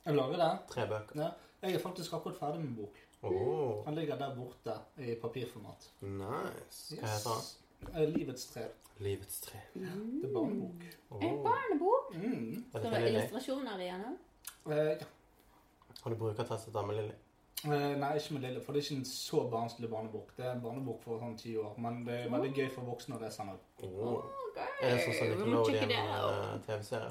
Jeg lager det. tre bøker. Ja. Jeg er faktisk akkurat ferdig med bok. Åh. Han ligger der borte i papirformat. Nice. Hva Yes. heter han? Eh, Livets tre. Livets tre. Det er barnebok. (laughs) En barnebok. Mm. Er Skal det det være Lilly? illustrasjoner i den? Eh, ja. Har du brukertestet den med Lilly? Eh, nei, ikke med Lille, for det er ikke en så barnslig barnebok. Det er en barnebok for sånn ti år, men det er veldig gøy for voksne å lese den òg. Åh. Er det sånn som eh, we will check it out. Nickelodeon-TV-serie?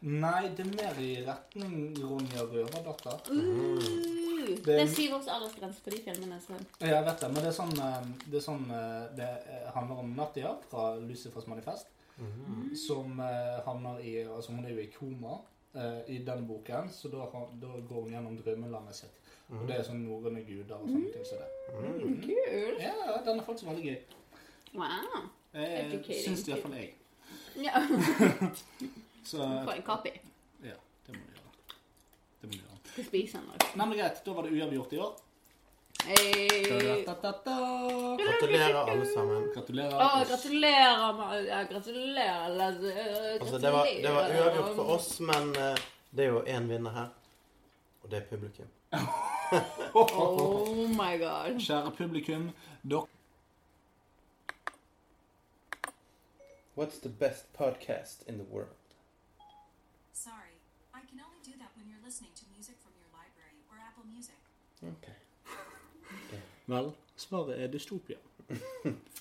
Nei, det er mer i retning Ronja Røverdatter. Mhm. Uh, Det- det er syv års aldersgrense på de filmene. Så. Ja, Jeg vet det, men det er sånn eh, det, er sånn, eh, det eh, handler om Natia fra Lucifers manifest, Mhm. som eh, havner i Altså, hun er jo i koma eh, i den boken, så da, har- da går hun gjennom drømmelandet sitt. Og det er sånn norrøne guder og sånne ting som det. Mhm. Mm, Kult. Ja, den er faktisk veldig gøy. Wow. Eh, Educating Syns det kid. iallfall jeg. Ja. (laughs) Så Få en copy. ja, det må du gjøre. Det må du gjøre. Skal spise den også. Nei, men greit, da var det uavgjort i år. Hey. Da-da-da-da. Gratulerer, alle sammen. Gratulerer. Å, gratulerer, Mar- ja, gratulerer. Lasse. Eh, Altså, det var, det var gratulerer. uavgjort for oss, men eh, det er jo én vinner her. Og det er publikum. Oh my god. Kjære publikum, dere What's the best podcast in the world? Sorry, I can only do that when you're listening to music from your library or Apple Music. Vel, svaret er dystopia. Oh,